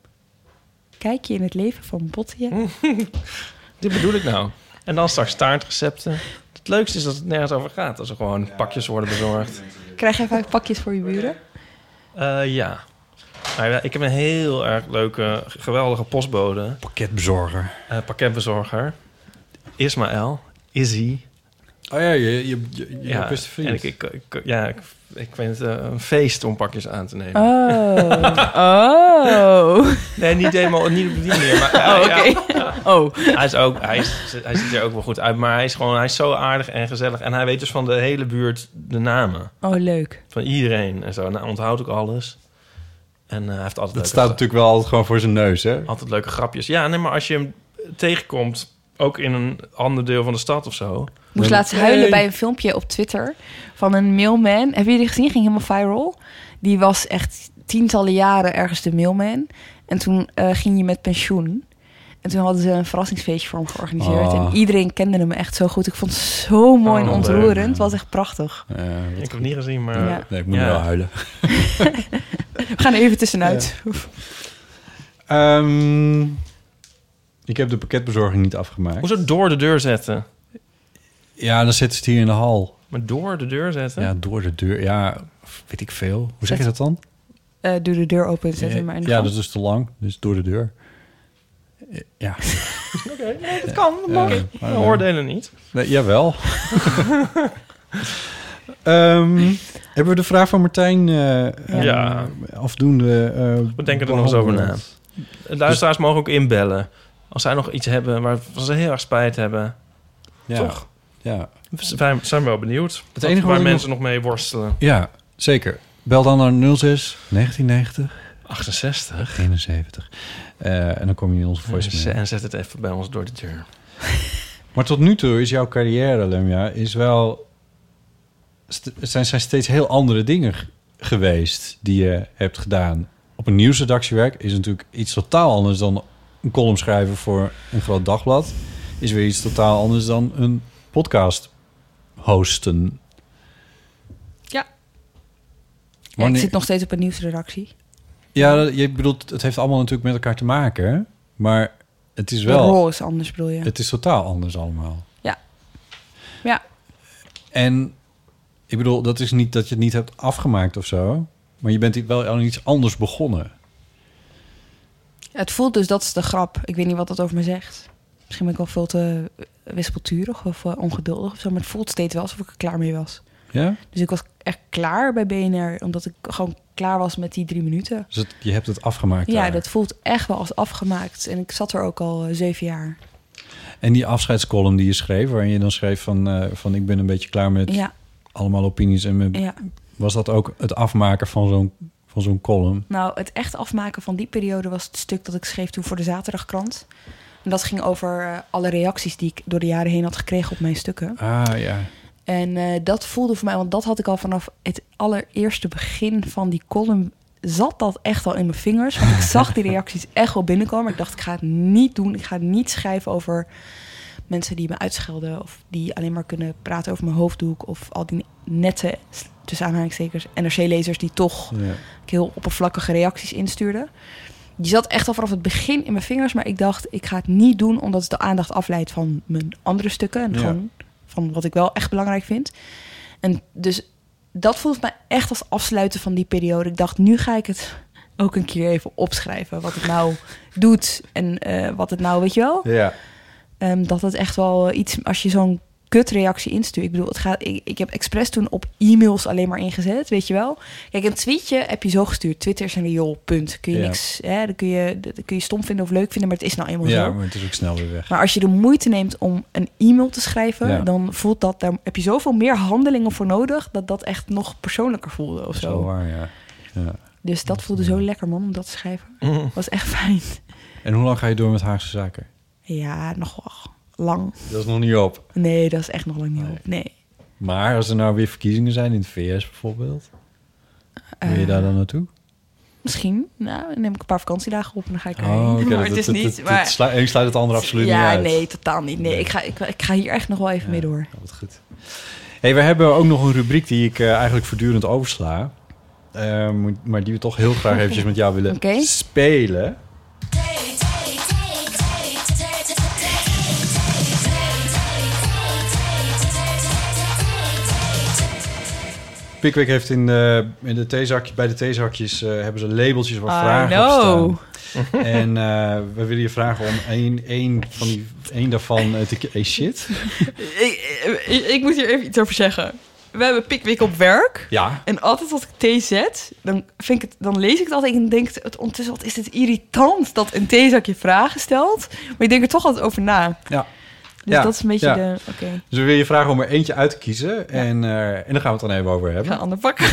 S7: kijkje in het leven van Bottië.
S6: Hm.
S8: Dit bedoel ik nou. En dan straks taartrecepten. Het leukste is dat het nergens over gaat. Als er gewoon pakjes worden bezorgd.
S7: Krijg jij vijf pakjes voor je buren?
S8: Eh, ja. Maar ja, ik heb een heel erg leuke, geweldige postbode.
S6: Pakketbezorger.
S8: Eh, pakketbezorger. Ismaël. Izzy.
S6: Oh ja, je, je, je, je beste vriend.
S8: en ik, ik, ik- ja, ik, ik vind het eh, een feest om pakjes aan te nemen.
S2: Oh. oh.
S8: Nee, niet helemaal, niet op die manier. Maar, ja,
S2: Oh, oké.
S8: ja. Hij, is ook, hij, is, hij ziet er ook wel goed uit, maar hij is gewoon hij is zo aardig en gezellig. En hij weet dus van de hele buurt de namen.
S7: Oh, leuk.
S8: Van iedereen en zo. En hij onthoudt ook alles. En eh, hij heeft altijd
S6: Dat
S8: leuke-
S6: staat natuurlijk wel altijd gewoon voor zijn neus, hè?
S8: altijd leuke grapjes. Ja, nee, maar als je hem tegenkomt, ook in een ander deel van de stad of zo.
S7: Ik moest laatst huilen bij een filmpje op Twitter van een mailman. Hebben jullie gezien? Ging helemaal viral. Die was echt tientallen jaren ergens de mailman. En toen eh, ging je met pensioen. En toen hadden ze een verrassingsfeestje voor hem georganiseerd.
S6: Oh.
S8: Ah.
S7: En iedereen kende hem echt zo goed. Ik vond het zo mooi en
S8: Oh,
S7: ontroerend.
S8: leuk.
S7: Het was echt prachtig.
S8: ik heb het niet gezien, maar...
S7: Ja.
S6: Eh, Nee, ik moet wel huilen.
S7: We gaan er even tussenuit.
S6: Ehm, ik heb de pakketbezorging niet afgemaakt.
S8: Hoezo door de deur zetten?
S6: Ja, dan zitten ze het hier in de hal.
S8: Maar door de deur zetten?
S6: Ja, door de deur. Ja, weet ik veel. Hoe zeg je dat dan?
S7: Eh, doe de deur open en zet hem maar in de
S6: ja,
S7: gang.
S6: dat is te lang. Dus door de deur. Eh, Ja.
S8: Oké, nee, dat kan. Dat mag.
S6: Eh,
S8: We
S6: maar-
S8: oordelen niet.
S6: Nee, jawel. Ehm, hebben we de vraag van Martijn eh, eh,
S8: Ja.
S6: afdoende? eh,
S8: We denken er nog eens over na.
S6: behandeld?
S8: Luisteraars mogen ook inbellen. Als zij nog iets hebben waar ze heel erg spijt hebben.
S6: Ja.
S8: Toch?
S6: Ja.
S8: We zijn- zijn wel benieuwd.
S6: Het enige
S8: waar
S6: wat ik
S8: mensen nog... mee worstelen.
S6: Ja, zeker. Bel dan naar 06 1990
S8: 68
S6: 71. Eh, en dan kom je in onze voicemail.
S8: En zet het even bij ons door de deur.
S6: Maar tot nu toe is jouw carrière, Lemja, is wel... st- het zijn, zijn steeds heel andere dingen g- geweest die je hebt gedaan. Op een nieuwsredactiewerk is natuurlijk iets totaal anders dan een column schrijven voor een groot dagblad. Is weer iets totaal anders dan een podcast hosten.
S7: Ja, ik
S6: Wanneer-
S7: zit nog steeds op een nieuwsredactie.
S6: Ja, je bedoelt, het heeft allemaal natuurlijk met elkaar te maken. hè? Maar het is
S7: De
S6: wel...
S7: rol is anders, bedoel je?
S6: Het is totaal anders allemaal.
S7: Ja. Ja.
S6: En ik bedoel, dat is niet dat je het niet hebt afgemaakt of zo. Maar je bent wel aan iets anders begonnen.
S7: Het voelt dus, dat is de grap. Ik weet niet wat dat over me zegt. Misschien ben ik wel veel te eh, wispelturig of eh, ongeduldig of zo. Maar het voelt steeds wel alsof ik er klaar mee was.
S6: Ja?
S7: Dus ik was echt klaar bij BNR, omdat ik gewoon klaar was met die drie minuten.
S6: Dus het- je hebt het afgemaakt.
S7: Ja,
S6: daar.
S7: dat voelt echt wel als afgemaakt. En ik zat er ook al eh, zeven jaar.
S6: En die afscheidscolumn die je schreef, waarin je dan schreef van, eh, van ik ben een beetje klaar met
S7: Ja.
S6: allemaal opinies. En met-
S7: Ja.
S6: was dat ook het afmaken van zo'n van zo'n column?
S7: Nou, het echt afmaken van die periode was het stuk dat ik schreef toen voor de Zaterdagkrant. En dat ging over eh, alle reacties die ik door de jaren heen had gekregen op mijn stukken.
S6: Ah ja.
S7: En eh, dat voelde voor mij, want dat had ik al vanaf het allereerste begin van die column. Zat dat echt al in mijn vingers? Want ik zag die reacties echt wel binnenkomen. Ik dacht, ik ga het niet doen. Ik ga niet schrijven over mensen die me uitschelden. Of die alleen maar kunnen praten over mijn hoofddoek. Of al die nette, tussen aanhalingstekens, NRC-lezers die toch
S6: Ja.
S7: ik heel oppervlakkige reacties instuurden. Die zat echt al vanaf het begin in mijn vingers. Maar ik dacht, ik ga het niet doen omdat het de aandacht afleidt van mijn andere stukken. En
S2: Ja.
S7: gewoon van wat ik wel echt belangrijk vind. En dus dat voelt mij echt als afsluiten van die periode. Ik dacht, nu ga ik het ook een keer even opschrijven. Wat het nou doet en eh, wat het nou, weet je wel?
S6: Ja.
S7: Ehm, dat het echt wel iets, als je zo'n kutreactie instuurt. Ik bedoel, het gaat, ik, ik heb expres toen op e-mails alleen maar ingezet, weet je wel. Kijk, een tweetje heb je zo gestuurd. Twitter is een riool, punt. Kun je
S6: Ja.
S7: niks, hè, dan kun je, dat kun je stom vinden of leuk vinden, maar het is nou eenmaal
S6: Ja,
S7: zo.
S6: maar het is ook snel weer weg.
S7: Maar als je de moeite neemt om een e-mail te schrijven,
S6: Ja.
S7: dan voelt dat, daar heb je zoveel meer handelingen voor nodig, dat dat echt nog persoonlijker voelde of
S6: Dat is wel
S7: zo.
S6: waar, ja. ja.
S7: Dus dat voelde zo lekker, man, om dat te schrijven.
S6: Mhm.
S7: Was echt fijn.
S6: En hoe lang ga je door met Haagse Zaken?
S7: Ja, nog wel lang.
S6: Dat is nog niet op.
S7: Nee, dat is echt nog lang niet op. Nee.
S6: Maar als er nou weer verkiezingen zijn in de VS bijvoorbeeld, wil
S7: Eh.
S6: je daar dan naartoe?
S7: Misschien. Nou, dan neem ik een paar vakantiedagen op en dan ga ik erheen.
S6: Oh, oké, dat-
S7: maar het
S6: dat-
S7: is
S6: dat-
S7: niet...
S6: dat-
S7: maar...
S6: dat sluit- één sluit het andere absoluut
S7: ja,
S6: niet uit. Oh,
S7: nee, totaal niet. Nee, ik ga, ik, ik ga hier echt nog wel even mee door.
S6: Wat goed. Hey, we hebben ook nog een rubriek die ik eh, eigenlijk voortdurend oversla. Eh, moet- maar die we toch heel graag eventjes met jou willen
S7: Oké.
S6: spelen.
S15: Hey,
S6: Pickwick heeft in, eh, in de theezakje, bij de theezakjes eh, hebben ze labeltjes waar
S7: I
S6: vragen
S7: know.
S6: op staan. en eh, we willen je vragen om één, één, van die, één daarvan eh, te kiezen. Hey, shit.
S7: Ik, ik, ik moet hier even iets over zeggen. We hebben Pickwick op werk.
S6: Ja.
S7: En altijd als ik thee zet, dan, vind ik het, dan lees ik het altijd en denk het ondertussen... wat is het irritant dat een theezakje vragen stelt. Maar ik denk er toch altijd over na.
S6: Ja.
S7: Dus
S6: Ja,
S7: dat is een beetje
S6: ja.
S7: de... Oké,
S6: Dus we willen je vragen om er eentje uit te kiezen. En, eh, en daar gaan we het dan even over hebben.
S7: ga een ander pakken.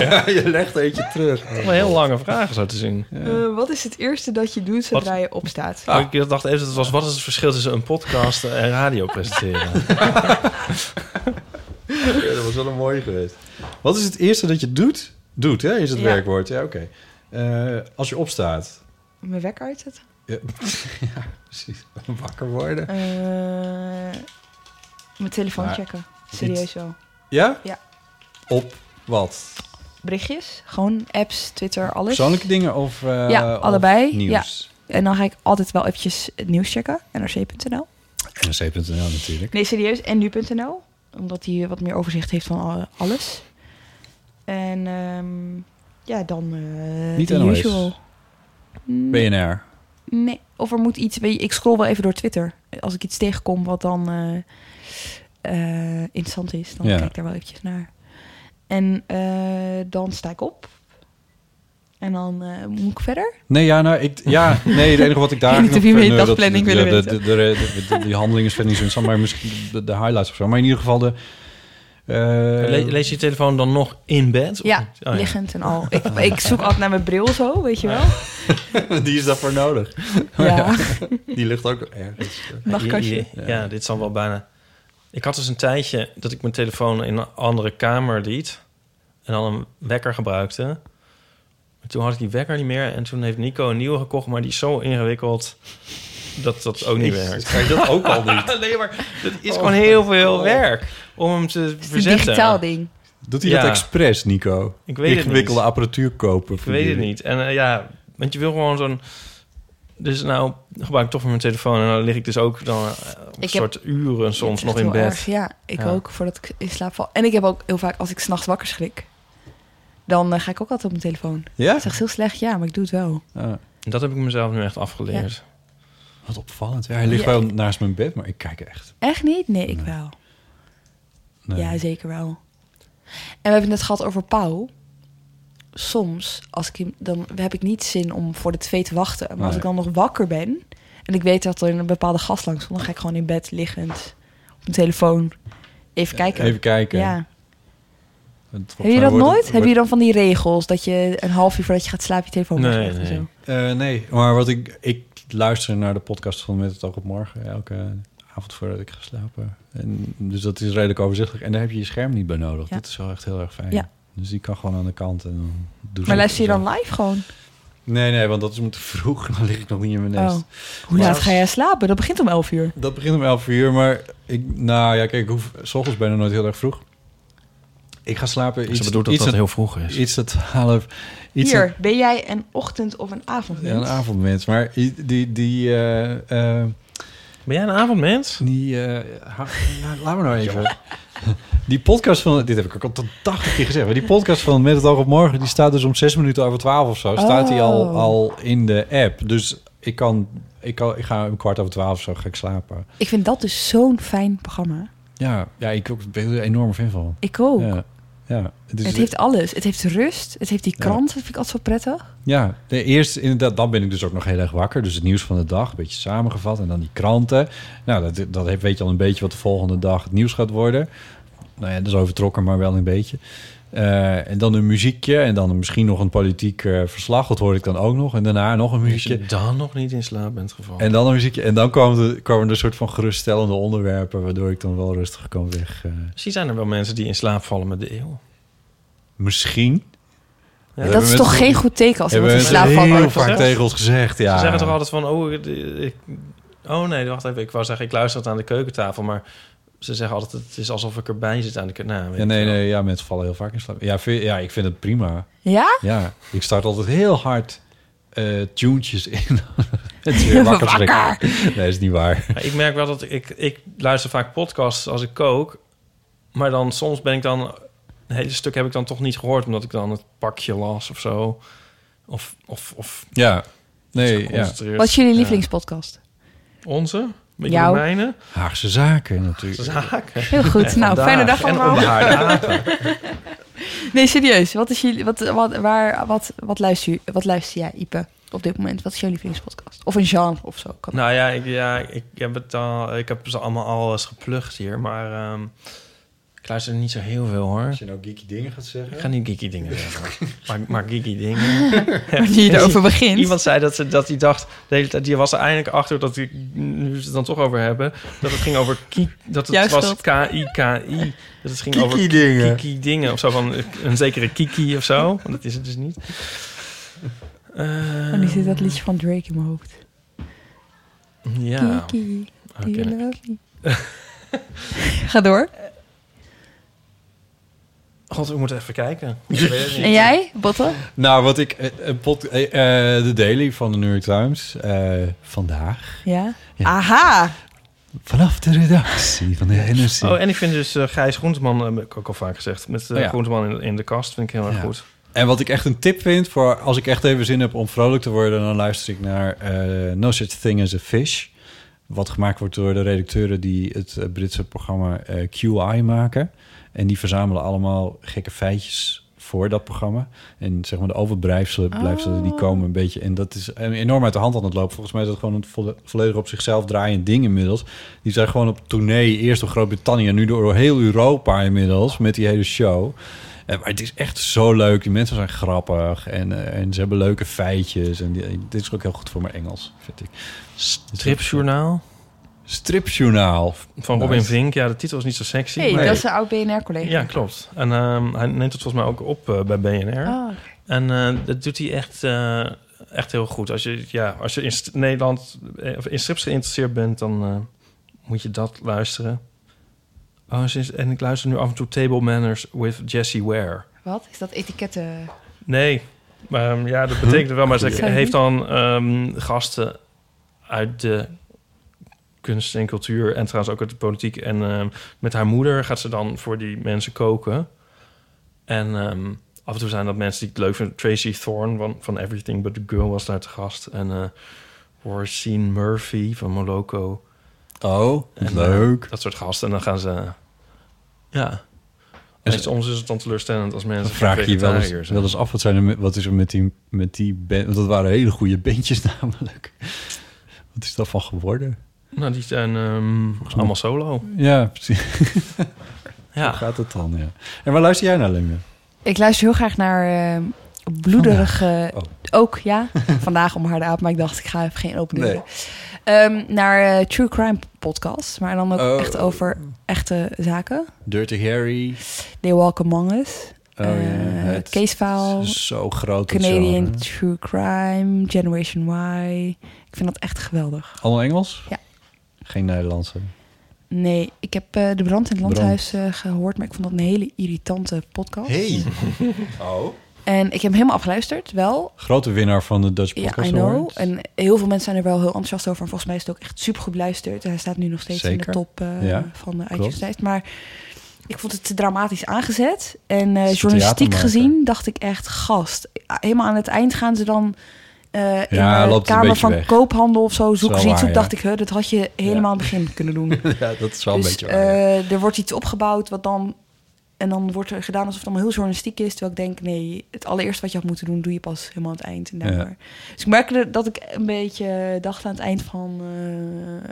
S6: je legt eentje terug.
S8: Wel een heel lange vragen zo te zien.
S7: Eh, wat is het eerste dat je doet zodra je opstaat?
S6: Ah.
S8: Oh, Ik dacht even, dat het was, wat is het verschil tussen een podcast en radio presenteren?
S6: Ja, dat was wel een mooie geweest. Wat is het eerste dat je doet? Doet, hè, is het
S7: Ja.
S6: werkwoord. Ja, oké. Eh, als je opstaat.
S7: Mijn wekker uitzetten?
S6: Ja, ja, precies. Wakker worden.
S7: Eh, mijn telefoon
S6: Maar
S7: checken.
S6: niet-
S7: Serieus wel.
S6: Ja?
S7: Ja.
S6: Op wat?
S7: Berichtjes, gewoon apps, Twitter, alles.
S6: Persoonlijke dingen of eh,
S7: ja,
S6: of
S7: allebei.
S6: nieuws?
S7: Ja. En dan ga ik altijd wel eventjes het nieuws checken. NRC.nl.
S6: NRC.nl natuurlijk.
S7: Nee, serieus. En nu.nl. Omdat die wat meer overzicht heeft van al- alles. En ehm, ja, dan eh
S6: Niet
S7: the
S6: NOS.
S7: usual.
S6: BNR.
S7: Nee, of er moet iets... weet je, Ik scroll wel even door Twitter. Als ik iets tegenkom wat dan eh, eh, interessant is, dan
S6: Ja.
S7: kijk ik daar wel eventjes naar. En eh, dan sta ik op. En dan eh, moet ik verder.
S6: Nee, ja, nou, ik, ja, nee, het enige wat ik daar...
S7: Interview
S6: nog-
S7: heet
S6: nee,
S7: dagplanning
S6: ja,
S7: willen
S6: de-
S7: weten.
S6: de- de- de- de- Die handeling is verder niet zo interessant, maar misschien de, de highlights of zo. Maar in ieder geval de... eh,
S8: Le- lees je telefoon dan nog in bed? Of
S7: Ja,
S8: niet? Oh,
S7: liggend en al. Ik, ik zoek altijd naar mijn bril zo, weet je wel.
S6: Die is daarvoor nodig.
S7: Oh, Ja.
S6: Die ligt ook ergens.
S7: Nachtkastje.
S8: Ja, ja, ja, dit is dan wel bijna... Ik had dus een tijdje dat ik mijn telefoon in een andere kamer liet... en dan een wekker gebruikte. Maar toen had ik die wekker niet meer... en toen heeft Nico een nieuwe gekocht, maar die is zo ingewikkeld... dat dat ook niet
S6: Jezus,
S8: werkt.
S6: kan je dat ook al niet?
S8: nee, maar het is
S6: Oh.
S8: gewoon heel veel
S6: Oh.
S8: werk om hem te
S7: Het is een
S8: verzetten.
S7: digitaal ding.
S6: Doet hij
S8: Ja.
S6: dat expres, Nico?
S8: Ik weet het niet.
S6: Ingewikkelde apparatuur kopen.
S8: Ik weet het niet. En eh, ja, want je wil gewoon zo'n... Dus nou gebruik ik toch mijn telefoon en dan lig ik dus ook dan eh, op een
S7: heb-
S8: soort uren soms nog
S7: Echt
S8: in
S7: heel
S8: bed.
S7: erg, ja, ik ook, voordat ik in slaap val. En ik heb ook heel vaak, als ik s'nachts wakker schrik... dan eh, ga ik ook altijd op mijn telefoon.
S8: Ja?
S7: Dat is echt heel slecht, ja, maar ik doe het wel.
S8: En Dat heb ik mezelf nu echt afgeleerd.
S6: Ah. Wat opvallend. Ja, hij ligt
S7: Ja.
S6: wel naast mijn bed, maar ik kijk echt.
S7: Echt niet? Nee, ik wel.
S6: Nee.
S7: Ja, zeker wel. En we hebben het net gehad over Pauw. Soms, als ik, hem- dan heb ik niet zin om voor de twee te wachten. Maar als
S6: Nee.
S7: ik dan nog wakker ben... en ik weet dat er een bepaalde gast langs komt... dan ga ik gewoon in bed liggend op mijn telefoon even kijken.
S6: Even kijken.
S7: Ja.
S6: Want volgens
S7: Heb je
S6: mij
S7: dat
S6: wordt het-
S7: nooit? Heb je dan van die regels dat je een half uur voordat je gaat slapen je telefoon
S6: Nee,
S7: weglegt en
S6: nee.
S7: zo?
S6: Eh, nee, maar wat ik, ik luister naar de podcast van Met het Oog op Morgen elke avond voordat ik ga slapen. En, dus dat is redelijk overzichtelijk. En daar heb je je scherm niet bij nodig.
S7: Ja.
S6: Dat is wel echt heel erg fijn.
S7: Ja.
S6: Dus die kan gewoon aan de kant en dan doe
S7: Maar
S6: ze-
S7: luister je dan live gewoon?
S6: Nee, nee, want dat is om te vroeg. Dan lig ik nog niet in mijn nest.
S7: Oh. Hoe
S6: Maar-
S7: laat ga jij slapen? Dat begint om 11 uur.
S6: Dat begint om 11 uur, maar ik, nou ja, kijk, ik hoef, s ochtends bijna nooit heel erg vroeg. Ik ga slapen. Iets,
S8: bedoelt dat
S6: iets
S8: dat heel vroeg is.
S6: Iets dat half. Iets
S7: Hier,
S6: dat-
S7: ben jij een ochtend- of een avondmens?
S6: ja, een avondmens, maar i- die. die eh,
S8: ben jij een avondmens?
S6: Die, eh, ha- nou, laat me nou even. Die podcast van, dit heb ik ook al tot 80 keer gezegd, maar die podcast van Met het Oog op Morgen, die staat dus om 6 minuten over 12 of zo, staat die al,
S7: Oh.
S6: al in de app. Dus ik kan, ik kan, ik ga om kwart over 12 of zo ga ik slapen.
S7: Ik vind dat dus zo'n fijn programma.
S6: Ja, ja ik ook- ben er een enorme fan van.
S7: Ik ook.
S6: Ja, ja. Het is-
S7: het heeft alles. Het heeft rust. Het heeft die krant. Dat vind ik altijd zo prettig.
S6: ja. Nee, eerst inderdaad, dan ben ik dus ook nog heel erg wakker. Dus het nieuws van de dag, een beetje samengevat. En dan die kranten. Nou, dat, dat heeft- weet je al een beetje wat de volgende dag het nieuws gaat worden. Nou ja, dat is overtrokken, maar wel een beetje. Eh, en dan een muziekje en dan misschien nog een politiek eh, verslag. Dat hoor ik dan ook nog. En daarna nog een
S8: Dat
S6: muziekje.
S8: je dan nog niet in slaap bent gevallen.
S6: En dan een muziekje. En dan kwamen, de, kwamen er een soort van geruststellende onderwerpen... waardoor ik dan wel rustig kan weg. eh.
S8: Misschien zijn er wel mensen die in slaap vallen met de eeuw.
S6: misschien.
S8: Ja.
S7: dat is toch geen goed teken als iemand in slaap valt.
S6: Heel vaak tegen ons gezegd, ja.
S8: Ze zeggen toch altijd van, oh, ik- ik- oh nee, wacht even. Ik wou zeggen, ik luister het aan de keukentafel, maar ze zeggen altijd, het is alsof ik erbij zit aan de Nou, keukentafel.
S6: Ja, nee, nee, ja, mensen vallen heel vaak in slaap. Ja, vind- ja ik vind het prima.
S7: Ja?
S6: Ja, ik start altijd heel hard eh tunes in. het is weer wakker.
S7: Wakker!
S6: schrikken. Nee, is niet waar.
S8: Maar ik merk wel dat ik, ik luister vaak podcasts als ik kook. Maar dan soms ben ik dan een hele stuk heb ik dan toch niet gehoord, omdat ik dan het pakje las of zo. Of, of, of
S6: Ja. Nee, ja.
S8: geconcentreerd.
S7: Wat is jullie
S8: Ja.
S7: lievelingspodcast?
S8: Onze? Ik
S7: Jouw.
S8: de mijne?
S6: Haagse zaken natuurlijk.
S8: Zaken.
S7: Heel goed.
S8: En
S7: nou,
S8: vandaag.
S7: fijne dag
S8: En
S7: allemaal.
S8: onderhouden.
S7: nee, serieus. Wat, is jullie, wat, wat, waar, wat, wat, luister, je- wat luister jij, Ipe, op dit moment? Wat is jouw lievelingspodcast? Of een genre of zo? Kan
S8: Nou ja, ik, ja ik, heb het al, ik heb ze allemaal al eens geplukt hier, maar ehm ik luister niet zo heel veel hoor. Als
S6: je nou geeky dingen gaat zeggen?
S8: Ik ga niet geeky dingen zeggen. maar, maar geeky dingen.
S7: Waar je erover begint.
S8: Iemand zei dat, ze, dat hij dacht, de hele tijd, die was er eindelijk achter dat ik, nu we het dan toch over hebben, dat het ging over ki, dat het
S6: Juist
S8: was
S6: dat.
S8: KI, KI. Dat het ging
S6: Kiki
S8: over
S6: dingen.
S8: Kiki dingen of zo van een zekere Kiki of zo. Want dat is het dus niet. Eh,
S7: Oh, nu zit dat liedje van Drake in mijn hoofd.
S8: Ehm, ja.
S7: Kiki,
S8: Oh,
S7: do you
S8: ken ik.
S7: love me? Ga door.
S8: God, we moeten even kijken. Ik weet het niet.
S7: En jij, Botte?
S6: Nou, wat ik... eh, eh, pod- eh, eh, de Daily van de New York Times. eh, vandaag.
S7: Ja?
S6: Ja.
S7: Aha!
S6: Vanaf de redactie van de NRC.
S8: Oh, en ik vind dus eh, Gijs Groenteman, eh, heb ik ook al vaak gezegd, met eh,
S6: Oh ja.
S8: Groenteman in, in de kast vind ik heel erg
S6: Ja.
S8: goed.
S6: En wat ik echt een tip vind voor als ik echt even zin heb om vrolijk te worden, dan luister ik naar eh, No Such Thing as a Fish. Wat gemaakt wordt door de redacteuren die het eh, Britse programma eh, QI maken. En die verzamelen allemaal gekke feitjes voor dat programma. En zeg maar de overblijfselen blijfselen die komen een beetje. En dat is eh, enorm uit de hand aan het lopen. Volgens mij is dat gewoon een volle- volledig op zichzelf draaiend ding inmiddels. Die zijn gewoon op tournee, eerst door Groot-Brittannië, nu door heel Europa inmiddels met die hele show. Eh, maar het is echt zo leuk. Die mensen zijn grappig en, eh, en ze hebben leuke feitjes. En die, eh, dit is ook heel goed voor mijn Engels, vind ik.
S8: Stripjournaal?
S6: Stripjournaal.
S8: Van Robin
S6: Nice.
S8: Vink, ja, de titel is niet zo sexy.
S7: Hey,
S8: maar-
S7: dat is een oud BNR-collega.
S8: Ja, klopt. En ehm, hij neemt het volgens mij ook op eh, bij BNR.
S7: Ah, oké.
S8: En eh, dat doet hij echt, eh, echt heel goed. Als je, ja, als je in st- Nederland eh, of in strips geïnteresseerd bent, dan eh, moet je dat luisteren. Oh, sinds- en ik luister nu af en toe Table Manners with Jesse Ware.
S7: Wat? Is dat etiketten?
S8: Nee. Maar, ehm, ja, dat betekent wel. Maar ze
S7: Goeie.
S8: heeft dan ehm, gasten uit de kunst en cultuur... en trouwens ook uit de politiek. En ehm, met haar moeder gaat ze dan voor die mensen koken. En ehm, af en toe zijn dat mensen die het leuk vinden. Tracy Thorn van, van Everything But The Girl was daar te gast. En eh Orsine Murphy van Moloko.
S6: Oh,
S8: eh, leuk. dat soort gasten. En dan gaan ze... Ja.
S6: En
S8: En
S6: ze-
S8: soms is het dan teleurstellend als mensen...
S6: Dan vraag je je wel eens,
S8: vegetariërs zijn.
S6: wel eens af, wat, zijn er, met- wat is er met die, met die band? Want dat waren hele goede bandjes namelijk. Wat is daarvan geworden?
S8: Nou, die zijn ehm, allemaal solo.
S6: Ja, precies.
S8: Ja.
S6: Hoe gaat het dan, ja. En waar luister jij naar, Lemje?
S7: Ik luister heel graag naar eh, bloederige... Ook, ja. Vandaag om harde aap, maar ik dacht, ik ga even geen open deuren.
S6: Oh. Nee.
S7: Ehm, naar eh, True Crime podcast. Maar dan ook
S6: Oh.
S7: echt over echte zaken.
S6: Dirty Harry.
S7: They Walk Among Us. eh,
S6: Oh, ja. Het
S7: case file.
S6: is zo groot, dat
S7: Canadian
S6: genre.
S7: True Crime. Generation Y. Ik vind dat echt geweldig.
S6: Allemaal Engels?
S7: Ja.
S6: Geen Nederlandse.
S7: Nee, ik heb eh, de brand in het
S6: Brand.
S7: landhuis eh, gehoord. Maar ik vond dat een hele irritante podcast.
S6: Hey. oh.
S7: En ik heb hem helemaal afgeluisterd, wel.
S6: Grote winnaar van de Dutch
S7: Ja,
S6: Podcast
S7: I know.
S6: Award.
S7: En heel veel mensen zijn er wel heel enthousiast over. En volgens mij is het ook echt super goed beluisterd. Hij staat nu nog steeds in de
S6: Zeker.
S7: top eh,
S6: Ja,
S7: van de
S6: klopt.
S7: iTunes lijst. Maar ik vond het te dramatisch aangezet. En eh,
S6: Ze
S7: journalistiek
S6: theatermaker.
S7: gezien dacht ik echt, gast. eh, Helemaal aan het eind gaan ze dan eh, in
S6: Ja,
S7: de
S6: loopt een
S7: Kamer
S6: beetje
S7: van
S6: weg.
S7: Koophandel of zo.
S6: is
S7: Zoek
S6: wel
S7: ze iets
S6: waar,
S7: op.
S6: ja.
S7: Dacht ik, huh, dat had je helemaal aan het begin kunnen doen.
S6: ja, dat is wel
S7: Dus,
S6: een beetje waar. ja.
S7: eh, er wordt iets opgebouwd wat dan... En dan wordt er gedaan alsof het allemaal heel journalistiek is. Terwijl ik denk, nee, het allereerste wat je had moeten doen... doe je pas helemaal aan het eind. En daar.
S6: Ja.
S7: Dus ik merkte dat ik een beetje dacht aan het eind van...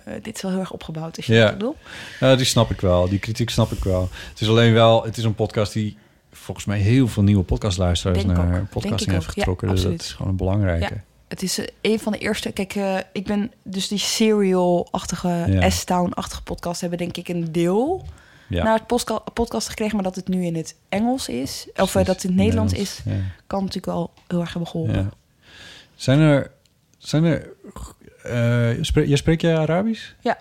S7: eh, dit is wel heel erg opgebouwd, is je wat
S6: Ja,
S7: ik bedoel?
S6: Ja, die snap ik wel. Die kritiek snap ik wel. Het is alleen wel, het is een podcast die volgens mij heel veel nieuwe podcastluisteraars
S7: Denk ook.
S6: naar
S7: Denk
S6: podcasting
S7: ik
S6: heeft
S7: ook. Ja,
S6: getrokken. dus dat
S7: absoluut.
S6: is gewoon een belangrijke.
S7: Ja, het is eh, een van de eerste... Kijk, eh, ik ben dus die serial-achtige,
S6: Ja.
S7: S-Town-achtige podcast... hebben denk ik een deel
S6: Ja.
S7: naar het postka- podcast gekregen... maar dat het nu in het Engels is, of Nou, eh, dat het in het Nederlands is...
S6: ja.
S7: kan natuurlijk wel heel erg hebben geholpen.
S6: Ja. Zijn er, zijn er, eh spreek, jij spreekt jij Arabisch?
S7: Ja.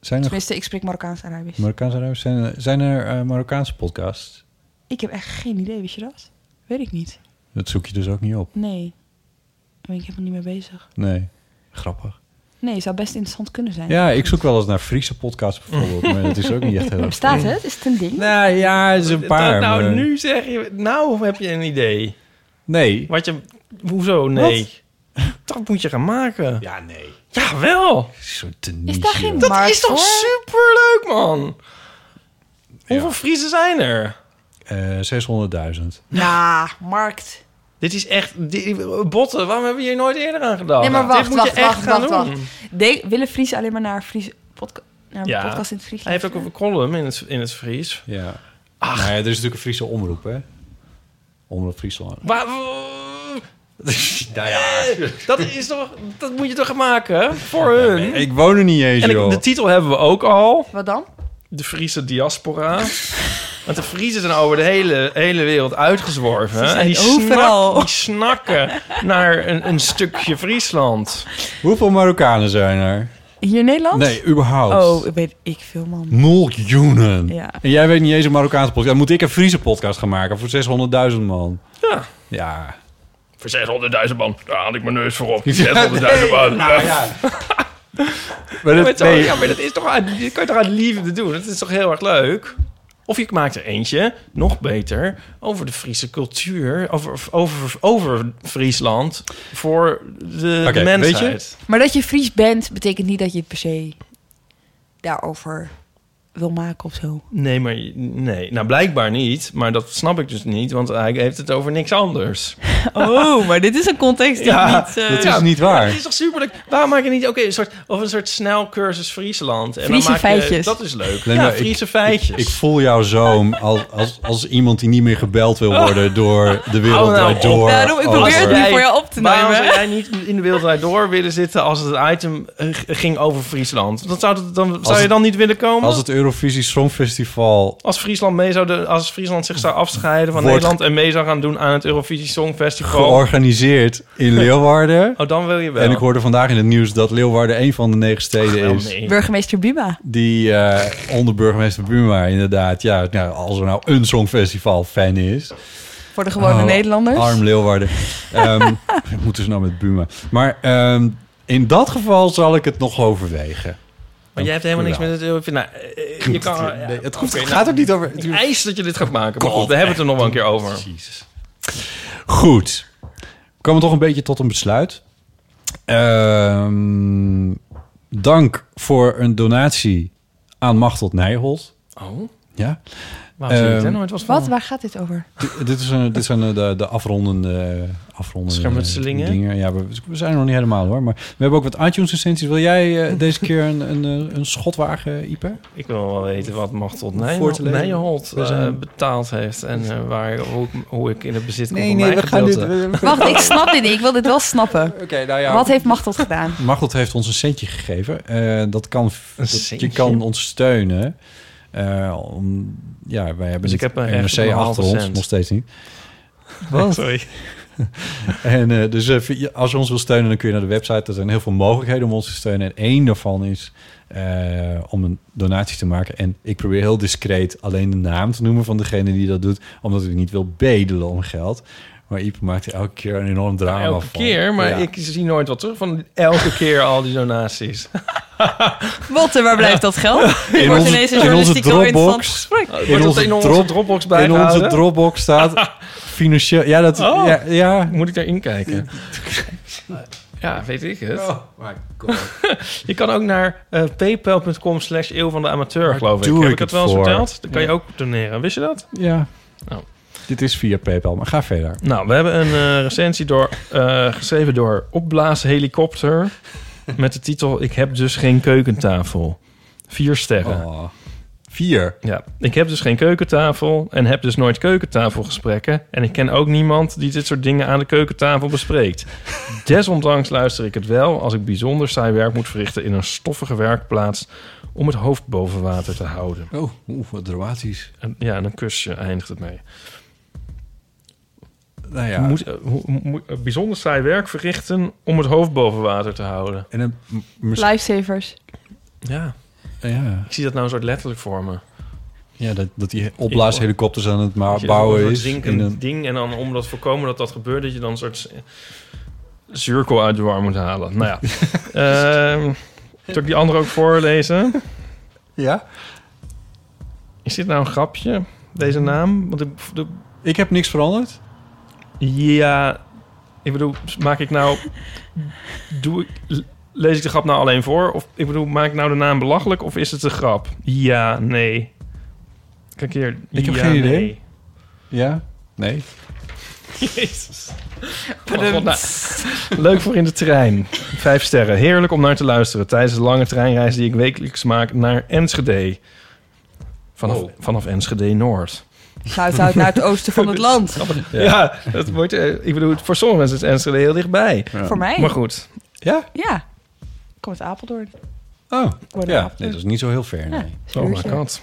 S6: Zijn er
S7: Tenminste, ik spreek Marokkaans-Arabisch.
S6: Marokkaanse Arabisch? Zijn er, zijn er eh, Marokkaanse podcasts?
S7: Ik heb echt geen idee, wist je dat? Weet ik niet.
S6: Dat zoek je dus ook niet op.
S7: Nee. Daar ben ik helemaal niet mee bezig.
S6: Nee. Grappig.
S16: Nee, zou best interessant kunnen zijn.
S6: Ja, ik zoek wel eens naar Friese podcasts bijvoorbeeld, maar dat is ook niet echt heel erg.
S16: Bestaat het? Is het een ding?
S6: Nou ja, het is een paar.
S8: Dat nou,
S6: maar-
S8: nu zeg je... Nou heb je een idee.
S6: Nee.
S8: Wat je... Hoezo? Nee. Dat moet je gaan maken.
S6: Ja, nee.
S8: Jawel.
S6: Is
S8: daar
S6: geen
S8: Dat
S6: markt
S8: is toch
S6: voor?
S8: superleuk, man? Hoeveel Friesen zijn er?
S6: Eh 600.000.
S8: Ja, markt. Dit is echt... di- botten, waarom hebben we hier nooit eerder aan gedacht?
S16: nee, maar
S8: Nou,
S16: wacht,
S8: dit moet
S16: wacht,
S8: je echt
S16: wacht,
S8: gaan
S16: wacht,
S8: doen.
S16: wacht. De, willen Friese alleen maar naar, Fries podca- naar een
S8: Ja.
S16: podcast in het Fries?
S8: Hij heeft ook een column in het, in het Fries.
S6: Ja. Ach. Nou ja, er is natuurlijk een Friese omroep, hè? Omroep Friesland.
S8: Waar...
S6: nou ja.
S8: Dat, is toch, dat moet je toch gaan maken? Voor hun.
S6: Ik woon er niet eens,
S8: En ik-
S6: joh.
S8: de titel hebben we ook al.
S16: Wat dan?
S8: De Friese diaspora. Want de Friesen zijn over de hele, hele wereld uitgezworven.
S6: Ze
S8: hè?
S6: zijn
S8: En die, snak-
S6: overal.
S8: die snakken naar een, een stukje Friesland.
S6: Hoeveel Marokkanen zijn er?
S16: Hier in Nederland?
S6: Nee, überhaupt.
S16: Oh, ik weet ik veel, man.
S6: Miljoenen.
S16: Ja.
S6: En jij weet niet eens een Marokkaanse podcast. Dan moet ik een Friese podcast gaan maken voor 600.000 man.
S8: Ja.
S6: Ja.
S8: Voor 600.000 man. Daar had ik mijn neus voor op. 600.000
S6: nee.
S8: man.
S6: Nou ja.
S8: Maar
S6: dat-
S8: dat,
S6: nee.
S8: ja, maar dat is toch uit, dat kan je toch uit liefde doen? Dat is toch heel erg leuk? Of je maakt er eentje, nog beter, over de Friese cultuur, over, over, over Friesland, voor de,
S6: Oké,
S8: de mensheid.
S6: weet
S16: Maar dat je Fries bent, betekent niet dat je het per se daarover wil maken of zo.
S8: Nee, maar je- nee. Nou, blijkbaar niet, maar dat snap ik dus niet, want hij heeft het over niks anders.
S16: Oh, maar dit is een context die niet... eh,
S8: ja,
S6: waar?
S8: Het is toch superleuk? Waarom maak je niet ook een soort, of een soort snel cursus Friesland? En
S16: Friese
S8: dan maak je-
S16: feitjes.
S8: Dat is leuk.
S6: Nee,
S8: ja,
S6: maar ik-
S8: Friese feitjes.
S6: Ik voel jou zo als, als, als iemand die niet meer gebeld wil worden door de wereld
S8: Hou nou
S6: Draait
S8: op.
S6: door. over-
S8: Waarom zou jij niet in de wereld Draait door willen zitten als het item eh, g- ging over Friesland? Dan zou, dat, dan, zou je
S6: het-
S8: dan niet willen komen?
S6: Als
S8: Als,
S6: het Eurovisie Songfestival
S8: Friesland mee zou de, als Friesland zich zou afscheiden van
S6: Wordt-
S8: Nederland en mee zou gaan doen aan het Eurovisie Songfestival.
S6: georganiseerd in Leeuwarden.
S8: Oh, dan wil je wel.
S6: En ik hoorde vandaag in het nieuws dat Leeuwarden een van de negen steden is.
S16: Burgemeester Buma.
S6: Die eh, onderburgemeester Buma, inderdaad. Ja, nou, als er nou een songfestival-fan is.
S16: Voor de gewone
S6: Oh,
S16: Nederlanders.
S6: Arm Leeuwarden. Ehm, moeten ze nou met Buma? Maar ehm, in dat geval zal ik het nog overwegen.
S8: Maar jij hebt helemaal niks
S6: Jawel.
S8: met het Eurovisie. Nou, eh, je kan,
S6: Nee, het
S8: oké, nou,
S6: gaat ook niet over...
S8: Ik eis dat je dit gaat maken. Maar goed, we hebben het er nog wel een keer over.
S6: Goed. We komen toch een beetje tot een besluit. Ehm, dank voor een donatie aan Machteld Nijholt.
S8: Oh.
S6: Ja.
S8: Waarom zie ik daar
S6: Ehm,
S8: nooit wat van?
S16: Wat? Waar gaat dit over?
S6: Dit- dit, is een, dit zijn eh, de, de afrondende, afrondende
S8: Schermutselingen?
S6: dingen. Ja, we, we zijn er nog niet helemaal hoor. Maar we hebben ook wat iTunes recensies. Wil jij eh, deze keer een, een, eh, een schot wagen, Ipe?
S8: Ik wil wel weten wat Machtel
S6: Voor te lezen.
S8: Nijholt
S6: We zijn-
S8: eh, betaald heeft en eh, waar, hoe, ik- hoe ik in het bezit kom
S6: Nee,
S8: van
S6: nee,
S8: mijn
S6: we gaan
S8: gedeelte.
S6: dit- we-
S16: Wacht, ik snap dit niet. Ik wil dit wel snappen.
S6: nou ja.
S16: Wat heeft Machteld gedaan?
S6: Machteld heeft ons een centje gegeven. Eh, dat kan, dat-
S8: centje?
S6: je kan ons steunen. Eh, om, ja, wij hebben
S8: Dus ik
S6: niet
S8: heb een- echt een
S6: NRC
S8: halve
S6: achter ons,
S8: cent.
S6: nog steeds niet.
S8: Wat? Sorry.
S6: en eh, dus eh, via- als je ons wil steunen, dan kun je naar de website. Er zijn heel veel mogelijkheden om ons te steunen. En één daarvan is eh, om een donatie te maken. En ik probeer heel discreet alleen de naam te noemen van degene die dat doet, omdat ik niet wil bedelen om geld. Maar Iep maakt er elke keer een enorm drama
S8: Elke
S6: van.
S8: keer, maar
S6: Ja.
S8: ik zie nooit wat terug van elke keer al die donaties.
S16: Botte, waar blijft dat geld?
S6: in
S16: Wordt
S6: onze,
S16: ineens een
S6: in onze
S16: journalistiek heel interessant
S6: Dropbox.
S16: gesprek.
S8: Wordt dat in onze Dropbox
S6: In onze
S8: bijgehouden?
S6: Dropbox staat financieel. Ja, dat.
S8: Oh.
S6: Ja, ja.
S8: Moet ik daarin kijken? Ja, weet ik het.
S6: Oh my god.
S8: je kan ook naar eh paypal.com slash eeuw van de amateur, geloof ik.
S6: doe
S8: Heb
S6: ik
S8: ik
S6: het
S8: dat wel eens
S6: voor?
S8: verteld? Dan kan je
S6: Ja.
S8: ook doneren. Wist je dat?
S6: Ja.
S8: Oh.
S6: Dit is via PayPal, maar ga verder.
S8: Nou, we hebben een eh, recensie door, eh, geschreven door Opblaas Helikopter. Met de titel Ik heb dus geen keukentafel. Vier sterren.
S6: Oh. Vier?
S8: Ja. Ik heb dus geen keukentafel en heb dus nooit keukentafelgesprekken. En ik ken ook niemand die dit soort dingen aan de keukentafel bespreekt. Desondanks luister ik het wel als ik bijzonder saai werk moet verrichten in een stoffige werkplaats om het hoofd boven water te houden.
S6: Oh, oeh, wat dramatisch.
S8: En, ja, en een kusje eindigt het mee.
S6: Nou ja.
S8: Moet, eh, hoe- moet- eh, bijzonder saai werk verrichten om het hoofd boven water te houden.
S6: En een,
S16: Lifesavers.
S8: ja.
S6: ja.
S8: Ik zie dat nou een soort letterlijk voor me.
S6: Ja, dat, dat die opblaashelikopters aan het ma-
S8: Dat je
S6: bouwen
S8: een soort
S6: is.
S8: zinkend
S6: in een-
S8: ding en dan om dat voorkomen dat dat gebeurt, dat je dan een soort zuurkool uit de war moet halen. Nou ja. Ehm zal ik die andere ook voorlezen?
S6: Ja.
S8: Is dit nou een grapje, deze naam? Want de,
S6: Ik heb niks veranderd.
S8: Ja, ik bedoel, maak ik nou... Doe ik, lees ik de grap nou alleen voor? Of ik bedoel, maak ik nou de naam belachelijk of is het een grap? Ja, nee. Kijk hier.
S6: Ik heb
S8: ja,
S6: geen idee.
S8: nee.
S6: Ja? Nee.
S8: Jezus. Oh, God, nou, leuk voor in de trein. Vijf sterren. Heerlijk om naar te luisteren tijdens de lange treinreis die ik wekelijks maak naar Enschede. Vanaf, vanaf Enschede Noord.
S7: Zuid uit naar het oosten van het land.
S8: Ja, dat wordt, eh, ik bedoel, voor sommige mensen is Enschede heel dichtbij.
S7: Voor mij.
S8: Maar goed.
S6: Ja?
S7: Ja. Ik kom uit Apeldoorn.
S6: Oh,
S7: Worden
S6: ja.
S7: af-
S6: Nee, dat is niet zo heel ver.
S7: Ja,
S6: Nee.
S7: is
S8: Oh my
S7: uurtje.
S8: god.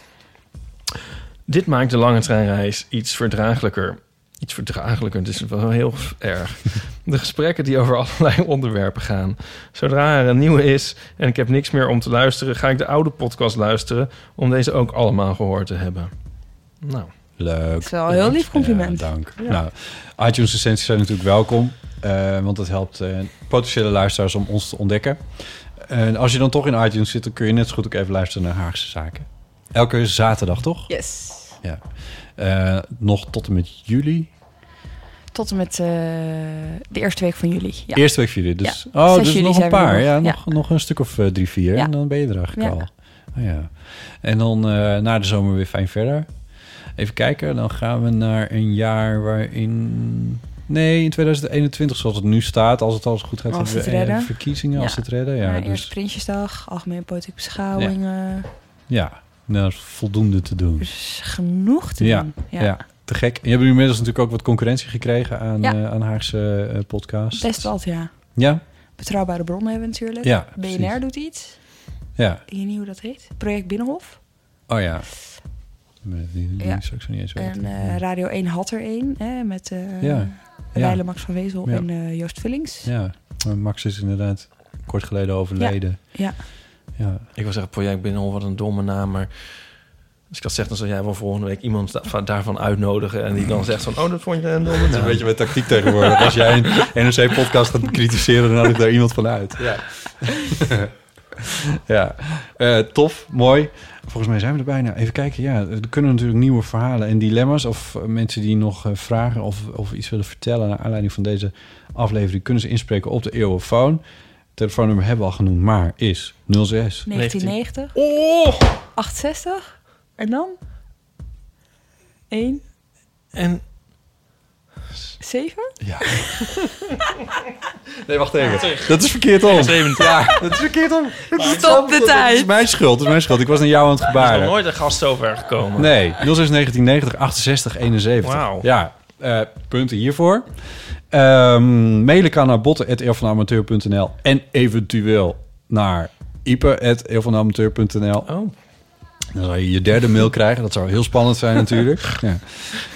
S8: Dit maakt de lange treinreis iets verdraaglijker. Iets verdraaglijker, het is wel heel erg. De gesprekken die over allerlei onderwerpen gaan. Zodra er een nieuwe is en ik heb niks meer om te luisteren, ga ik de oude podcast luisteren om deze ook allemaal gehoord te hebben. Nou.
S6: Leuk.
S7: Het is wel een heel lief compliment.
S6: Ja, dank. Nou, iTunes recensies zijn natuurlijk welkom. eh, want dat helpt eh, potentiële luisteraars om ons te ontdekken. En als je dan toch in iTunes zit, dan kun je net zo goed ook even luisteren naar Haagse Zaken. Elke zaterdag, toch?
S7: Yes.
S6: Ja. Eh, nog tot en met juli.
S7: Tot en met eh, de eerste week van juli. Ja.
S6: Eerste week juli. Dus,
S7: Ja.
S6: Oh,
S7: Zes
S6: dus
S7: juli
S6: nog een
S7: zijn we
S6: paar.
S7: nog.
S6: Ja,
S7: Ja.
S6: nog, nog een stuk of eh, drie, vier.
S7: Ja.
S6: En dan ben je er eigenlijk
S7: Ja.
S6: al. Oh, ja. En dan eh, na de zomer weer fijn verder. Even kijken. Dan gaan we naar een jaar waarin... Nee, in 2021 zoals het nu staat. Als het alles goed gaat,
S7: Als
S6: hebben we
S7: het
S6: eh,
S7: redden.
S6: verkiezingen. Als
S7: Ja.
S6: het redden. Ja,
S7: Ja,
S6: dus,
S7: Eerst Prinsjesdag, algemene politieke beschouwingen.
S6: ja. Nou, dat is voldoende te doen.
S7: Dus genoeg te
S6: ja.
S7: doen.
S6: Ja. te gek. En je hebt nu inmiddels natuurlijk ook wat concurrentie gekregen aan,
S7: Ja.
S6: eh, aan Haagse eh, podcast.
S7: Best wat, ja.
S6: Ja,
S7: Betrouwbare bronnen hebben we natuurlijk.
S6: Ja,
S7: BNR
S6: precies.
S7: doet iets.
S6: ja.
S7: Ik weet niet hoe dat heet. Project Binnenhof.
S6: Oh ja. Die, die
S7: Ja.
S6: zou ik zo niet eens
S7: En
S6: weten.
S7: eh, Radio 1 had er één. Hè, met eh
S6: Ja.
S7: Wijlen, Max van Wezel
S6: Ja.
S7: en eh, Joost Vullings.
S6: ja, maar Max is inderdaad kort geleden overleden.
S7: Ja.
S6: Ja.
S8: Ik was echt project binnen, wat een domme naam, maar... Als ik dat zeg, dan zou jij wel volgende week iemand da- van- daarvan uitnodigen... en die dan zegt van, oh, dat vond je een domme
S6: Dat is een
S8: naam.
S6: beetje mijn tactiek tegenwoordig. Als jij een NRC-podcast gaat bekritiseren, dan nodig daar iemand van uit. Ja. ja. Eh, tof, mooi. Volgens mij zijn we er bijna. Even kijken, ja, er kunnen natuurlijk nieuwe verhalen en dilemma's... of eh, mensen die nog eh, vragen of, of iets willen vertellen... naar aanleiding van deze aflevering... kunnen ze inspreken op de eeuwenfoon. Telefoonnummer hebben we al genoemd, maar is 06...
S7: 1990.
S8: Oh!
S7: 68. En dan? 1.
S8: En?
S7: 7?
S6: Ja. Nee, wacht even.
S7: Terug.
S6: Dat is verkeerd om.
S8: 70.
S6: Ja, dat is verkeerd om.
S7: Stop
S6: Dat
S7: de
S6: is
S7: tijd.
S6: mijn schuld, dat is mijn schuld. Ik was naar jou aan het
S8: Er is nog
S6: gebaren.
S8: nooit een gast over gekomen.
S6: Nee, 06 1990 68 71.
S8: Wauw.
S6: Ja, eh, punten hiervoor. Ehm, mailen kan naar botten.eeuwvanamateur.nl en eventueel naar ipe.eeuwvanamateur.nl.
S8: Oh.
S6: Dan zou je je derde mail krijgen. Dat zou heel spannend zijn natuurlijk. Ja.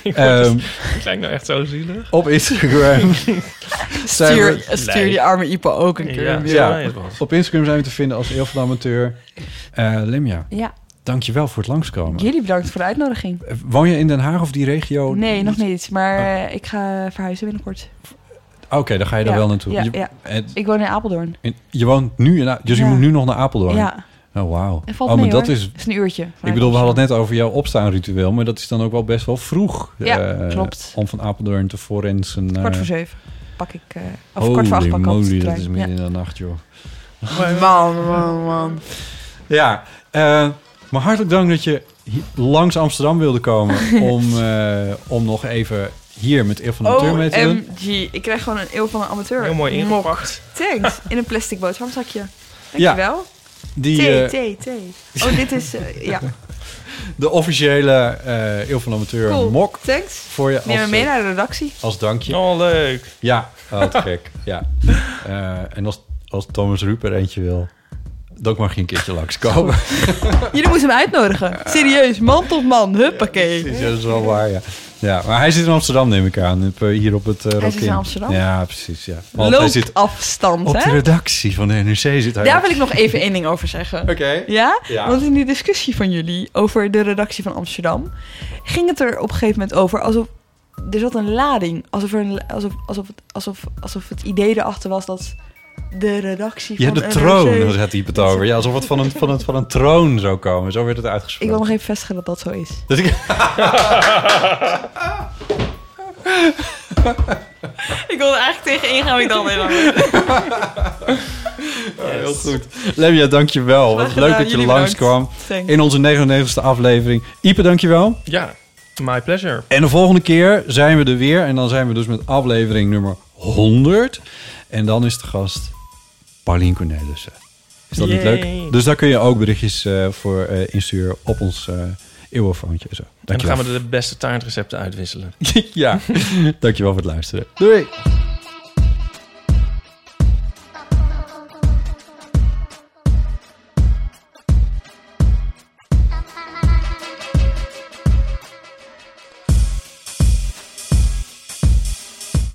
S8: Ik word dus-
S6: Ehm,
S8: Het lijkt nou echt zo zielig.
S6: op Instagram. zijn we-
S7: Stuur, stuur die arme Ipo ook een keer.
S8: Ja.
S7: een mail.
S6: Ja,
S8: Ja, wat.
S6: op Instagram zijn we te vinden als Eel van de Amateur. Eh Limja,
S7: Ja.
S6: dankjewel voor het langskomen.
S7: Jullie bedankt voor de uitnodiging.
S6: Eh, Woon je in Den Haag of die regio?
S7: Nee, nog niet. Maar
S6: Oh.
S7: eh, ik ga verhuizen binnenkort.
S6: Oké, dan ga je daar
S7: Ja,
S6: wel naartoe.
S7: Ja,
S6: je,
S7: ja.
S6: en-
S7: Ik woon in Apeldoorn.
S6: en je woont nu in A- dus je
S7: Ja.
S6: moet nu nog naar Apeldoorn.
S7: Ja.
S6: Oh, wauw.
S7: Het valt
S6: oh, maar
S7: mee,
S6: dat
S7: hoor.
S6: is.
S7: Het is een uurtje
S6: Ik
S7: vanuit
S6: bedoel, we hadden het net over jouw opstaan ritueel, maar dat is dan ook wel best wel vroeg.
S7: Ja,
S6: eh,
S7: klopt.
S6: Om van Apeldoorn te forensen. naar-
S7: Kwart voor zeven pak ik... eh of kwart voor acht pak
S6: eh, Holy
S7: ik altijd
S6: moly,
S7: de
S6: dat
S7: trein.
S6: is
S7: Ja.
S6: midden in de nacht, joh.
S7: Man, man, man.
S6: Ja, eh, maar hartelijk dank dat je hi- langs Amsterdam wilde komen om, eh, om nog even hier met Eeuw van de Amateur mee
S7: Oh,
S6: te doen.
S7: OMG. Ik krijg gewoon een eeuw van een amateur.
S8: Heel mooi
S7: Mok.
S8: ingepakt.
S7: Thanks. In een plastic boterhamzakje.
S6: Ja.
S7: Dankjewel.
S6: Die,
S7: thee,
S6: eh,
S7: thee, thee. Oh, dit is... eh, ja.
S6: De officiële eh Eeuw van de Amateur
S7: Cool.
S6: mok
S7: Thanks.
S6: voor je
S7: Neem
S6: als,
S7: me mee
S6: eh,
S7: naar de redactie.
S6: als dankje.
S8: Oh, leuk.
S6: Ja, Oh, wat gek. Ja. Eh, en als, als Thomas Ruper eentje wil, dan mag je een keertje langskomen.
S7: Jullie moeten hem uitnodigen. Serieus, man tot man. Huppakee.
S6: Precies, dat is wel waar, ja. ja. Maar hij zit in Amsterdam, neem ik aan, op, eh, hier op het eh
S7: zit in
S6: Rokin.
S7: Amsterdam?
S6: Ja, precies, ja. Want hij zit
S7: Loopafstand,
S6: op de
S7: hè?
S6: redactie van de NRC. Zit hij
S7: Daar wil ik nog even één ding over zeggen. Oké. Ja?
S6: Ja.
S7: Want in die discussie van jullie over de redactie van Amsterdam... ging het er op een gegeven moment over alsof er zat een lading. Alsof, er een, alsof, alsof, het- alsof, alsof het idee erachter was dat de redactie
S6: Ja,
S7: van
S6: de
S7: NRC
S6: troon, daar had hij het over. Ja, alsof het van een, van, een, van een troon zou komen. Zo werd het
S7: Ik
S6: uitgesproken.
S7: wil nog even vestigen dat dat zo is.
S6: Dus ik...
S2: Ik wilde eigenlijk tegen ingaan wie dan helemaal.
S6: Ja, heel goed. Lemia, dankjewel. Wat
S8: Graag
S6: leuk
S8: gedaan,
S6: dat je
S8: jullie
S6: langskwam
S8: bedankt. Thanks.
S6: in onze 99ste aflevering. Ipe, dankjewel.
S8: Ja, my pleasure.
S6: En de volgende keer zijn we er weer. En dan zijn we dus met aflevering nummer 100. En dan is de gast Paulien Cornelissen. Is dat niet
S8: Yay.
S6: leuk? Dus daar kun je ook berichtjes eh, voor eh, insturen op ons eh eeuwenfoontje. en Zo.
S8: En dan
S6: Dankjewel.
S8: gaan we de beste taartrecepten uitwisselen.
S6: ja, dankjewel voor het luisteren. Doei!